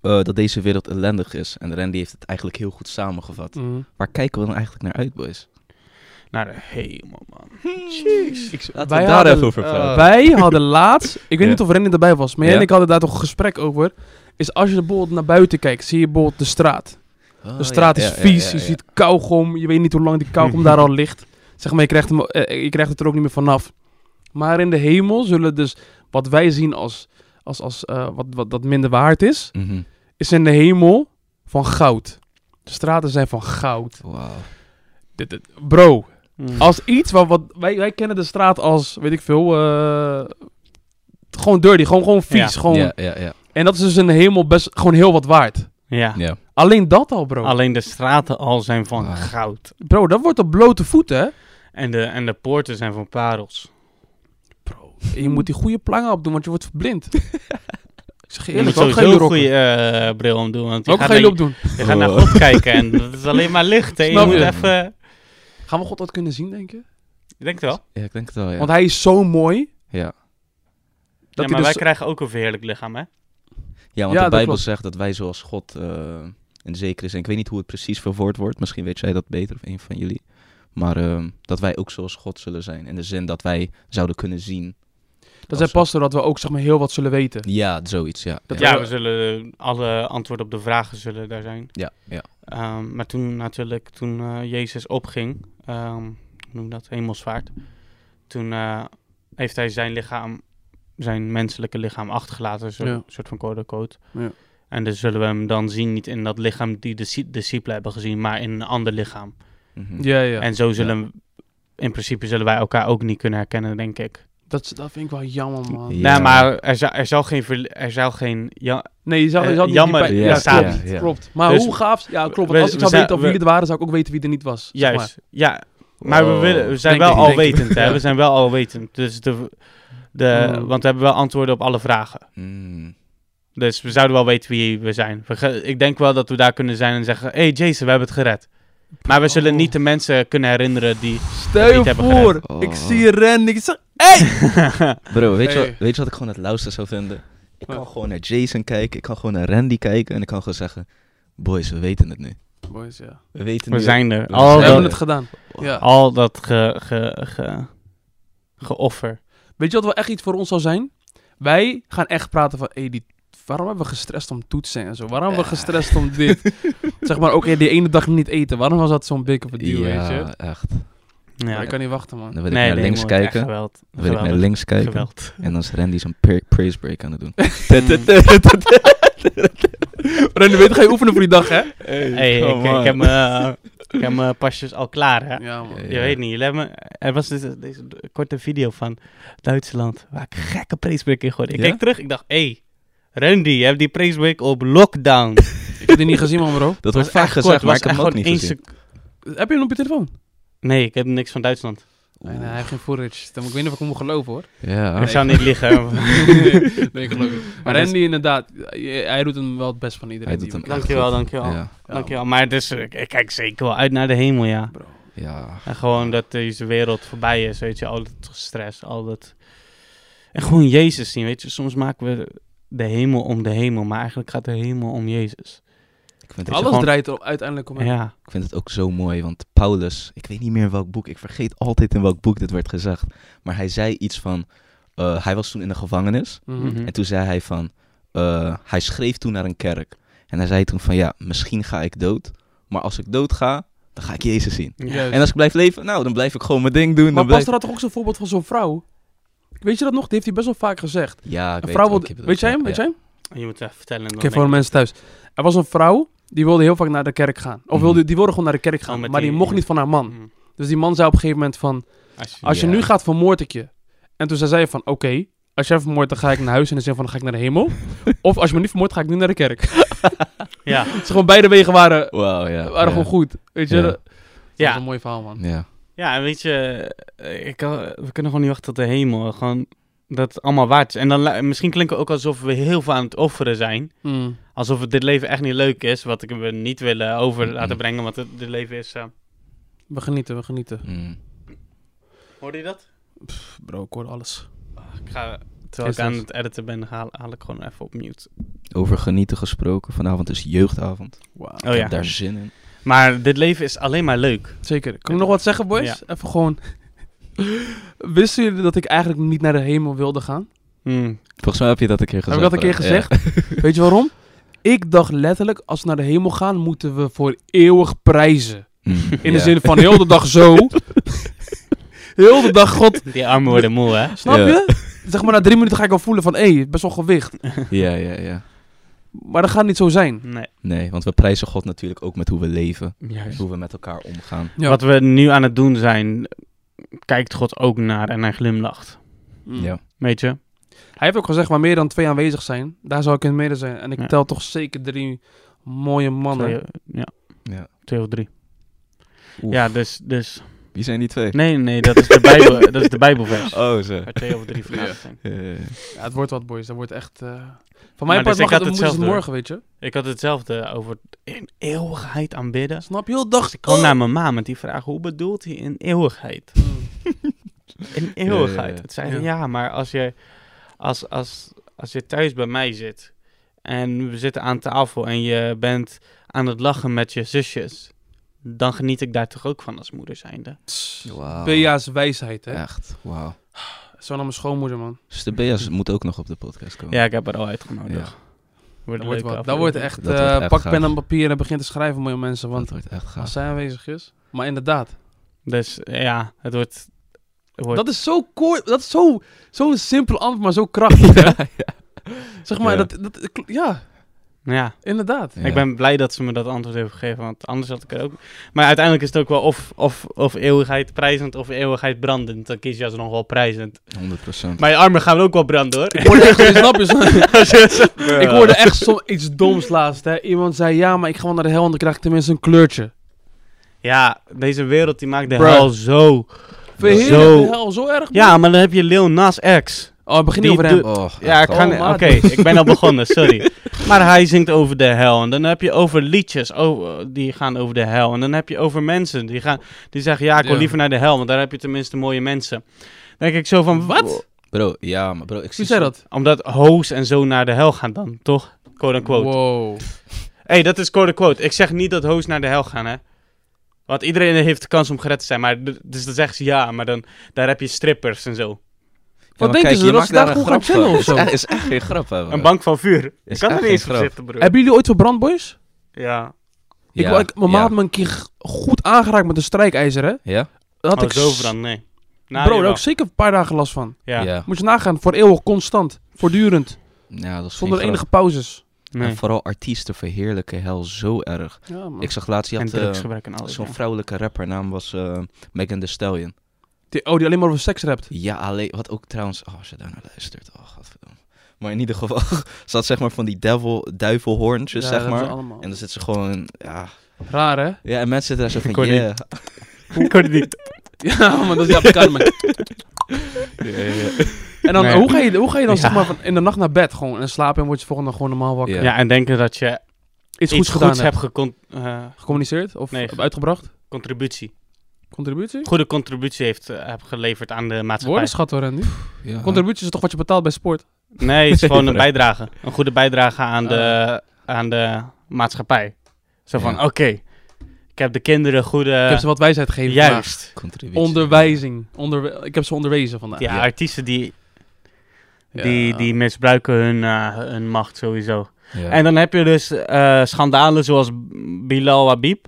Speaker 1: eh, dat deze wereld ellendig is. En Randy heeft het eigenlijk heel goed samengevat.
Speaker 2: Mm.
Speaker 1: Waar kijken we dan eigenlijk naar uit, boys?
Speaker 3: Naar de hemel, man.
Speaker 2: Hmm.
Speaker 1: Laten we daar even over praten.
Speaker 2: Wij hadden laatst, ik weet
Speaker 1: Ja.
Speaker 2: niet of René erbij was, maar jij
Speaker 1: Ja.
Speaker 2: en ik hadden daar toch een gesprek over. Is als je bijvoorbeeld naar buiten kijkt, zie je bijvoorbeeld de straat.
Speaker 1: Oh,
Speaker 2: De straat is vies, je ziet kauwgom, je weet niet hoe lang die kauwgom daar al ligt. Zeg maar, je krijgt, hem, eh, je krijgt het er ook niet meer vanaf. Maar in de hemel zullen dus, wat wij zien als, als, als eh, wat, wat dat minder waard is,
Speaker 1: Mhm.
Speaker 2: is in de hemel van goud. De straten zijn van goud.
Speaker 1: Wauw.
Speaker 2: Dit- dit- Bro,
Speaker 3: Mm.
Speaker 2: als iets wat, wat wij, wij kennen de straat als, weet ik veel, eh, gewoon dirty, gewoon, gewoon vies.
Speaker 3: Ja.
Speaker 2: Gewoon,
Speaker 1: Ja, ja, ja.
Speaker 2: En dat is dus in de hemel best gewoon heel wat waard.
Speaker 3: Ja.
Speaker 1: ja.
Speaker 2: Alleen dat al, bro. Ah.
Speaker 3: Alleen de straten al zijn van
Speaker 1: Wauw.
Speaker 3: goud.
Speaker 2: Bro, dat wordt op blote voeten, hè?
Speaker 3: En de, en de poorten zijn van parels.
Speaker 2: Bro, je moet die goede plangen opdoen, want je wordt verblind. ik zeg je
Speaker 3: Je moet
Speaker 2: eerlijk, ook
Speaker 3: sowieso
Speaker 2: geen
Speaker 3: een
Speaker 2: rokken.
Speaker 3: goede eh, bril om doen. Want je
Speaker 2: Ook
Speaker 3: gaat
Speaker 2: geen
Speaker 3: denk-
Speaker 2: opdoen.
Speaker 3: Je gaat naar
Speaker 1: Oh.
Speaker 3: God kijken en dat is alleen maar licht. Hè? Je
Speaker 2: Snap
Speaker 3: moet
Speaker 1: je?
Speaker 3: even...
Speaker 2: Gaan we God dat kunnen zien, denk je?
Speaker 3: Ik denk het wel.
Speaker 1: Ja, ik denk het wel, ja.
Speaker 2: Want hij is zo mooi.
Speaker 1: Ja.
Speaker 3: Ja,
Speaker 2: Dat
Speaker 3: maar
Speaker 2: hij
Speaker 3: wij
Speaker 2: dus...
Speaker 3: krijgen ook een verheerlijk lichaam, hè?
Speaker 1: Ja, want
Speaker 2: Ja,
Speaker 1: de
Speaker 2: dat
Speaker 1: Bijbel
Speaker 2: klopt.
Speaker 1: zegt dat wij zoals God eh in zekere zin, ik weet niet hoe het precies verwoord wordt, misschien weet jij dat beter of een van jullie, maar ehm, dat wij ook zoals God zullen zijn. In de zin dat wij zouden kunnen zien.
Speaker 2: Dat zei Pastor dat we ook zeg maar, heel wat zullen weten.
Speaker 1: Ja, zoiets, ja.
Speaker 2: Dat
Speaker 1: ja.
Speaker 3: Ja,
Speaker 2: we-
Speaker 3: we zullen... Alle antwoorden op de vragen zullen daar zijn.
Speaker 1: Ja, ja.
Speaker 3: Ehm, maar toen natuurlijk, toen eh, Jezus opging, ehm, hoe noem je dat, hemelsvaart. Toen eh, heeft hij zijn lichaam, zijn menselijke lichaam achtergelaten, zo,
Speaker 2: Ja.
Speaker 3: een soort van code code.
Speaker 2: Ja.
Speaker 3: En dus zullen we hem dan zien, niet in dat lichaam die de disci- discipelen hebben gezien, maar in een ander lichaam.
Speaker 1: Mhm.
Speaker 2: Ja, ja.
Speaker 3: En zo zullen, in principe zullen wij elkaar ook niet kunnen herkennen, denk ik.
Speaker 2: Dat, is- dat vind ik wel jammer, man.
Speaker 1: Ja.
Speaker 3: Nou, maar er zou, er zou geen, verli- er zou geen ja,
Speaker 2: Nee, je zou, je
Speaker 3: Eh,
Speaker 2: zou niet
Speaker 3: jammer,
Speaker 2: die bij-
Speaker 1: ja,
Speaker 2: Ja,
Speaker 1: staat
Speaker 2: klopt,
Speaker 1: niet. Ja.
Speaker 2: klopt. Maar
Speaker 3: Dus-
Speaker 2: hoe gaaf... Ja, klopt. Want
Speaker 3: we-
Speaker 2: als ik
Speaker 3: we
Speaker 2: zou
Speaker 3: zijn-
Speaker 2: weten of
Speaker 3: we-
Speaker 2: jullie het waren, zou ik ook weten wie er niet was. zeg
Speaker 3: Juist,
Speaker 2: maar.
Speaker 3: ja. Maar we,
Speaker 1: Wow.
Speaker 3: willen, we zijn
Speaker 2: Denk
Speaker 3: wel
Speaker 2: ik, denk ik.
Speaker 3: alwetend, hè?
Speaker 2: Ja.
Speaker 3: We zijn wel alwetend. Dus de, de,
Speaker 2: Mm.
Speaker 3: Want we hebben wel antwoorden op alle vragen.
Speaker 1: Mm.
Speaker 3: Dus we zouden wel weten wie we zijn. We ge- ik denk wel dat we daar kunnen zijn en zeggen... hey Jason, we hebben het gered. Maar we zullen
Speaker 2: Oh.
Speaker 3: niet de mensen kunnen herinneren die...
Speaker 2: Stel
Speaker 3: niet
Speaker 2: je
Speaker 3: hebben
Speaker 2: voor,
Speaker 1: gered.
Speaker 2: ik
Speaker 1: Oh.
Speaker 2: zie Ren, ik zeg...
Speaker 1: Bro, weet, je
Speaker 2: Hey.
Speaker 1: wat, weet je wat ik gewoon het lauwste zou vinden? Ik kan
Speaker 2: Wat?
Speaker 1: gewoon naar Jason kijken, ik kan gewoon naar Randy kijken en ik kan gewoon zeggen, boys, we weten het nu.
Speaker 2: Boys, ja.
Speaker 1: We weten
Speaker 3: We
Speaker 1: nu.
Speaker 3: zijn er.
Speaker 1: We
Speaker 3: Al
Speaker 2: We
Speaker 1: zijn
Speaker 2: hebben
Speaker 3: dat,
Speaker 1: er.
Speaker 2: het gedaan. Ja.
Speaker 3: al dat ge, ge, ge, geoffer.
Speaker 2: Weet je wat wel echt iets voor ons zou zijn? Wij gaan echt praten van, hey, die, waarom hebben we gestrest om toetsen en zo? Waarom hebben we
Speaker 1: Ja.
Speaker 2: gestrest om dit? zeg maar ook hey, die ene dag niet eten. Waarom was dat zo'n big of a deal, weet je?
Speaker 1: ja, echt.
Speaker 3: Ja.
Speaker 2: Maar ik kan niet wachten, man.
Speaker 1: Dan wil ik naar links
Speaker 3: jongen, echt
Speaker 1: kijken.
Speaker 3: Geweld.
Speaker 1: Dan wil ik naar links kijken.
Speaker 3: Geweld.
Speaker 1: En dan is Randy zo'n pra- praise break aan het doen.
Speaker 2: René, weet je, ga je oefenen voor die dag, hè?
Speaker 1: Hey,
Speaker 3: Hey, ik, ik heb mijn- eh, ik heb mijn pasjes al klaar, hè?
Speaker 2: Ja, man.
Speaker 1: Ja.
Speaker 3: Je weet niet, jullie hebben, er was deze, deze korte video van Duitsland waar ik gekke praisebreak in gooide. Ik
Speaker 1: Ja?
Speaker 3: kijk terug, ik dacht, hé, hey, Randy, je hebt die praisebreak op lockdown.
Speaker 2: Ik heb die niet gezien, man, bro.
Speaker 1: Dat
Speaker 3: was
Speaker 1: wordt vaak
Speaker 3: echt
Speaker 1: gezegd,
Speaker 3: kort,
Speaker 1: maar
Speaker 3: was
Speaker 1: ik heb
Speaker 3: echt
Speaker 1: hem ook
Speaker 3: gewoon
Speaker 1: niet
Speaker 3: één
Speaker 1: gezien.
Speaker 2: Heb je hem op je telefoon?
Speaker 3: Nee, ik heb niks van Duitsland.
Speaker 2: Nee, nee, hij heeft geen footage. Dan moet ik weet niet of ik hem moet geloven, hoor.
Speaker 1: Ja.
Speaker 3: Ik zou niet liggen.
Speaker 2: nee, geloof ik. Maar
Speaker 3: dat is-
Speaker 2: Randy, inderdaad, hij hij doet hem wel het best van iedereen.
Speaker 1: Hij doet
Speaker 2: die
Speaker 1: hem
Speaker 2: we
Speaker 3: dankjewel, dankjewel.
Speaker 1: Ja.
Speaker 2: kennen.
Speaker 3: Dankjewel. Maar dus, ik, ik kijk zeker wel uit naar de hemel, ja.
Speaker 2: Bro.
Speaker 1: ja.
Speaker 3: En gewoon dat deze wereld voorbij is, weet je. Al dat stress, al dat... En gewoon Jezus zien, weet je. Soms maken we de hemel om de hemel, maar eigenlijk gaat de hemel om Jezus.
Speaker 1: Ik vind, het,
Speaker 2: Alles
Speaker 3: gewoon-
Speaker 2: draait er uiteindelijk om hem.
Speaker 3: Ja.
Speaker 1: ik vind het ook zo mooi, want Paulus, ik weet niet meer in welk boek, ik vergeet altijd in welk boek dit werd gezegd. Maar hij zei iets van, eh, hij was toen in de gevangenis.
Speaker 2: Mhm.
Speaker 3: Mhm.
Speaker 1: En toen zei hij van, eh, hij schreef toen naar een kerk. En hij zei toen van, ja, misschien ga ik dood. Maar als ik dood ga, dan ga ik Jezus zien.
Speaker 2: Juist.
Speaker 1: En als ik blijf leven, nou, dan blijf ik gewoon mijn ding doen. dan
Speaker 2: Maar
Speaker 1: blijf...
Speaker 2: Pastor had toch ook zo'n voorbeeld van zo'n vrouw? Weet je dat nog? Die heeft hij best wel vaak gezegd.
Speaker 1: Ja, ik
Speaker 2: Een
Speaker 1: weet
Speaker 2: vrouw
Speaker 1: wel,
Speaker 2: wil-
Speaker 1: ik heb het
Speaker 2: Weet jij
Speaker 1: ook,
Speaker 2: hem?
Speaker 1: ja.
Speaker 2: Weet jij hem? Oké,
Speaker 3: Je moet het even vertellen. en dan
Speaker 2: voor de
Speaker 3: denk
Speaker 2: mensen thuis. Er was een vrouw, die wilde heel vaak naar de kerk gaan. Of
Speaker 1: Mhm.
Speaker 2: wilde, die wilde gewoon naar de kerk gaan,
Speaker 3: Oh, met
Speaker 2: maar die
Speaker 3: die-
Speaker 2: mocht niet van haar
Speaker 3: ik,
Speaker 2: man.
Speaker 3: mm,
Speaker 2: Dus die man zei op een gegeven moment van,
Speaker 3: Als je,
Speaker 2: als je
Speaker 1: Ja.
Speaker 2: nu gaat, vermoord ik je. En toen zei zij van, oké, als jij vermoordt, dan ga ik naar huis. En dan zei van, dan ga ik naar de hemel. of als je me niet vermoordt, ga ik nu naar de kerk. Dus
Speaker 3: ja,
Speaker 2: gewoon beide wegen waren,
Speaker 1: Wauw, ja.
Speaker 2: waren
Speaker 1: ja.
Speaker 2: gewoon goed. Weet je,
Speaker 1: Ja.
Speaker 2: dat is een
Speaker 3: ja.
Speaker 2: mooi verhaal, man.
Speaker 1: Ja.
Speaker 3: ja, en weet je, eh, ik, kan- we kunnen gewoon niet wachten tot de hemel. eh, Gewoon dat het allemaal waard is. En dan la- misschien klinken we ook alsof we heel veel aan het offeren zijn.
Speaker 2: Mm.
Speaker 3: Alsof het dit leven echt niet leuk is. Wat ik we niet willen over
Speaker 1: Mhm.
Speaker 3: laten brengen, want het, dit leven is... eh,
Speaker 2: We genieten, we genieten.
Speaker 1: Mm.
Speaker 3: hoorde je dat?
Speaker 2: Pff, bro, ik hoor alles.
Speaker 3: Ah, Ik ga, terwijl ik
Speaker 2: stress.
Speaker 3: aan het editen ben, haal, haal ik gewoon even op mute.
Speaker 1: Over genieten gesproken, vanavond is jeugdavond.
Speaker 2: Wauw.
Speaker 3: Oh
Speaker 1: ik
Speaker 3: ja.
Speaker 1: heb daar zin in.
Speaker 3: Maar dit leven is alleen maar leuk.
Speaker 2: Zeker. Kan ik nog wat zeggen, boys?
Speaker 3: Ja.
Speaker 2: Even gewoon. Wisten jullie dat ik eigenlijk niet naar de hemel wilde gaan?
Speaker 3: Hmm.
Speaker 1: Volgens mij heb je dat een keer
Speaker 2: Heb
Speaker 1: gezegd.
Speaker 2: ik dat een keer
Speaker 1: hè?
Speaker 2: gezegd?
Speaker 1: Ja.
Speaker 2: Weet je waarom? Ik dacht letterlijk, als we naar de hemel gaan, moeten we voor eeuwig prijzen.
Speaker 1: Mm,
Speaker 2: In de
Speaker 1: ja.
Speaker 2: zin van heel de dag zo. heel de dag, god.
Speaker 3: Die armen worden moe, hè?
Speaker 2: Snap
Speaker 1: Ja.
Speaker 2: je? Zeg maar, na drie minuten ga ik al voelen van, hé, best wel gewicht.
Speaker 1: Ja, ja, ja.
Speaker 2: Maar dat gaat niet zo zijn.
Speaker 3: Nee.
Speaker 1: Nee, want we prijzen God natuurlijk ook met hoe we leven.
Speaker 3: Juist.
Speaker 1: Hoe we met elkaar omgaan.
Speaker 2: Ja.
Speaker 3: Wat we nu aan het doen zijn, kijkt God ook naar en hij glimlacht.
Speaker 2: Mm.
Speaker 1: Ja.
Speaker 3: Weet je?
Speaker 2: Hij heeft ook gezegd, waar meer dan twee aanwezig zijn, daar zou ik in het midden zijn. En ik
Speaker 3: Ja.
Speaker 2: tel toch zeker drie mooie mannen.
Speaker 3: Twee, ja,
Speaker 1: ja.
Speaker 3: twee of drie.
Speaker 1: Oef.
Speaker 3: Ja, dus, dus...
Speaker 1: Wie zijn die twee?
Speaker 3: Nee, nee, dat is de, Bijbel, dat is de Bijbelvers.
Speaker 1: Oh, ze.
Speaker 3: Waar twee of drie vergaderd zijn.
Speaker 1: Eh,
Speaker 2: Ja, het wordt wat, boys. Dat wordt echt... eh, Van
Speaker 3: Maar
Speaker 2: mijn part
Speaker 3: dus ik
Speaker 2: mag
Speaker 3: had
Speaker 2: het, het
Speaker 3: hetzelfde, hoor.
Speaker 2: morgen, weet je.
Speaker 3: Ik had hetzelfde over in eeuwigheid aanbidden.
Speaker 2: Snap je? Heel de dag...
Speaker 3: Dus ik kwam naar mijn ma met die vraag, hoe bedoelt hij in eeuwigheid?
Speaker 2: Mm.
Speaker 3: In
Speaker 1: Ja, ja,
Speaker 3: eeuwigheid.
Speaker 1: ja.
Speaker 3: Het zei
Speaker 2: Ja.
Speaker 3: ja. ja, maar als je, als, als, als je thuis bij mij zit en we zitten aan tafel en je bent aan het lachen met je zusjes, dan geniet ik daar toch ook van als moeder zijnde.
Speaker 2: Oh.
Speaker 1: Wauw.
Speaker 2: Bea's wijsheid, hè.
Speaker 1: Echt, wauw.
Speaker 2: Zo naar mijn schoonmoeder, man.
Speaker 1: Dus de Bea's moet ook nog op de podcast komen. Oh,
Speaker 3: Ja, ik heb haar al uitgenodigd. Wordt
Speaker 2: Dat
Speaker 3: een
Speaker 2: wordt,
Speaker 3: leuke
Speaker 2: wat. dat
Speaker 3: aflevering.
Speaker 2: wordt echt...
Speaker 1: Dat
Speaker 2: eh,
Speaker 1: wordt echt
Speaker 2: pak
Speaker 1: gaaf.
Speaker 2: pen en papier en begin te schrijven, mooie mensen.
Speaker 1: want
Speaker 2: Want
Speaker 1: het wordt echt gaaf.
Speaker 2: als zij aanwezig is... Maar inderdaad.
Speaker 3: Dus ja, het wordt... het wordt
Speaker 2: Dat is zo kort... Dat is zo... Zo'n simpel antwoord, maar zo krachtig, hè. Zeg maar,
Speaker 1: Ja.
Speaker 2: dat, dat... Ja,
Speaker 3: ja,
Speaker 2: inderdaad.
Speaker 1: Ja.
Speaker 3: ik ben blij dat ze me dat antwoord heeft gegeven, want anders had ik het ook... Maar uiteindelijk is het ook wel of, of, of eeuwigheid prijzend of eeuwigheid brandend. Dan kies je alsnog wel prijzend.
Speaker 1: 100%.
Speaker 3: Maar je armen gaan ook wel branden, hoor.
Speaker 2: Ik hoorde echt... snap je?
Speaker 3: Ja.
Speaker 2: Ik hoorde echt soms iets doms laatst, hè. Iemand zei, ja, maar ik ga wel naar de hel en dan krijg ik tenminste een kleurtje.
Speaker 3: Ja, deze wereld die maakt de
Speaker 2: Bruh.
Speaker 3: hel zo.
Speaker 2: Verheerlijk
Speaker 3: Zo.
Speaker 2: de hel, zo erg. man.
Speaker 3: Ja, maar dan heb je Lil Nas X.
Speaker 2: Oh, begin niet
Speaker 3: Die
Speaker 2: over hem.
Speaker 3: doet-
Speaker 1: Oh,
Speaker 3: Ja, ik
Speaker 1: echt,
Speaker 3: ga
Speaker 2: Oh,
Speaker 3: niet- Oké,
Speaker 2: maar-
Speaker 3: ik ben al begonnen, sorry. Maar hij zingt over de hel. En dan heb je over liedjes over, die gaan over de hel. En dan heb je over mensen die, gaan, die zeggen... Ja, ik wil
Speaker 2: Ja.
Speaker 3: liever naar de hel, want daar heb je tenminste mooie mensen. Dan denk ik zo van... Wat?
Speaker 1: Bro, ja, maar bro, ik zie
Speaker 2: Wie zei
Speaker 1: zo-
Speaker 2: dat?
Speaker 3: Omdat hoes en zo naar de hel gaan dan, toch? Quote-unquote.
Speaker 2: Wow.
Speaker 3: Hé, hey, dat is quote-unquote. Ik zeg niet dat hoes naar de hel gaan, hè. Want iedereen heeft de kans om gered te zijn. Maar, d- dus dan zeggen ze ja, maar dan, daar heb je strippers en zo.
Speaker 1: maar
Speaker 2: Wat denken
Speaker 1: kijk,
Speaker 2: ze,
Speaker 1: je
Speaker 2: dat
Speaker 1: maakt
Speaker 2: ze daar
Speaker 1: daar een
Speaker 2: gewoon gaan
Speaker 1: grap
Speaker 2: chillen
Speaker 1: van.
Speaker 2: of zo?
Speaker 1: Het is echt geen grap hebben.
Speaker 3: Een bank van vuur. Ik
Speaker 1: Is
Speaker 3: kan er
Speaker 1: echt
Speaker 3: niet eens
Speaker 1: geen
Speaker 3: van
Speaker 1: grap.
Speaker 3: zitten, bro.
Speaker 2: Hebben jullie ooit verbrand, boys?
Speaker 3: Ja.
Speaker 2: Ik,
Speaker 1: Ja,
Speaker 2: ik, mijn
Speaker 1: ja.
Speaker 2: maat had me een keer g- goed aangeraakt met een strijkijzer, hè?
Speaker 1: Ja?
Speaker 2: Dat had
Speaker 3: Oh,
Speaker 2: ik
Speaker 3: zo
Speaker 2: s-
Speaker 3: veranderd, nee. Nou,
Speaker 2: Bro, daar
Speaker 3: jawel.
Speaker 2: had ik zeker een paar dagen last van.
Speaker 3: Ja.
Speaker 1: Ja.
Speaker 3: ja.
Speaker 1: ja.
Speaker 2: Moet je nagaan, voor eeuwig, constant, voortdurend,
Speaker 1: dat is
Speaker 2: zonder
Speaker 1: geen grap.
Speaker 2: enige pauzes.
Speaker 3: Nee.
Speaker 1: En vooral artiesten verheerlijken hel zo erg.
Speaker 2: Ja, man.
Speaker 1: Ik zag laatst, je
Speaker 3: En
Speaker 1: had eh,
Speaker 3: drugsgebruik en alles.
Speaker 1: zo'n
Speaker 3: Oh, ja.
Speaker 1: vrouwelijke rapper, naam was eh, Megan Thee Stallion.
Speaker 2: Die, oh, die alleen maar over seks rapt.
Speaker 1: Ja, alleen, wat ook trouwens, oh, als je daar naar luistert, oh, godverdomme. Maar in ieder geval, ze had zeg maar van die devil, duivelhoorntjes,
Speaker 2: Ja, dat
Speaker 1: zeg
Speaker 2: hebben ze
Speaker 1: maar.
Speaker 2: allemaal.
Speaker 1: En dan zit ze gewoon, ja.
Speaker 2: Raar, hè?
Speaker 1: Ja, en mensen zitten daar zo van,
Speaker 3: kon niet.
Speaker 1: yeah.
Speaker 3: Ik hoor het niet.
Speaker 2: Ja, man, dat is ja, kan, man. En dan,
Speaker 3: Nee.
Speaker 2: hoe, ga je, hoe ga je dan
Speaker 3: Ja.
Speaker 2: zeg maar van in de nacht naar bed gewoon en slapen en word je volgende dag gewoon normaal wakker?
Speaker 1: Ja.
Speaker 3: Ja, en denken dat je
Speaker 2: Iets,
Speaker 3: iets
Speaker 2: goeds
Speaker 3: goeds,
Speaker 2: gedaan hebt.
Speaker 3: hebt gecon- eh,
Speaker 2: Gecommuniceerd of
Speaker 3: Nee.
Speaker 2: uitgebracht?
Speaker 3: contributie.
Speaker 2: Contributie?
Speaker 3: Goede contributie heeft eh, heb geleverd aan de maatschappij.
Speaker 2: Woordenschat hoor, Randy.
Speaker 1: Ja.
Speaker 2: Contributie is toch wat je betaalt bij sport?
Speaker 3: Nee, het is gewoon een
Speaker 1: Sorry.
Speaker 3: bijdrage. Een goede bijdrage aan de, aan de maatschappij. Zo van,
Speaker 1: Eh. Ja.
Speaker 3: oké, ik heb de kinderen goede...
Speaker 2: ik heb ze wat wijsheid gegeven. vandaag.
Speaker 3: juist.
Speaker 1: Contributie.
Speaker 2: Onderwijzing. Onderwe- ik heb ze onderwezen vandaag.
Speaker 3: Ja,
Speaker 1: Ja.
Speaker 3: artiesten die,
Speaker 2: Ja.
Speaker 3: die, die misbruiken hun, eh, hun macht sowieso.
Speaker 1: Ja.
Speaker 3: En dan heb je dus eh, schandalen zoals Bilal Habib.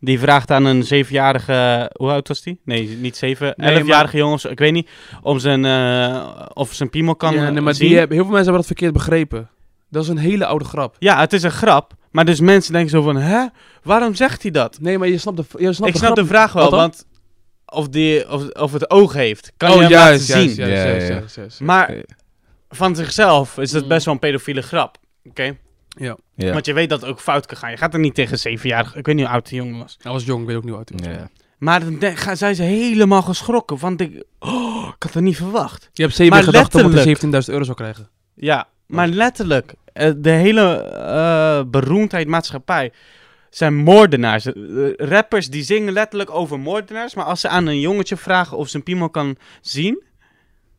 Speaker 3: Die vraagt aan een zevenjarige... Hoe oud was die? Nee, niet zeven.
Speaker 2: Nee, maar-
Speaker 3: Elfjarige jongen, of zo, ik weet niet. Om zijn, eh, of ze zijn piemel kan
Speaker 2: Ja, nee, maar
Speaker 3: zien.
Speaker 2: die hebben- heel veel mensen hebben dat verkeerd begrepen. Dat is een hele oude grap.
Speaker 3: Ja, het is een grap. Maar dus mensen denken zo van, hè? Waarom zegt hij dat?
Speaker 2: Nee, maar je snapt de, je snapt
Speaker 3: ik
Speaker 2: de
Speaker 3: snap
Speaker 2: grap.
Speaker 3: de vraag wel,
Speaker 2: Wat dan?
Speaker 3: want of, die, of, of het oog heeft, kan je
Speaker 2: oh,
Speaker 3: hem
Speaker 2: juist,
Speaker 3: laten
Speaker 2: juist,
Speaker 3: zien.
Speaker 2: juist,
Speaker 1: Ja,
Speaker 2: juist,
Speaker 1: ja, ja.
Speaker 2: juist, juist.
Speaker 3: Maar van zichzelf is dat
Speaker 2: Mm.
Speaker 3: best wel een pedofiele grap. Oké,
Speaker 1: Ja.
Speaker 3: want je weet dat het ook fout kan gaan. Je gaat er niet tegen zevenjarig, ik weet niet hoe oud die jongen was.
Speaker 2: Hij was jong, ik weet ook niet hoe oud hij was.
Speaker 1: Ja.
Speaker 3: Maar dan de- gaan- zijn ze helemaal geschrokken, want ik, oh, ik had het niet verwacht.
Speaker 2: Je hebt zeven
Speaker 3: Maar
Speaker 2: gedachten dat
Speaker 3: letterlijk-
Speaker 2: hij 17.000 euro zou krijgen.
Speaker 3: Ja, maar letterlijk, eh, de hele eh, beroemdheid maatschappij zijn moordenaars. Eh, rappers die zingen letterlijk over moordenaars, maar als ze aan een jongetje vragen of ze een piemel kan zien,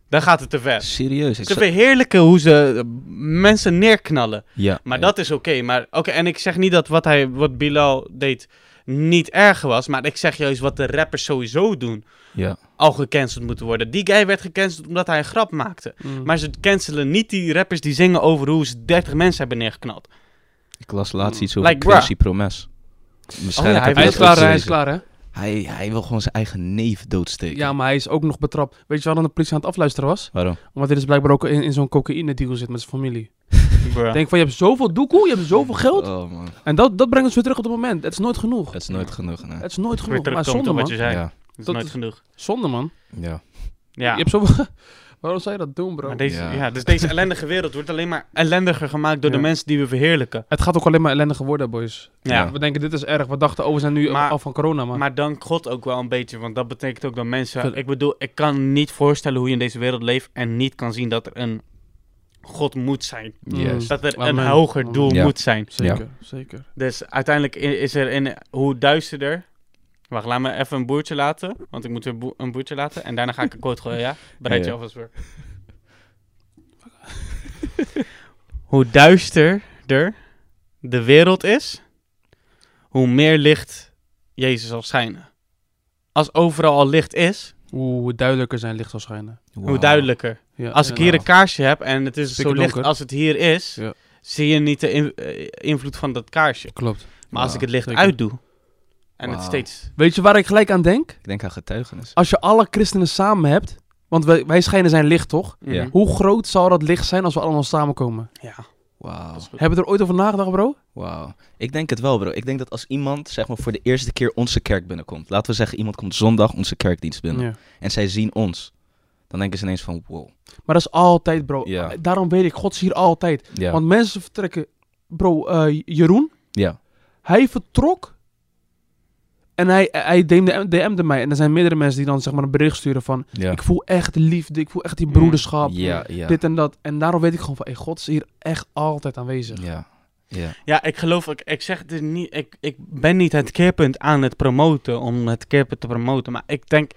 Speaker 3: dan gaat het te ver.
Speaker 1: Serieus. Ik
Speaker 3: Ze
Speaker 1: zag-
Speaker 3: verheerlijken hoe ze eh, mensen neerknallen.
Speaker 1: ja.
Speaker 3: Maar
Speaker 1: ja.
Speaker 3: dat is oké. Maar oké, en ik zeg niet dat wat, hij, wat Bilal deed niet erg was. Maar ik zeg juist wat de rappers sowieso doen.
Speaker 1: Ja.
Speaker 3: Al gecanceld moeten worden. Die guy werd gecanceld omdat hij een grap maakte.
Speaker 2: Mm.
Speaker 3: Maar ze cancelen niet die rappers die zingen over hoe ze 30 mensen hebben neergeknald.
Speaker 1: Ik las laatst iets
Speaker 3: Mm.
Speaker 1: over
Speaker 3: Like, bruh. Oh
Speaker 1: Quincy Promes. Waarschijnlijk
Speaker 3: hij
Speaker 1: heb je
Speaker 2: hij
Speaker 1: dat
Speaker 2: is
Speaker 3: heeft
Speaker 1: ook
Speaker 2: klaar, hij is
Speaker 1: gelezen.
Speaker 2: klaar, hè?
Speaker 1: Hij, hij wil gewoon zijn eigen neef doodsteken.
Speaker 2: Ja, maar hij is ook nog betrapt. Weet je waarom de politie aan het afluisteren was?
Speaker 1: Waarom?
Speaker 2: Omdat hij dus blijkbaar ook in, in zo'n cocaïne-deal zit met zijn familie.
Speaker 3: Bruh.
Speaker 2: Denk van, je hebt zoveel doekoe, je hebt zoveel geld.
Speaker 1: Oh man,
Speaker 2: En dat, dat brengt ons weer terug op het moment. Het is nooit genoeg.
Speaker 1: dat is nooit genoeg. Nee.
Speaker 2: Het is nooit
Speaker 3: Weer
Speaker 2: genoeg. Maar
Speaker 3: terugkomt
Speaker 2: zonde,
Speaker 3: op wat
Speaker 2: man.
Speaker 3: je zei.
Speaker 1: Ja.
Speaker 3: Dat is
Speaker 2: Dat
Speaker 3: nooit
Speaker 2: is-
Speaker 3: genoeg.
Speaker 2: Zonde, man.
Speaker 1: Ja.
Speaker 3: Ja.
Speaker 2: Je hebt zoveel... waarom zou je dat doen, bro?
Speaker 3: Maar deze, ja.
Speaker 1: Ja.
Speaker 3: dus deze ellendige wereld wordt alleen maar ellendiger gemaakt door
Speaker 2: Ja.
Speaker 3: de mensen die we verheerlijken.
Speaker 2: Het gaat ook alleen maar ellendiger worden, boys.
Speaker 1: Ja.
Speaker 2: We denken, dit is erg. We dachten, oh, we zijn nu
Speaker 3: Maar-
Speaker 2: af van corona, maar...
Speaker 3: Maar dank God ook wel een beetje, want dat betekent ook dat mensen...
Speaker 2: Tuurlijk.
Speaker 3: Ik bedoel, ik kan niet voorstellen hoe je in deze wereld leeft en niet kan zien dat er een God moet zijn.
Speaker 2: Mm.
Speaker 1: Juist.
Speaker 3: Dat er
Speaker 2: Amen.
Speaker 3: een hoger doel
Speaker 1: Ja.
Speaker 3: moet zijn.
Speaker 2: Zeker, zeker.
Speaker 3: Dus uiteindelijk i- is er in hoe duisterder... Wacht, laat me even een boertje laten, want ik moet weer boe- een boertje laten. En daarna ga ik een quote gooien, ja? Bereid je
Speaker 1: Ja.
Speaker 3: alvast voor. hoe duisterder de wereld is, hoe meer licht Jezus zal schijnen. Als overal al licht is,
Speaker 2: Oeh, hoe duidelijker zijn licht zal schijnen.
Speaker 1: Wauw.
Speaker 3: hoe duidelijker.
Speaker 2: Ja,
Speaker 3: Als ik
Speaker 2: ja.
Speaker 3: hier een kaarsje heb en het is zo
Speaker 2: Stikdonker.
Speaker 3: licht als het hier is,
Speaker 2: Ja.
Speaker 3: zie je niet de in- eh, invloed van dat kaarsje.
Speaker 2: Klopt.
Speaker 3: Maar als ik het licht
Speaker 2: zeker.
Speaker 3: uitdoe en het
Speaker 1: Wauw.
Speaker 3: steeds...
Speaker 2: Weet je waar ik gelijk aan denk?
Speaker 1: Ik denk aan getuigenis.
Speaker 2: Als je alle christenen samen hebt... Want wij, wij schijnen zijn licht, toch?
Speaker 1: Ja.
Speaker 3: Mhm.
Speaker 2: Hoe groot zal dat licht zijn als we allemaal samenkomen?
Speaker 3: Ja,
Speaker 1: Wauw.
Speaker 3: dat is goed.
Speaker 2: Hebben we er ooit over nagedacht, bro?
Speaker 1: Wauw. Ik denk het wel, bro. Ik denk dat als iemand zeg maar, voor de eerste keer onze kerk binnenkomt. Laten we zeggen, iemand komt zondag onze kerkdienst binnen.
Speaker 2: Ja.
Speaker 1: En zij zien ons. Dan denken ze ineens van, wow.
Speaker 2: Maar dat is altijd, bro.
Speaker 1: Ja.
Speaker 2: Daarom weet ik, God is hier altijd.
Speaker 1: Ja.
Speaker 2: Want mensen vertrekken. Bro, eh, Jeroen,
Speaker 1: ja.
Speaker 2: hij vertrok. En hij, hij DM'de, DM'de mij. En er zijn meerdere mensen die dan zeg maar een bericht sturen van...
Speaker 1: Ja.
Speaker 2: Ik voel echt liefde, ik voel echt die
Speaker 3: Mm.
Speaker 2: broederschap.
Speaker 1: ja, ja.
Speaker 2: Dit en dat. En daarom weet ik gewoon van... Hey, God is hier echt altijd aanwezig.
Speaker 1: Ja. Ja.
Speaker 3: Ja, ik geloof, ik, ik zeg dit niet, ik, ik ben niet het keerpunt aan het promoten om het keerpunt te promoten. Maar ik denk,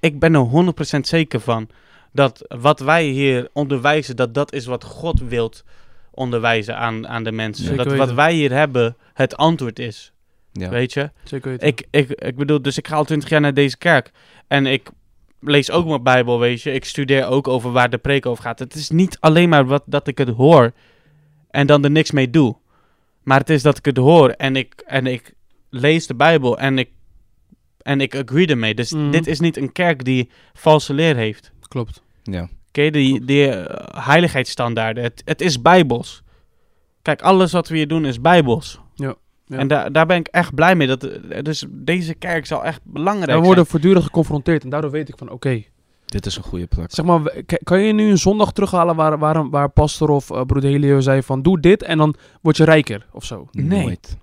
Speaker 3: ik ben er 100% zeker van dat wat wij hier onderwijzen, dat dat is wat God wilt onderwijzen aan, aan de mensen.
Speaker 2: Zeker
Speaker 3: dat wat
Speaker 2: weten.
Speaker 3: wij hier hebben het antwoord is.
Speaker 1: Ja.
Speaker 3: Weet je?
Speaker 2: Zeker weten.
Speaker 3: Ik, ik, ik bedoel, dus ik ga al 20 jaar naar deze kerk en ik lees ook mijn Bijbel, weet je. Ik studeer ook over waar de preek over gaat. Het is niet alleen maar wat, dat ik het hoor en dan er niks mee doe. Maar het is dat ik het hoor en ik, en ik lees de Bijbel en ik, en ik agree ermee. Dus
Speaker 2: Mhm.
Speaker 3: dit is niet een kerk die valse leer heeft.
Speaker 2: Klopt.
Speaker 1: Ja.
Speaker 3: Oké, die, die eh, heiligheidsstandaarden. Het, het is bijbels. Kijk, alles wat we hier doen is bijbels.
Speaker 2: Ja, ja.
Speaker 3: En daar daar ben ik echt blij mee. Dat, eh, dus deze kerk zal echt belangrijk
Speaker 2: we worden voortdurend geconfronteerd en daardoor weet ik van oké.
Speaker 1: Dit is een goede plek.
Speaker 2: Zeg maar, we- k- kan je nu een zondag terughalen waar, waar, waar pastor of eh, broeder Helio zei van doe dit en dan word je rijker of zo?
Speaker 3: Nee.
Speaker 1: Nooit.
Speaker 3: zijn.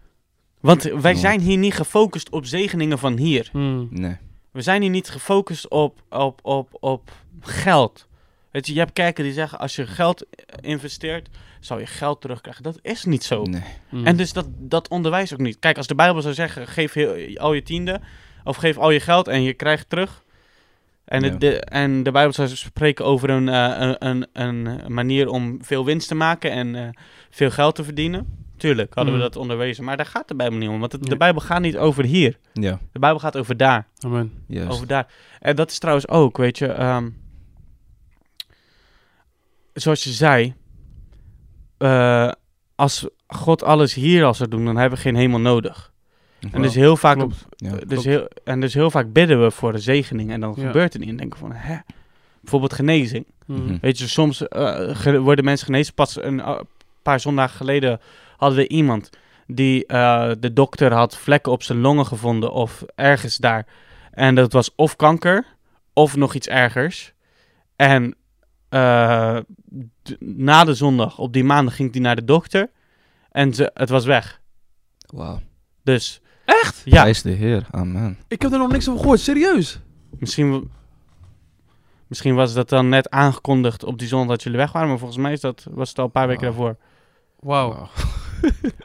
Speaker 3: Want wij
Speaker 1: Ja.
Speaker 3: zijn hier niet gefocust op zegeningen van hier.
Speaker 2: Hmm.
Speaker 1: Nee.
Speaker 3: We zijn hier niet gefocust op, op, op, op geld. Weet je, je hebt kerken die zeggen, als je geld investeert, zal je geld terugkrijgen. Dat is niet zo.
Speaker 1: Nee.
Speaker 2: Hmm.
Speaker 3: En dus dat, dat onderwijs ook niet. Kijk, als de Bijbel zou zeggen, geef heel, al je tiende, of geef al je geld en je krijgt terug. En,
Speaker 1: Ja.
Speaker 3: het, de, en de Bijbel zou spreken over een, eh, een, een, een manier om veel winst te maken en eh, veel geld te verdienen. Tuurlijk hadden
Speaker 2: Mhm.
Speaker 3: we dat onderwezen, maar daar gaat de Bijbel niet om. Want het-
Speaker 2: Nee.
Speaker 3: de Bijbel gaat niet over hier.
Speaker 1: Ja.
Speaker 3: De Bijbel gaat over daar.
Speaker 2: Amen.
Speaker 1: Juist.
Speaker 3: Over daar. En dat is trouwens ook, weet je. ehm, zoals je zei. eh, als God alles hier al zou doen, dan hebben we geen hemel nodig. En
Speaker 2: Ja,
Speaker 3: dus heel vaak.
Speaker 2: klopt.
Speaker 1: Ja.
Speaker 3: Dus heel, en dus heel vaak bidden we voor de zegening. En dan
Speaker 2: Ja.
Speaker 3: gebeurt het niet. En denken van, hè? Bijvoorbeeld genezing.
Speaker 2: Hmm.
Speaker 1: Mhm.
Speaker 3: Weet je, soms eh, ge- worden mensen genezen. Pas een eh, paar zondagen geleden hadden we iemand die eh, de dokter had vlekken op zijn longen gevonden of ergens daar. En dat was of kanker of nog iets ergers. En eh, d- na de zondag, op die maandag, ging die naar de dokter en ze, het was weg.
Speaker 1: Wauw.
Speaker 3: Dus.
Speaker 2: Echt?
Speaker 3: Ja,
Speaker 1: Prijs de Heer. Amen.
Speaker 2: Ik heb er nog niks over gehoord, serieus.
Speaker 3: misschien. w- Misschien was dat dan net aangekondigd op die zondag dat jullie weg waren, maar volgens mij is dat, was het al een paar weken
Speaker 1: Wauw.
Speaker 3: daarvoor.
Speaker 2: Wauw.
Speaker 1: Wauw.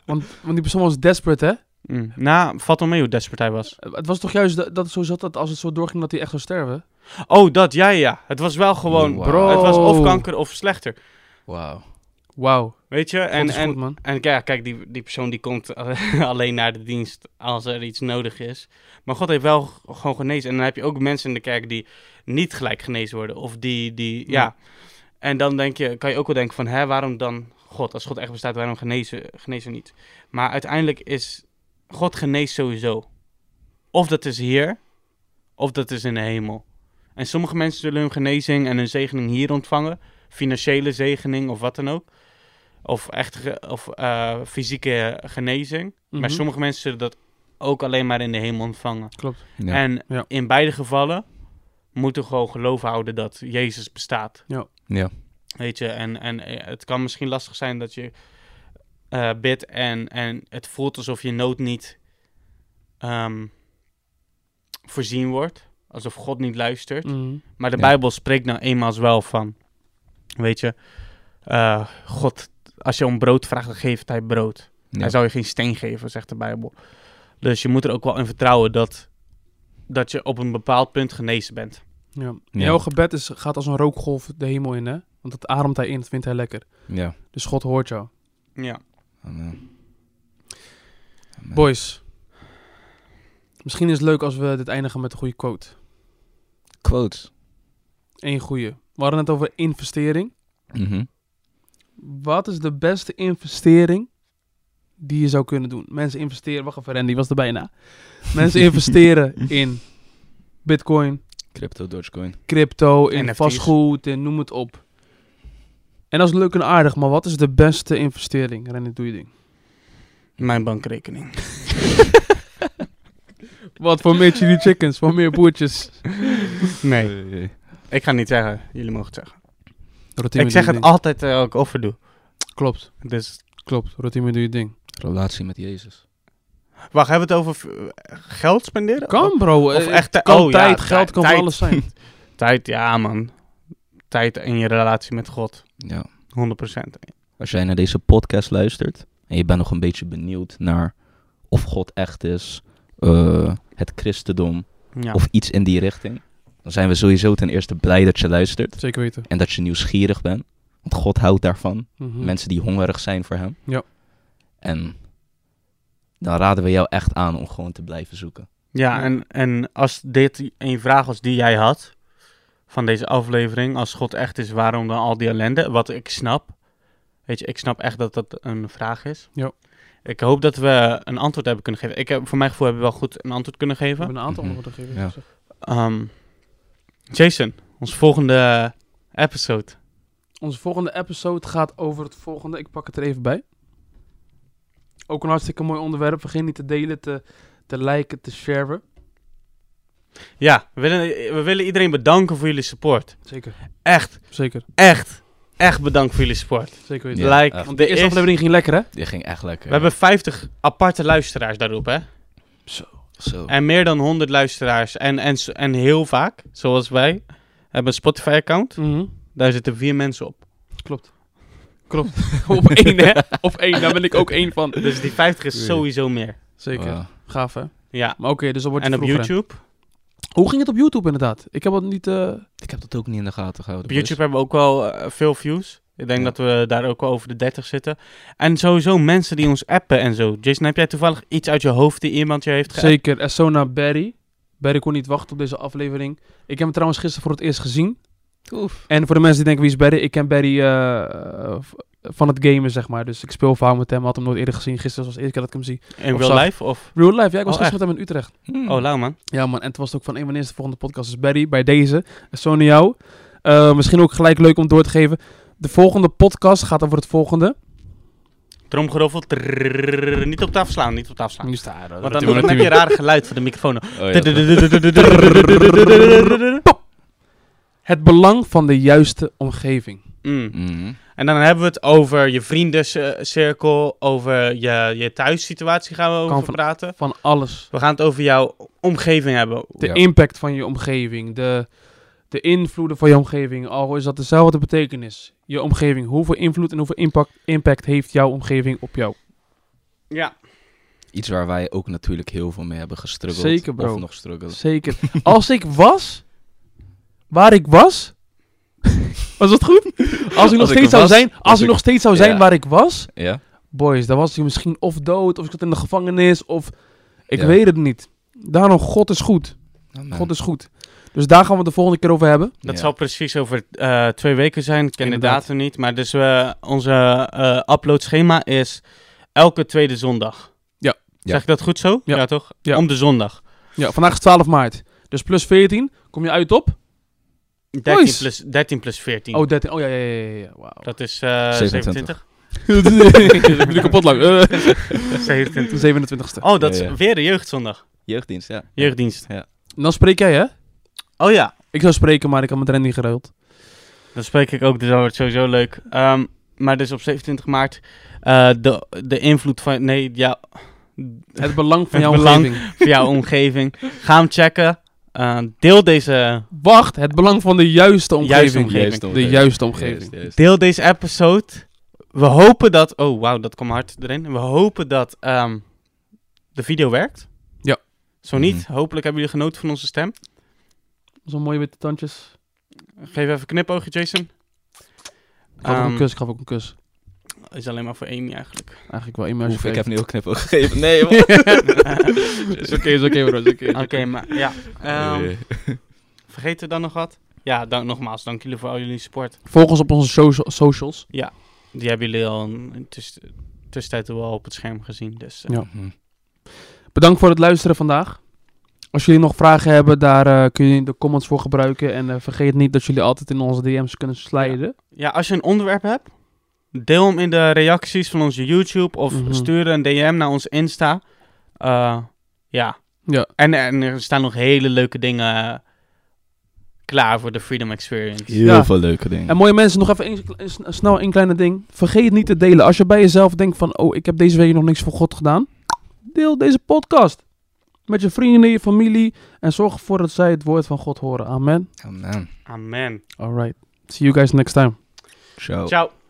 Speaker 2: Want, want die persoon was desperate, hè?
Speaker 3: Mm. Nou, valt wel mee hoe desperate hij was.
Speaker 2: Het was toch juist dat, dat het zo zat dat als het zo doorging dat hij echt zou sterven?
Speaker 3: Oh, dat, ja, ja, ja. Het was wel gewoon...
Speaker 1: Wow.
Speaker 2: Bro.
Speaker 3: Het was of kanker of slechter.
Speaker 1: Wauw.
Speaker 2: Wauw.
Speaker 3: Weet je? En,
Speaker 2: En,
Speaker 3: en,
Speaker 2: goed, man.
Speaker 3: en ja, kijk, die, die persoon die komt alleen naar de dienst als er iets nodig is. Maar God heeft wel g- gewoon genezen. En dan heb je ook mensen in de kerk die niet gelijk genezen worden. Of die, die ja.
Speaker 2: Ja.
Speaker 3: En dan denk je, kan je ook wel denken van, hè, waarom dan God? Als God echt bestaat, waarom genezen, genezen niet? Maar uiteindelijk is, God geneest sowieso. Of dat is hier, of dat is in de hemel. En sommige mensen zullen hun genezing en hun zegening hier ontvangen. Financiële zegening of wat dan ook. Of, echt ge- of eh, fysieke genezing. Maar
Speaker 2: Mhm.
Speaker 3: sommige mensen zullen dat ook alleen maar in de hemel ontvangen.
Speaker 2: Klopt.
Speaker 1: Ja.
Speaker 3: En
Speaker 2: Ja.
Speaker 3: in beide gevallen moeten we gewoon geloof houden dat Jezus bestaat.
Speaker 1: ja.
Speaker 3: Weet je, en, en eh, het kan misschien lastig zijn dat je eh bidt en, en het voelt alsof je nood niet ehm, voorzien wordt. Alsof God niet luistert.
Speaker 2: Mhm.
Speaker 3: Maar de
Speaker 1: Ja.
Speaker 3: Bijbel spreekt nou eenmaal wel van, weet je, eh, God, als je om brood vraagt, dan geeft hij brood.
Speaker 1: Ja.
Speaker 3: Hij zou je geen steen geven, zegt de Bijbel. Dus je moet er ook wel in vertrouwen dat, dat je op een bepaald punt genezen bent.
Speaker 2: Ja.
Speaker 1: Ja.
Speaker 2: Jouw gebed is, gaat als een rookgolf de hemel in, hè? Want dat ademt hij in, dat vindt hij lekker.
Speaker 1: ja.
Speaker 2: Dus God hoort jou.
Speaker 3: Ja.
Speaker 1: Amen. Amen.
Speaker 2: Boys. Misschien is het leuk als we dit eindigen met een goede quote.
Speaker 1: Quotes.
Speaker 2: Eén goede. We hadden het over investering.
Speaker 1: Mhm.
Speaker 2: Wat is de beste investering die je zou kunnen doen? Mensen investeren... Wacht even, Randy was er bijna. Mensen investeren in bitcoin,
Speaker 1: Crypto, Dogecoin.
Speaker 2: crypto, in
Speaker 3: NFT's.
Speaker 2: vastgoed, in noem het op. En dat is leuk en aardig, maar wat is de beste investering? Randy, doe je ding.
Speaker 3: Mijn bankrekening.
Speaker 2: Wat voor meer chili chickens, voor meer boertjes.
Speaker 3: Nee,
Speaker 1: Eh,
Speaker 3: ik ga het niet zeggen. Jullie mogen het zeggen.
Speaker 2: Rotimi,
Speaker 3: ik zeg
Speaker 2: doe je
Speaker 3: het
Speaker 2: ding.
Speaker 3: altijd eh, als ik offer doe.
Speaker 2: Klopt,
Speaker 3: Dus
Speaker 2: klopt. Rotimi, doe je ding.
Speaker 1: Relatie met Jezus.
Speaker 3: wacht, hebben we het over eh, geld spenderen?
Speaker 2: Kan bro. eh, Of
Speaker 3: Of echt
Speaker 2: echt
Speaker 3: de-
Speaker 2: kan
Speaker 3: oh, ja,
Speaker 2: tijd,
Speaker 3: tij-
Speaker 2: geld kan
Speaker 3: tijd.
Speaker 2: van alles zijn.
Speaker 3: Tijd, ja man. Tijd en je relatie met God.
Speaker 1: Ja.
Speaker 3: 100%.
Speaker 1: Als jij naar deze podcast luistert en je bent nog een beetje benieuwd naar of God echt is, eh, het christendom
Speaker 3: Ja.
Speaker 1: of iets in die richting, dan zijn we sowieso ten eerste blij dat je luistert
Speaker 2: Zeker weten.
Speaker 1: en dat je nieuwsgierig bent. Want God houdt daarvan.
Speaker 2: Mhm.
Speaker 1: Mensen die hongerig zijn voor Hem.
Speaker 2: Ja.
Speaker 1: En dan raden we jou echt aan om gewoon te blijven zoeken.
Speaker 3: Ja,
Speaker 2: Ja.
Speaker 3: en, en als dit een vraag was die jij had, van deze aflevering. Als God echt is, waarom dan al die ellende? Wat ik snap. Weet je, ik snap echt dat dat een vraag is.
Speaker 2: Ja.
Speaker 3: Ik hoop dat we een antwoord hebben kunnen geven. Ik heb, voor mijn gevoel hebben we wel goed een antwoord kunnen
Speaker 2: We
Speaker 3: geven.
Speaker 2: hebben een aantal
Speaker 1: Mhm.
Speaker 2: antwoorden gegeven. dus,
Speaker 1: Ja.
Speaker 2: eh, zeg.
Speaker 3: Ehm, Jason, ons volgende episode.
Speaker 2: Onze volgende episode gaat over het volgende. Ik pak het er even bij. Ook een hartstikke mooi onderwerp. Vergeet niet te delen, te, te liken, te sharen.
Speaker 3: Ja, we willen, we willen iedereen bedanken voor jullie support.
Speaker 2: Zeker,
Speaker 3: Echt,
Speaker 2: zeker,
Speaker 3: echt, echt bedankt voor jullie support.
Speaker 2: zeker weten.
Speaker 1: Ja,
Speaker 3: like,
Speaker 1: echt.
Speaker 2: Want
Speaker 3: de
Speaker 2: de eerste
Speaker 3: eerste-
Speaker 2: aflevering ging lekker, hè?
Speaker 1: Dit ging echt lekker.
Speaker 3: We hebben 50 aparte luisteraars daarop, hè?
Speaker 1: Zo.
Speaker 3: En meer dan 100 luisteraars. En, en, s- en heel vaak, zoals wij, hebben een Spotify-account.
Speaker 2: Mhm.
Speaker 3: Daar zitten vier mensen op.
Speaker 2: Klopt. Klopt. Op één, hè? Op één. Daar ben ik ook één van.
Speaker 3: Dus die 50 is
Speaker 1: Oei.
Speaker 3: sowieso meer.
Speaker 2: Zeker.
Speaker 1: Wow.
Speaker 2: Gaaf, hè?
Speaker 3: Ja.
Speaker 2: Maar oké, dus dan wordt
Speaker 3: En
Speaker 2: het
Speaker 3: op
Speaker 2: vroeger, hè?
Speaker 3: YouTube.
Speaker 2: Hoe ging het op YouTube inderdaad? Ik heb dat niet... eh,
Speaker 1: Ik heb dat ook niet in de gaten gehouden.
Speaker 3: Op YouTube hebben we ook wel eh, veel views. Ik denk
Speaker 1: Ja.
Speaker 3: dat we daar ook wel over de 30 zitten. En sowieso mensen die ons appen en zo. Jason, heb jij toevallig iets uit je hoofd die iemand je heeft geappt?
Speaker 2: Zeker, Esona Barry. Barry kon niet wachten op deze aflevering. Ik heb hem trouwens gisteren voor het eerst gezien.
Speaker 1: Oef.
Speaker 2: En voor de mensen die denken wie is Barry, ik ken Barry eh, eh, v- van het gamen, zeg maar. Dus ik speel vaak met hem, had hem nooit eerder gezien. Gisteren was de eerste keer dat ik hem zie.
Speaker 3: In
Speaker 2: Of
Speaker 3: real
Speaker 2: zag-
Speaker 3: life? Of...
Speaker 2: Real life, ja, ik was
Speaker 3: Oh,
Speaker 2: gisteren met hem in Utrecht.
Speaker 3: Oh, lauw man.
Speaker 2: Ja man, en toen was het ook van, een van de eerste volgende podcast is Barry, bij deze. Esona jou. Eh, misschien ook gelijk leuk om door te geven. De volgende podcast gaat over het volgende.
Speaker 3: Tromgeroffel. Trrrr. Niet op tafel slaan, niet op tafel slaan.
Speaker 2: Nu sta je er.
Speaker 3: Want dan, dan heb je raar geluid van de microfoon.
Speaker 1: Oh, ja, dat-
Speaker 2: Het belang van de juiste omgeving.
Speaker 3: Mm.
Speaker 2: Hmm.
Speaker 1: Mhm.
Speaker 3: En dan hebben we het over je vriendencirkel, over je, je thuissituatie gaan we over
Speaker 2: Kan van-
Speaker 3: praten.
Speaker 2: Van alles.
Speaker 3: We gaan het over jouw omgeving hebben.
Speaker 2: De
Speaker 1: Ja.
Speaker 2: impact van je omgeving, de, de invloeden van je omgeving, al is dat dezelfde betekenis. Je omgeving, hoeveel invloed en hoeveel impact, impact heeft jouw omgeving op jou?
Speaker 3: Ja.
Speaker 1: Iets waar wij ook natuurlijk heel veel mee hebben gestruggeld.
Speaker 2: Zeker, bro.
Speaker 1: Of nog struggelen.
Speaker 2: Zeker. Als ik was, waar ik was, was dat goed? Als ik nog
Speaker 1: Als ik
Speaker 2: steeds zou
Speaker 1: was,
Speaker 2: zijn,
Speaker 1: was
Speaker 2: als ik
Speaker 1: ik-
Speaker 2: nog steeds zou zijn
Speaker 1: Ja.
Speaker 2: waar ik was,
Speaker 1: Ja?
Speaker 2: boys, dan was ik misschien of dood, of ik zat in de gevangenis, of ik
Speaker 1: Ja.
Speaker 2: weet het niet. Daarom, God is goed. Nou, God is goed. Dus daar gaan we het de volgende keer over hebben.
Speaker 3: Dat
Speaker 1: Ja.
Speaker 3: zal precies over eh, twee weken zijn. Ik ken de
Speaker 2: Inderdaad.
Speaker 3: datum niet. Maar dus we, onze eh uploadschema is elke tweede zondag.
Speaker 2: Ja.
Speaker 3: Zeg ik dat goed zo?
Speaker 2: Ja.
Speaker 3: toch?
Speaker 2: Ja.
Speaker 3: Om de zondag.
Speaker 2: Ja, vandaag is 12 maart. Dus plus 14, kom je uit op?
Speaker 3: 13
Speaker 2: Nice.
Speaker 3: plus, 13 plus 14.
Speaker 2: Oh, 13. Oh ja, ja, ja, ja. ja. Wauw.
Speaker 3: Dat is eh 27.
Speaker 1: 27.
Speaker 2: Dat ben ik kapot lang. Eh,
Speaker 3: 27.
Speaker 2: de 27ste.
Speaker 3: Oh, dat is
Speaker 1: Ja, ja.
Speaker 3: weer de jeugdzondag.
Speaker 1: Jeugddienst, ja.
Speaker 3: Jeugddienst.
Speaker 2: En Dan spreek jij, hè?
Speaker 3: Oh ja.
Speaker 2: Ik zou spreken, maar ik had mijn trend niet geruild.
Speaker 3: Dan spreek ik ook, dus dat wordt sowieso leuk. Ehm, maar dus op 27 maart, eh, de, de invloed van, nee, ja,
Speaker 2: Het belang van
Speaker 3: Het
Speaker 2: jouw
Speaker 3: belang.
Speaker 2: omgeving.
Speaker 3: van jouw omgeving. Ga hem checken. Eh, deel, deze,
Speaker 2: Wacht, het belang van de juiste omgeving.
Speaker 3: Juiste omgeving.
Speaker 2: De juiste omgeving.
Speaker 1: Juist, juist.
Speaker 3: deel deze episode. We hopen dat, oh wauw, dat kwam hard erin. We hopen dat ehm, de video werkt.
Speaker 2: Ja.
Speaker 3: Zo niet,
Speaker 1: Mhm.
Speaker 3: hopelijk hebben jullie genoten van onze stem.
Speaker 2: Zo'n mooie witte tandjes.
Speaker 3: Geef even een knipoogje, Jason.
Speaker 2: Ik gaf ook
Speaker 3: Ehm,
Speaker 2: een kus, ik gaf ook een kus.
Speaker 3: Is alleen maar voor één eigenlijk.
Speaker 2: Eigenlijk wel immers.
Speaker 1: Oef, ik heb nu ook knipoog gegeven. Nee, man.
Speaker 2: Is oké, is oké, bro. is oké.
Speaker 3: Oké, maar ja. Ehm,
Speaker 1: Eh,
Speaker 3: Vergeet er dan nog wat? Ja, dank, nogmaals, dank jullie voor al jullie support.
Speaker 2: Volg ons op onze social- socials.
Speaker 3: Die hebben jullie al in tuss- tussentijd wel op het scherm gezien. Dus eh,
Speaker 2: Ja.
Speaker 1: mhm.
Speaker 2: Bedankt voor het luisteren vandaag. Als jullie nog vragen hebben, daar eh, kun je de comments voor gebruiken. En eh, vergeet niet dat jullie altijd in onze DM's kunnen sliden.
Speaker 3: ja, als je een onderwerp hebt, deel hem in de reacties van onze YouTube of
Speaker 2: Mhm.
Speaker 3: stuur een DM naar ons Insta. Eh, ja.
Speaker 2: Ja.
Speaker 3: En, en er staan nog hele leuke dingen eh, klaar voor de Freedom Experience.
Speaker 1: Heel
Speaker 2: Ja.
Speaker 1: veel leuke dingen.
Speaker 2: En mooie mensen, nog even een- een- een- snel een kleine ding. Vergeet niet te delen. Als je bij jezelf denkt van, oh, ik heb deze week nog niks voor God gedaan. Deel deze podcast. Met je vrienden, je familie. En zorg ervoor dat zij het woord van
Speaker 1: Oh,
Speaker 2: God horen. Amen.
Speaker 1: Amen.
Speaker 3: Amen.
Speaker 2: Alright. See you guys next time.
Speaker 1: Ciao.
Speaker 3: Ciao.